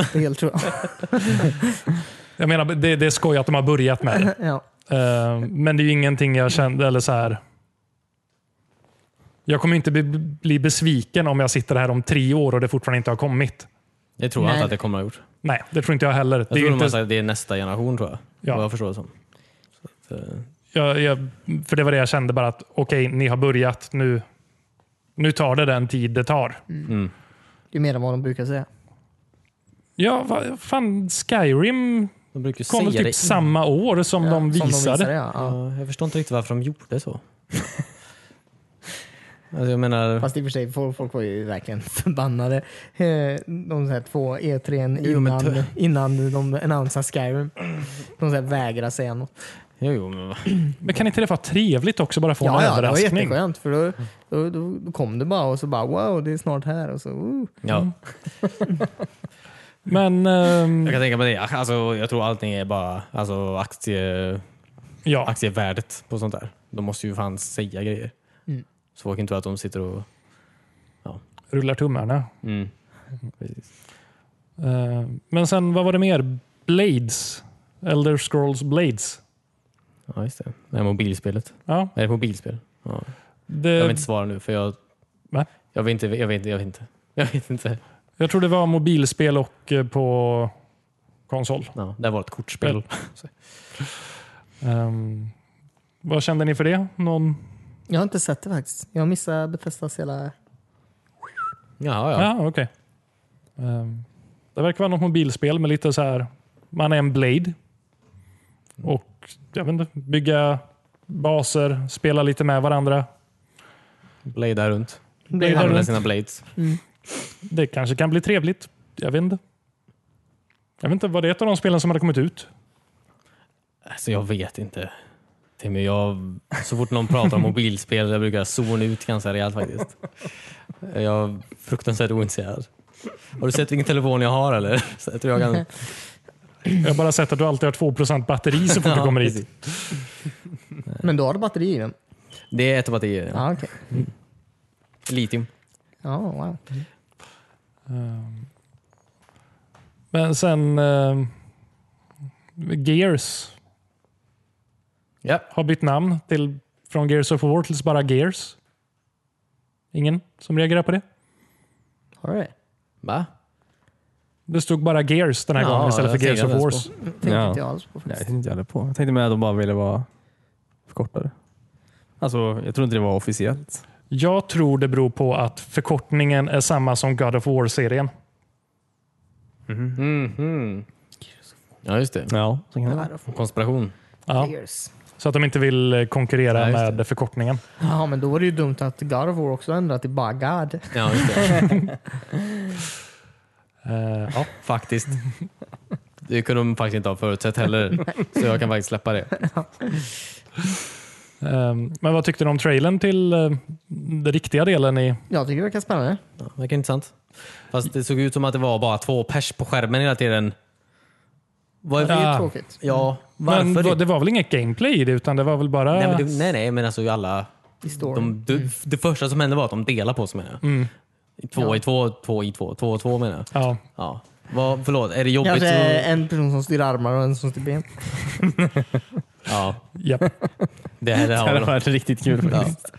Speaker 3: spel tror jag.
Speaker 4: Jag menar, det, det är skoj att de har börjat med det.
Speaker 3: ja.
Speaker 4: Eh, men det är ju ingenting jag kände, eller så här. Jag kommer inte bli, bli besviken om jag sitter här om tre år och det fortfarande inte har kommit.
Speaker 1: Det tror jag
Speaker 3: Nej.
Speaker 1: inte att det kommer att ha gjort.
Speaker 4: Nej, det tror inte jag heller.
Speaker 1: Jag
Speaker 4: det är
Speaker 1: tror
Speaker 4: ju
Speaker 1: de har
Speaker 4: inte,
Speaker 1: sagt att det är nästa generation tror jag.
Speaker 4: Ja.
Speaker 1: Vad jag förstår det som. Så att, eh,
Speaker 4: jag, jag, för det var det jag kände bara att okej, ni har börjat nu. Nu tar det den tid det tar.
Speaker 1: mm.
Speaker 3: Det är mer än vad de brukar säga.
Speaker 4: Ja, vad fan, Skyrim
Speaker 1: De brukar ju
Speaker 4: kom väl
Speaker 1: säga
Speaker 4: typ
Speaker 1: det
Speaker 4: samma år som
Speaker 3: Ja,
Speaker 4: de visade.
Speaker 3: ja. Ja.
Speaker 1: Ja, jag förstår inte riktigt varför de gjorde så. alltså jag menar...
Speaker 3: Fast i och för sig, folk, folk var ju verkligen förbannade. Eh, De så här två E3
Speaker 1: Jo, men
Speaker 3: innan, innan de annonsade Skyrim. De så här vägrade säga något.
Speaker 1: Jo, jo, men,
Speaker 4: Men kan inte det vara trevligt också bara få en
Speaker 3: det var
Speaker 4: överraskning?
Speaker 3: jätteskönt. För då, då, då, då kom det bara och så bara wow, det är snart här. Och så, uh.
Speaker 4: Mm.
Speaker 1: ja.
Speaker 4: Men ehm,
Speaker 1: Jag kan tänka mig det. Alltså, jag tror allting är bara alltså, aktie,
Speaker 4: ja,
Speaker 1: aktievärdet på sånt där. De måste ju fan säga grejer.
Speaker 3: Mm.
Speaker 1: Så folk inte tror att de sitter och...
Speaker 4: rullar tummarna.
Speaker 1: Mm. Precis.
Speaker 4: Eh, men sen, vad var det mer? Blades. Elder Scrolls Blades.
Speaker 1: Ja, just det. Det här mobilspelet.
Speaker 4: Ja,
Speaker 1: Är det mobilspel? Ja.
Speaker 4: det,
Speaker 1: Jag vill
Speaker 4: jag,
Speaker 1: inte svara nu för jag...
Speaker 4: Eh, Va?
Speaker 1: Jag vet inte. Jag vet inte. Jag vet inte. Jag vet inte.
Speaker 4: tror det var mobilspel och eh, på konsol.
Speaker 1: Ja, det var ett kortspel.
Speaker 4: Ehm, vad kände ni för det? Någon?
Speaker 3: Jag har inte sett det faktiskt. Jag missade Bethesdas hela...
Speaker 1: Jaha,
Speaker 4: Ja,
Speaker 1: ja.
Speaker 4: okej. Ehm, det verkar vara något mobilspel med lite så här, man är en blade. Och jag vet inte, bygga baser, spela lite med varandra.
Speaker 1: Bladea runt.
Speaker 4: Bladea
Speaker 3: Ja,
Speaker 1: Använda
Speaker 4: runt.
Speaker 1: sina blades.
Speaker 4: Det kanske kan bli trevligt. Jag vet inte. Jag vet inte, var det ett av de spelen som hade kommit ut?
Speaker 1: Alltså jag vet inte. Timmy, jag, så fort någon pratar om mobilspel jag brukar jag zona ut ganska rejält faktiskt. Jag är fruktansvärt ointresserad. Har du sett vilken telefon jag har eller? Så jag tror jag kan...
Speaker 4: Jag har bara sett att du alltid har 2% batteri så fort du kommer hit.
Speaker 1: precis.
Speaker 3: Men du har det batteri i den?
Speaker 1: Det är ett batteri. Ja.
Speaker 3: Ja, okej.
Speaker 1: Litium.
Speaker 3: Ja, wow.
Speaker 4: Ehm, Men sen... ehm, Gears
Speaker 1: Ja.
Speaker 4: har bytt namn till, från Gears of War till bara Gears. Ingen som reagerar på det?
Speaker 3: Har du det?
Speaker 1: Va?
Speaker 4: Det stod bara Gears den här
Speaker 1: Ja,
Speaker 4: gången istället för
Speaker 1: jag
Speaker 4: Gears
Speaker 1: ser
Speaker 4: of
Speaker 1: det
Speaker 4: Wars.
Speaker 3: Tänkte
Speaker 2: Ja.
Speaker 3: inte jag alls på
Speaker 2: Nej, jag
Speaker 3: faktiskt.
Speaker 2: tänkte inte heller på. Jag tänkte med att de bara ville vara förkortade. Alltså, jag tror inte det var officiellt.
Speaker 4: Jag tror det beror på att förkortningen är samma som God of War-serien.
Speaker 1: Mhm. Ja, just det.
Speaker 2: Ja, så kan det vara.
Speaker 3: Vad är det för
Speaker 1: Konspiration.
Speaker 4: Ja,
Speaker 3: Gears?
Speaker 4: så att de inte vill eh, konkurrera
Speaker 1: Ja, just det.
Speaker 4: med förkortningen.
Speaker 3: Ja, men då var det ju dumt att God of War också ändrat till bara God.
Speaker 1: Ja, just det.
Speaker 4: Eh,
Speaker 1: Ja, faktiskt. Det kunde de faktiskt inte ha förutsett heller. så jag kan faktiskt släppa det.
Speaker 4: Ehm, Men vad tyckte du om trailern till eh, den riktiga delen i...
Speaker 3: Jag tycker det verkar spännande.
Speaker 1: Ja, verkar intressant. Fast det såg ut som att det var bara två pers på skärmen hela tiden. Vad
Speaker 3: Det är
Speaker 4: Ja.
Speaker 3: tråkigt.
Speaker 1: Ja, varför?
Speaker 4: Men
Speaker 1: det?
Speaker 4: va- det var väl inget gameplay i det, utan det var väl bara...
Speaker 1: Nej, men det, nej, nej, men alltså alla...
Speaker 3: I
Speaker 1: De,
Speaker 3: storyn.
Speaker 1: du, Det första som hände var att de delade på sig menar jag.
Speaker 4: Mm.
Speaker 1: Två i två, två i två, två och två menar jag.
Speaker 4: Ja.
Speaker 1: Ja. Vad, förlåt, är det jobbigt?
Speaker 3: Kanske
Speaker 1: så-
Speaker 3: en person som styr armar och en som styr ben.
Speaker 1: Ja,
Speaker 4: Japp.
Speaker 1: det här
Speaker 2: Det hade
Speaker 1: har
Speaker 2: varit riktigt kul
Speaker 1: ja.
Speaker 2: faktiskt.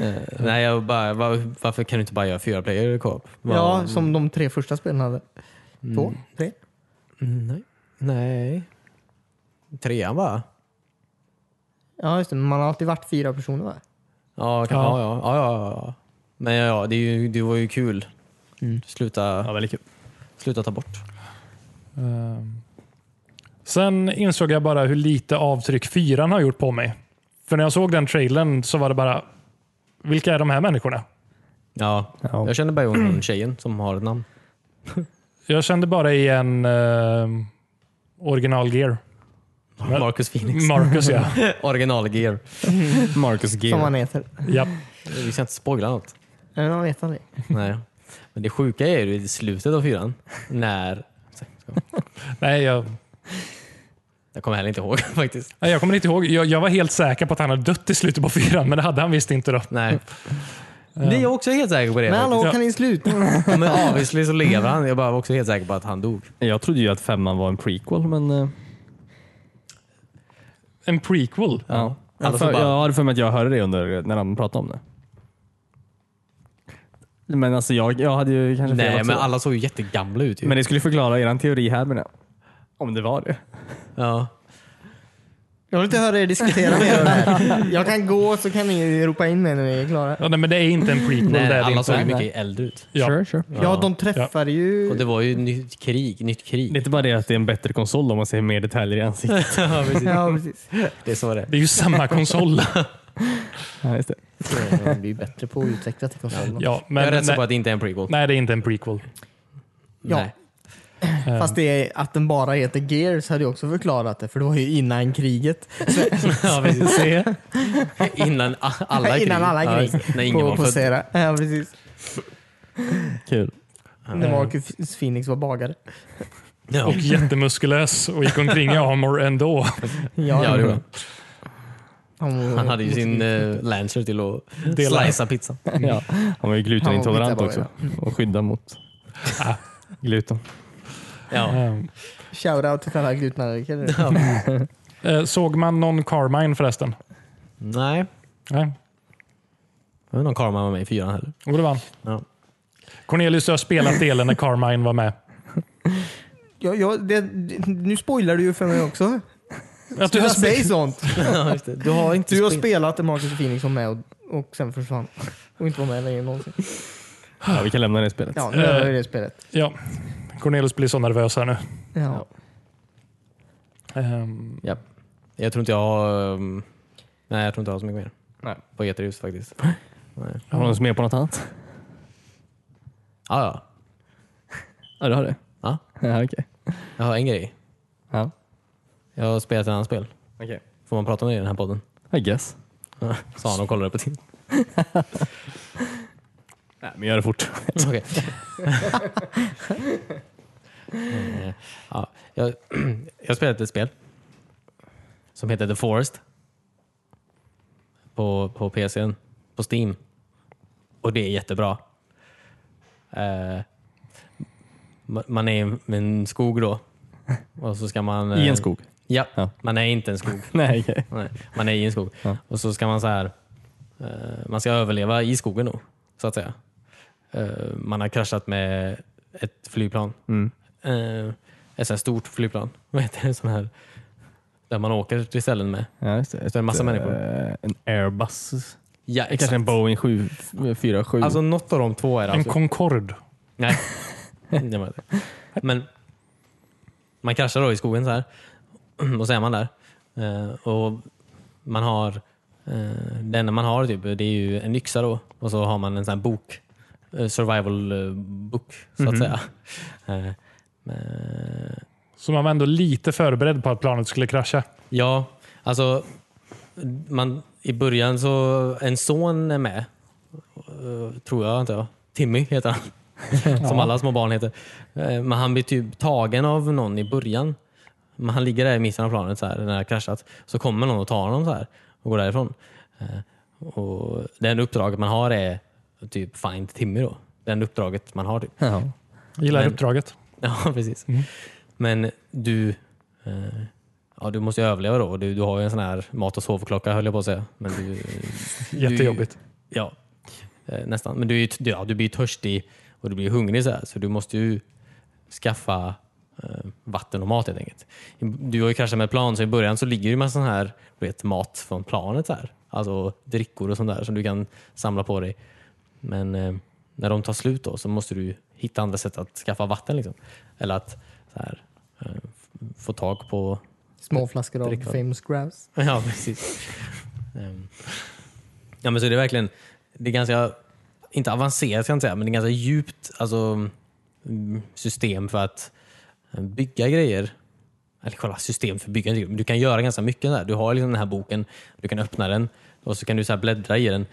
Speaker 1: Eh, Nej, jag bara, var, varför kan du inte bara göra fyra player i co-op? Vad-
Speaker 3: Ja, som de tre första spelen hade. Två? Tre?
Speaker 1: Nej. nej. Trean va?
Speaker 3: Ja, just det. Men man har alltid varit fyra personer va?
Speaker 1: Ja, kan, ja.
Speaker 4: Ja.
Speaker 1: Ja, ja, ja, ja. Men ja, ja det, är ju, det var ju kul.
Speaker 2: Mm.
Speaker 1: Sluta,
Speaker 2: Ja, väldigt kul.
Speaker 1: sluta ta bort.
Speaker 4: Ehm. Sen insåg jag bara hur lite avtryck fyran har gjort på mig. För när jag såg den trailern så var det bara, vilka är de här människorna?
Speaker 1: Ja.
Speaker 2: Ja.
Speaker 1: Jag känner bara ihåg hon tjejen som har ett namn.
Speaker 4: Jag kände bara igen ehm, original gear.
Speaker 1: Marcus Phoenix.
Speaker 4: Marcus ja.
Speaker 1: Original-gear.
Speaker 2: Marcus
Speaker 3: Som
Speaker 2: Gear.
Speaker 3: han heter.
Speaker 4: Japp.
Speaker 1: Vi ska inte spoila något.
Speaker 3: Men jag vet aldrig.
Speaker 1: Nej. Men det sjuka är ju i slutet av fyran. När...
Speaker 4: Nej, jag,
Speaker 1: Jag kommer heller inte ihåg faktiskt.
Speaker 4: nej, jag kommer inte ihåg. Jag, jag var helt säker på att han hade dött i slutet på fyran, men det hade han visst inte då.
Speaker 1: Nej. Det är jag också helt säker på det.
Speaker 3: Men hallå,
Speaker 4: Ja.
Speaker 3: kan ni sluta?
Speaker 1: faktiskt. Men obviously så lever han. Jag bara var också helt säker på att han dog.
Speaker 2: Jag trodde ju att femman var en prequel, men... eh,
Speaker 4: En prequel.
Speaker 2: Ja.
Speaker 1: Alla
Speaker 2: Jag,
Speaker 1: som
Speaker 2: för,
Speaker 1: bara-
Speaker 2: jag hade för mig att jag hörde det under, när de pratade om det. Men alltså jag, jag hade ju kanske fel
Speaker 1: Nej,
Speaker 2: också.
Speaker 1: men alla såg ju jättegamla ut. Ju.
Speaker 2: men det skulle förklara er teori här menar jag. Om det var det.
Speaker 1: Ja.
Speaker 3: Jag vill inte höra er diskutera mer om det här. Jag kan gå så kan ni ropa in mig när ni är klara.
Speaker 4: Ja, nej, men det är inte en prequel.
Speaker 1: Nej,
Speaker 4: det är det
Speaker 1: alla
Speaker 4: inte.
Speaker 1: såg ju
Speaker 2: Nej.
Speaker 1: mycket äldre ut.
Speaker 4: Ja.
Speaker 2: sure.
Speaker 3: Ja, de träffade
Speaker 1: Och
Speaker 3: ju...
Speaker 1: det var ju nytt krig. Nytt
Speaker 2: Det är
Speaker 1: krig.
Speaker 2: inte bara det att det är en bättre konsol om man ser mer detaljer i ansiktet.
Speaker 1: ja, precis.
Speaker 3: Ja, precis.
Speaker 1: Det är så det är.
Speaker 4: Det är ju samma konsol.
Speaker 2: ja, just det.
Speaker 3: De blir bättre på att utveckla till konsolen.
Speaker 4: Ja, men,
Speaker 1: Jag är rätt säker på
Speaker 4: nej,
Speaker 1: att det inte är en prequel.
Speaker 4: nej, det är inte en prequel.
Speaker 3: Ja.
Speaker 1: Nej.
Speaker 3: Fast det är att den bara heter Gears hade ju också förklarat det, för det var ju innan kriget.
Speaker 4: Ehm.
Speaker 1: Ja, precis. Innan a- alla krig.
Speaker 3: innan alla
Speaker 1: Ja,
Speaker 3: krig.
Speaker 1: just det. när ingen
Speaker 3: på,
Speaker 1: var
Speaker 3: på
Speaker 1: född.
Speaker 3: Sera. Ja, precis.
Speaker 2: Kul.
Speaker 3: När Marcus Phoenix var bagare.
Speaker 1: Ja,
Speaker 4: Och jättemuskulös och gick omkring i armor ändå.
Speaker 1: ja, det var.
Speaker 3: Han,
Speaker 1: Han hade ju sin eh, Lancer till att
Speaker 4: Dela.
Speaker 1: slicea pizza.
Speaker 2: Ja. Han var ju
Speaker 3: Han
Speaker 2: glutenintolerant
Speaker 3: var
Speaker 2: också och skyddar mot
Speaker 4: Ah.
Speaker 2: gluten.
Speaker 1: Ja.
Speaker 4: Ehm,
Speaker 3: Shoutout till alla glutenallergiker.
Speaker 4: eh, Såg man någon Carmine förresten?
Speaker 1: Nej.
Speaker 4: Nej,
Speaker 1: Jag vet inte om Karma var med i fyran heller.
Speaker 4: Jo, det var han.
Speaker 1: Ja.
Speaker 4: Cornelius, du har spelat delen när Carmine var med.
Speaker 3: Ja, ja, det, det- nu spoilar du ju för mig också.
Speaker 4: Att du har
Speaker 3: Jag
Speaker 4: spe-
Speaker 3: säger sånt.
Speaker 1: Ja, just det. Du har inte
Speaker 3: Du har
Speaker 1: spel-
Speaker 3: spelat där Marcus Phoenix var med och, och sen försvann. Och inte var med längre någonsin.
Speaker 2: Ja, vi kan lämna det spelet.
Speaker 3: Ja, nu
Speaker 1: Eh.
Speaker 3: har vi det spelet.
Speaker 4: ja. Cornelius blir så nervös här nu.
Speaker 3: Ja.
Speaker 4: Ehm,
Speaker 1: Ja. Jag tror inte jag har... ehm, Nej, jag tror inte jag har så mycket mer.
Speaker 2: Nej.
Speaker 1: På Geterius faktiskt. Nej.
Speaker 2: Har du något mer på något annat?
Speaker 1: Ah, ja,
Speaker 2: Ja, du har det?
Speaker 1: Ja.
Speaker 2: ja okej.
Speaker 1: jag har en grej.
Speaker 2: Ja.
Speaker 1: Jag har spelat ett annat spel.
Speaker 2: Okej.
Speaker 1: Får man prata om det i den här podden?
Speaker 2: I guess.
Speaker 1: Ja, Sa han och kollade på Tinder.
Speaker 2: Nej, men gör det fort.
Speaker 1: Okej. Eh, ja, jag, jag har spelat ett spel som heter The Forest på, på PCn, på Steam. Och det är jättebra. Eh, ma- man är i en- en skog då. Och så ska man...
Speaker 2: I
Speaker 1: eh,
Speaker 2: en skog?
Speaker 1: Ja,
Speaker 2: Ja.
Speaker 1: man är inte en skog.
Speaker 2: Nej, okej.
Speaker 1: Nej, man är i en skog.
Speaker 2: Ja.
Speaker 1: Och så ska man så här, eh, man ska överleva i skogen då, så att säga. Eh, man har kraschat med ett flygplan.
Speaker 2: Mm.
Speaker 1: Eh, ett så här stort flygplan. Vad heter det? Sån här, där man åker till ställen med.
Speaker 2: Ja, just det.
Speaker 1: är en massa
Speaker 2: Ett,
Speaker 1: människor.
Speaker 2: eh, En Airbus.
Speaker 1: Ja,
Speaker 2: Kanske en Boeing 747.
Speaker 1: Alltså något av de två är det.
Speaker 4: en
Speaker 1: Alltså.
Speaker 4: Concorde.
Speaker 1: Nej. det var det. Men man kraschar då i skogen så här. Och så är man där. Eh, och man har, eh, det enda man har typ, det är ju en yxa då. Och så har man en sån här bok. eh, Survival eh, book, så att säga. Eh, men-
Speaker 4: Så man var ändå lite förberedd på att planet skulle krascha.
Speaker 1: Ja, alltså man, i början så, en son är med. Eh, tror jag, antar jag. Timmy heter han. Som alla små barn heter. Eh, Men han blir typ tagen av någon i början. Men han ligger där i mitten av planet så här, när det har kraschat. Så kommer någon och tar honom så här och går därifrån. Eh, Och det enda uppdraget man har är typ find Timmy då. Det enda uppdraget man har typ.
Speaker 2: Ja.
Speaker 4: Gillar
Speaker 1: Men-
Speaker 4: uppdraget.
Speaker 1: Ja, precis. Men du, eh, ja, du måste ju överleva då. Du, du har ju en sån här mat och sovklocka höll jag på att säga. Men du,
Speaker 4: Jättejobbigt.
Speaker 1: ja, eh, nästan. Men du, är ju t- ja, du blir ju törstig och du blir hungrig så här. Så du måste ju skaffa eh, vatten och mat helt enkelt. Du har ju kraschat med ett plan så i början så ligger det ju massa sån här du vet, mat från planet så här. Alltså drickor och sånt där som du kan samla på dig. Men eh, när de tar slut då så måste du hitta andra sätt att skaffa vatten liksom. Eller att så här, eh, f- få tag på
Speaker 3: Små flaskor av
Speaker 1: Drickvatten.
Speaker 3: famous grouse.
Speaker 1: Ja, precis. Ehm. ja, men så det är verkligen, det är ganska, inte avancerat ska jag inte säga, men det är ganska djupt alltså, mm, system för att bygga grejer. Eller själva system för byggande. Men du kan göra ganska mycket där. Du har liksom den här boken, du kan öppna den och så kan du så här bläddra i den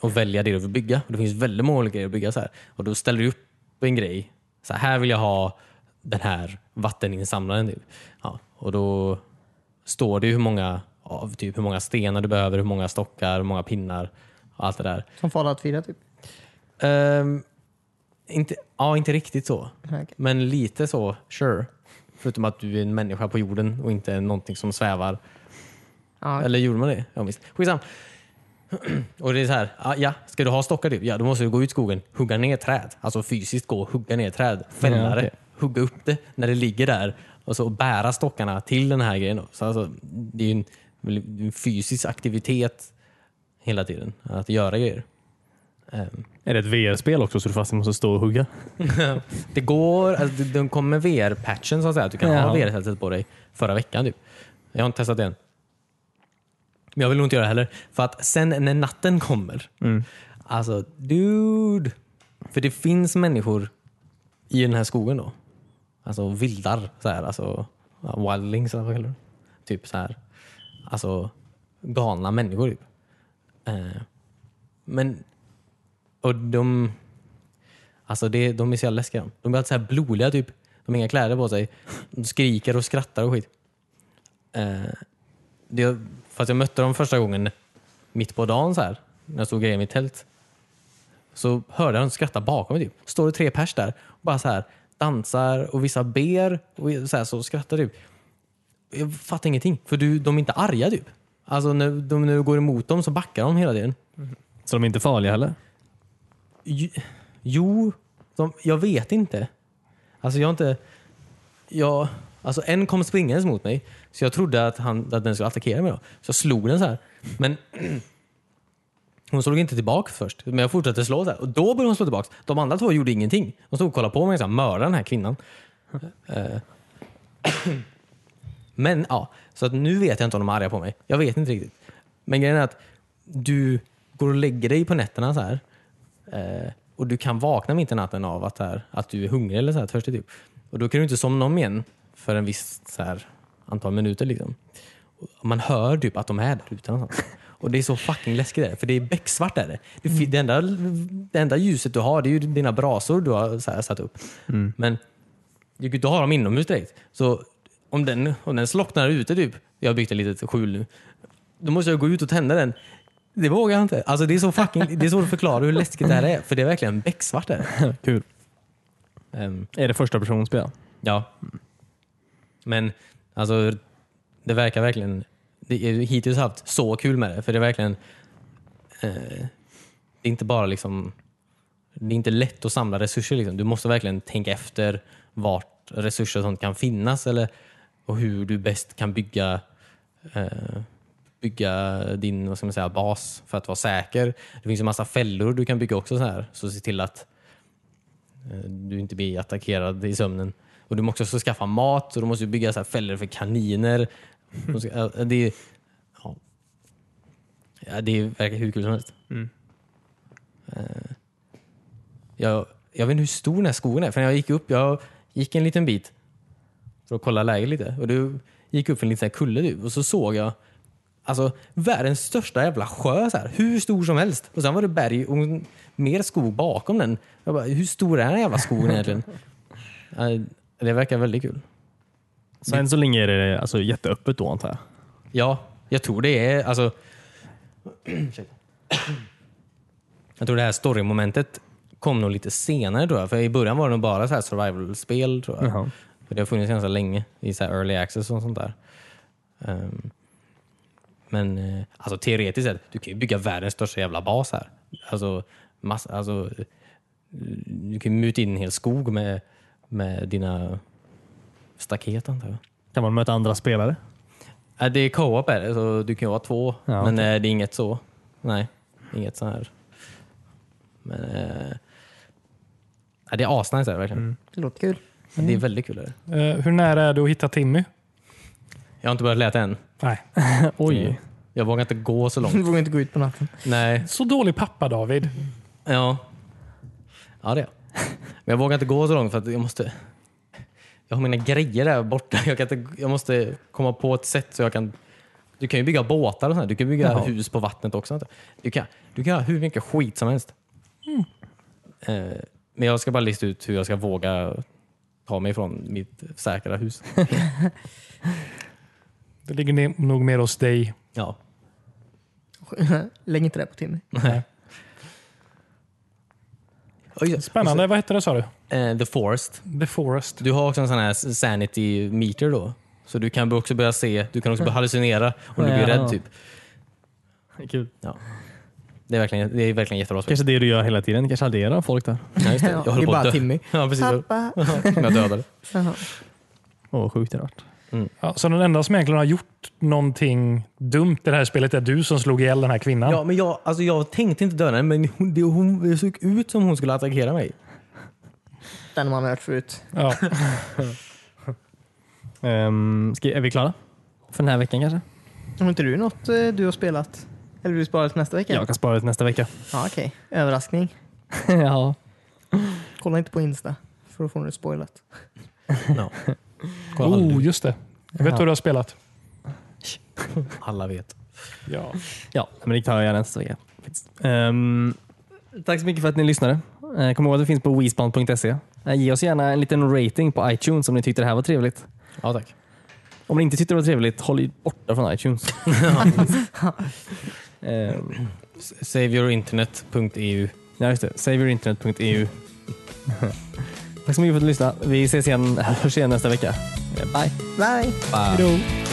Speaker 1: och välja det du vill bygga. Och det finns väldigt många olika grejer att bygga. Så här. Och då ställer du upp en grej. Så här, här vill jag ha den här vatteninsamlaren. Typ. Ja, och då står det ju hur många, av typ hur många stenar du behöver, hur många stockar, hur många pinnar och allt det där.
Speaker 3: Som Fallout 4 typ.
Speaker 1: Ehm, inte, ja, inte riktigt så.
Speaker 3: Nej, okej.
Speaker 1: Men lite så, sure. Förutom att du är en människa på jorden och inte någonting som svävar.
Speaker 3: Ja,
Speaker 1: Eller gjorde man det? Ja, visst. Skitsam. Och det är så här, ah, ja, ska du ha stockar typ? Ja, då måste du gå ut i skogen, hugga ner träd. Alltså fysiskt gå och hugga ner träd. Fälla
Speaker 2: Ja, okej.
Speaker 1: det, hugga upp det när det ligger där. Och så bära stockarna till den här grejen. då. Så alltså, det är ju en, en fysisk aktivitet hela tiden, att göra grejer. Ehm,
Speaker 2: Är det ett VR-spel också så du fast måste stå och hugga?
Speaker 1: Det går, alltså, de kom med VR-patchen så att säga. Att du kan
Speaker 2: Ja.
Speaker 1: ha VR-sättet på dig förra veckan. Typ. Jag har inte testat det än. Men jag vill nog inte göra det heller. För att sen när natten kommer. Alltså, dude. För det finns människor i den här skogen då. Alltså vildar. Så här, alltså, ja, wildlings eller vad kallar du det? Typ så här. Alltså galna människor. Typ. Eh, men, och de Alltså det, de är så jävla läskiga. de. De blir alltid så här blodiga typ. De har inga kläder på sig. De skriker och skrattar och skit. Eh, det, fast jag mötte dem första gången mitt på dagen så här. När jag stod grejen i mitt tält. Så hörde jag dem skratta bakom mig. Typ. Står det tre pers där och bara så här dansar och vissa ber och så, här, så skrattar typ. Jag fattar ingenting. För du, de är inte arga typ. Alltså när, de, när du går emot dem så backar de hela tiden.
Speaker 2: Så de är inte farliga heller?
Speaker 1: Ju- Jo, de, jag vet inte. Alltså jag har inte... Jag, alltså en kom springandes mot mig, så jag trodde att, han, att den skulle attackera mig. Då. Så jag slog den så här. Men hon slog inte tillbaka först, men jag fortsatte slå så här. Och då började hon slå tillbaka. De andra två gjorde ingenting. De stod och kollade på mig och så här, mördade den här kvinnan. Eh. Men ja, så att nu vet jag inte om de är arga på mig. Jag vet inte riktigt. Men grejen är att du går och lägger dig på nätterna så här. Eh, och du kan vakna mitt i natten av att, här, att du är hungrig eller så här, törstig. Typ. Och då kan du inte somna om igen för en viss så här, antal minuter. Liksom. Och man hör typ att de är där ute någonstans. Och det är så fucking läskigt där, för det är becksvart där. Det, fi- det, enda, det enda ljuset du har det är ju dina brasor du har så här, satt upp. Men du kan ju inte ha dem inomhus direkt. Så om den, om den slocknar ute typ, jag har byggt ett litet skjul nu, då måste jag gå ut och tända den. Det vågar jag inte. Alltså det är så fucking, det är svårt att förklara hur läskigt det här är, för det är verkligen becksvart där.
Speaker 2: Kul.
Speaker 1: Ehm,
Speaker 2: Är det första personspel?
Speaker 1: ja. Men alltså, det verkar verkligen, det är hittills haft så kul med det, för det är verkligen, eh, det är inte bara liksom, det är inte lätt att samla resurser. Liksom. Du måste verkligen tänka efter vart resurser och sånt kan finnas eller, och hur du bäst kan bygga eh, bygga din vad ska man säga, bas för att vara säker. Det finns en massa fällor du kan bygga också så här, så se till att eh, du inte blir attackerad i sömnen. Och du måste också skaffa mat och du måste bygga så här fällor för kaniner. Du måste- eh, Det, är- ja. Ja, det verkar hur kul som helst. Eh, Jag, jag vet inte hur stor den här skogen är, för när jag gick upp, jag gick en liten bit för att kolla läget lite. Och du gick upp för en liten så här kulle du, och så såg jag alltså, världens största jävla sjö, så här, hur stor som helst. Och sen var det berg och mer skog bakom den. Jag bara, hur stor är den här jävla skogen egentligen? Eh, Det verkar väldigt kul.
Speaker 2: Så än så länge är det alltså, jätteöppet då antar jag?
Speaker 1: Ja, jag tror det är... Alltså, jag tror det här storymomentet kom nog lite senare tror jag. För i början var det nog bara så här survival-spel tror jag.
Speaker 2: Jaha.
Speaker 1: För det har funnits ganska länge i så här early access och sånt där. Ehm, men eh, alltså, teoretiskt sett, du kan ju bygga världens största jävla bas här. Alltså, mass, alltså, eh, du kan ju muta in en hel skog med, med dina staket antar jag.
Speaker 2: Kan man möta andra spelare?
Speaker 1: Ja, Äh, Det är co-op är det, så du kan ju vara två.
Speaker 2: Ja,
Speaker 1: men
Speaker 2: okej.
Speaker 1: eh, det är inget så. Nej, inget så här. Men eh, ja, det är asnice är det verkligen.
Speaker 2: Mm.
Speaker 3: Det låter kul.
Speaker 1: Det är väldigt kul. Är det.
Speaker 4: Eh, hur nära är du att hitta Timmy?
Speaker 1: Jag har inte börjat leta än.
Speaker 4: Nej.
Speaker 1: Oj. Jag vågar inte gå så
Speaker 3: Du
Speaker 1: långt.
Speaker 3: vågar inte gå ut på natten.
Speaker 1: Nej,
Speaker 4: Så dålig pappa David.
Speaker 1: ja. Ja, det är jag. Men jag vågar inte gå så långt för att jag måste... Jag har mina grejer där borta. Jag, kan inte, jag måste komma på ett sätt så jag kan... Du kan ju bygga båtar och sånt. här. Du kan bygga hus på vattnet också. antar jag. Du kan, du kan ha hur mycket skit som helst. Eh, men jag ska bara lista ut hur jag ska våga ta mig från mitt säkra hus.
Speaker 4: Det ligger ne- nog mer hos dig.
Speaker 1: Ja.
Speaker 3: Lägg inte det på Timmy.
Speaker 1: Oj, och så-
Speaker 4: Spännande. Vad hette det sa du?
Speaker 1: Eh, the Forest.
Speaker 4: The Forest.
Speaker 1: Du har också en sån här sanity meter då. Så du kan också börja se, du kan också börja hallucinera om du blir
Speaker 2: Ja.
Speaker 1: rädd. typ.
Speaker 2: Kul.
Speaker 1: Det är verkligen, det är verkligen jättebra spel.
Speaker 2: Kanske det du gör hela tiden. Kanske adderar folk där.
Speaker 1: Ja, just det.
Speaker 3: Ja,
Speaker 1: Jag håller
Speaker 3: det är
Speaker 1: på att
Speaker 3: bara
Speaker 1: dö.
Speaker 3: Timmy.
Speaker 1: Ja, precis. Jag,
Speaker 3: Pappa.
Speaker 1: jag dödade.
Speaker 3: Jaha.
Speaker 2: Åh, vad sjukt det hade varit.
Speaker 4: Ja, så den enda som egentligen har gjort någonting dumt i det här spelet är du som slog ihjäl den här kvinnan.
Speaker 1: Ja, men jag, alltså jag tänkte inte döda henne, men hon, det, hon det såg ut som hon skulle attackera mig.
Speaker 3: Den man har hört förut.
Speaker 4: Ja.
Speaker 2: Ehm, ska, är vi klara? För den här veckan kanske?
Speaker 3: Har inte du något eh, du har spelat? Eller du sparar till nästa vecka?
Speaker 2: Jag kan spara det till nästa vecka.
Speaker 3: Ja, okej. Överraskning.
Speaker 2: ja.
Speaker 3: Kolla inte på Insta för att få något spoilat.
Speaker 1: Ja. Kolla,
Speaker 4: Oh, just det. Jag vet
Speaker 2: Ja.
Speaker 4: vad du har spelat.
Speaker 1: Alla vet.
Speaker 4: Ja.
Speaker 2: ja, men det tar jag gärna nästa vecka. faktiskt. Ehm, tack så mycket för att ni lyssnade. Eh, kom ihåg att vi finns på weespan.se. Eh, ge oss gärna en liten rating på iTunes om ni tyckte det här var trevligt.
Speaker 1: Ja, tack.
Speaker 2: Om ni inte tyckte det var trevligt, håll er borta från iTunes. Ehm,
Speaker 1: Saveyourinternet.eu
Speaker 2: Ja, just det. Saverinternet.eu. Tack så mycket för att du lyssnade. Vi ses igen, hörs igen nästa vecka. Bye!
Speaker 3: Nej.
Speaker 1: Bye.
Speaker 4: Hejdå.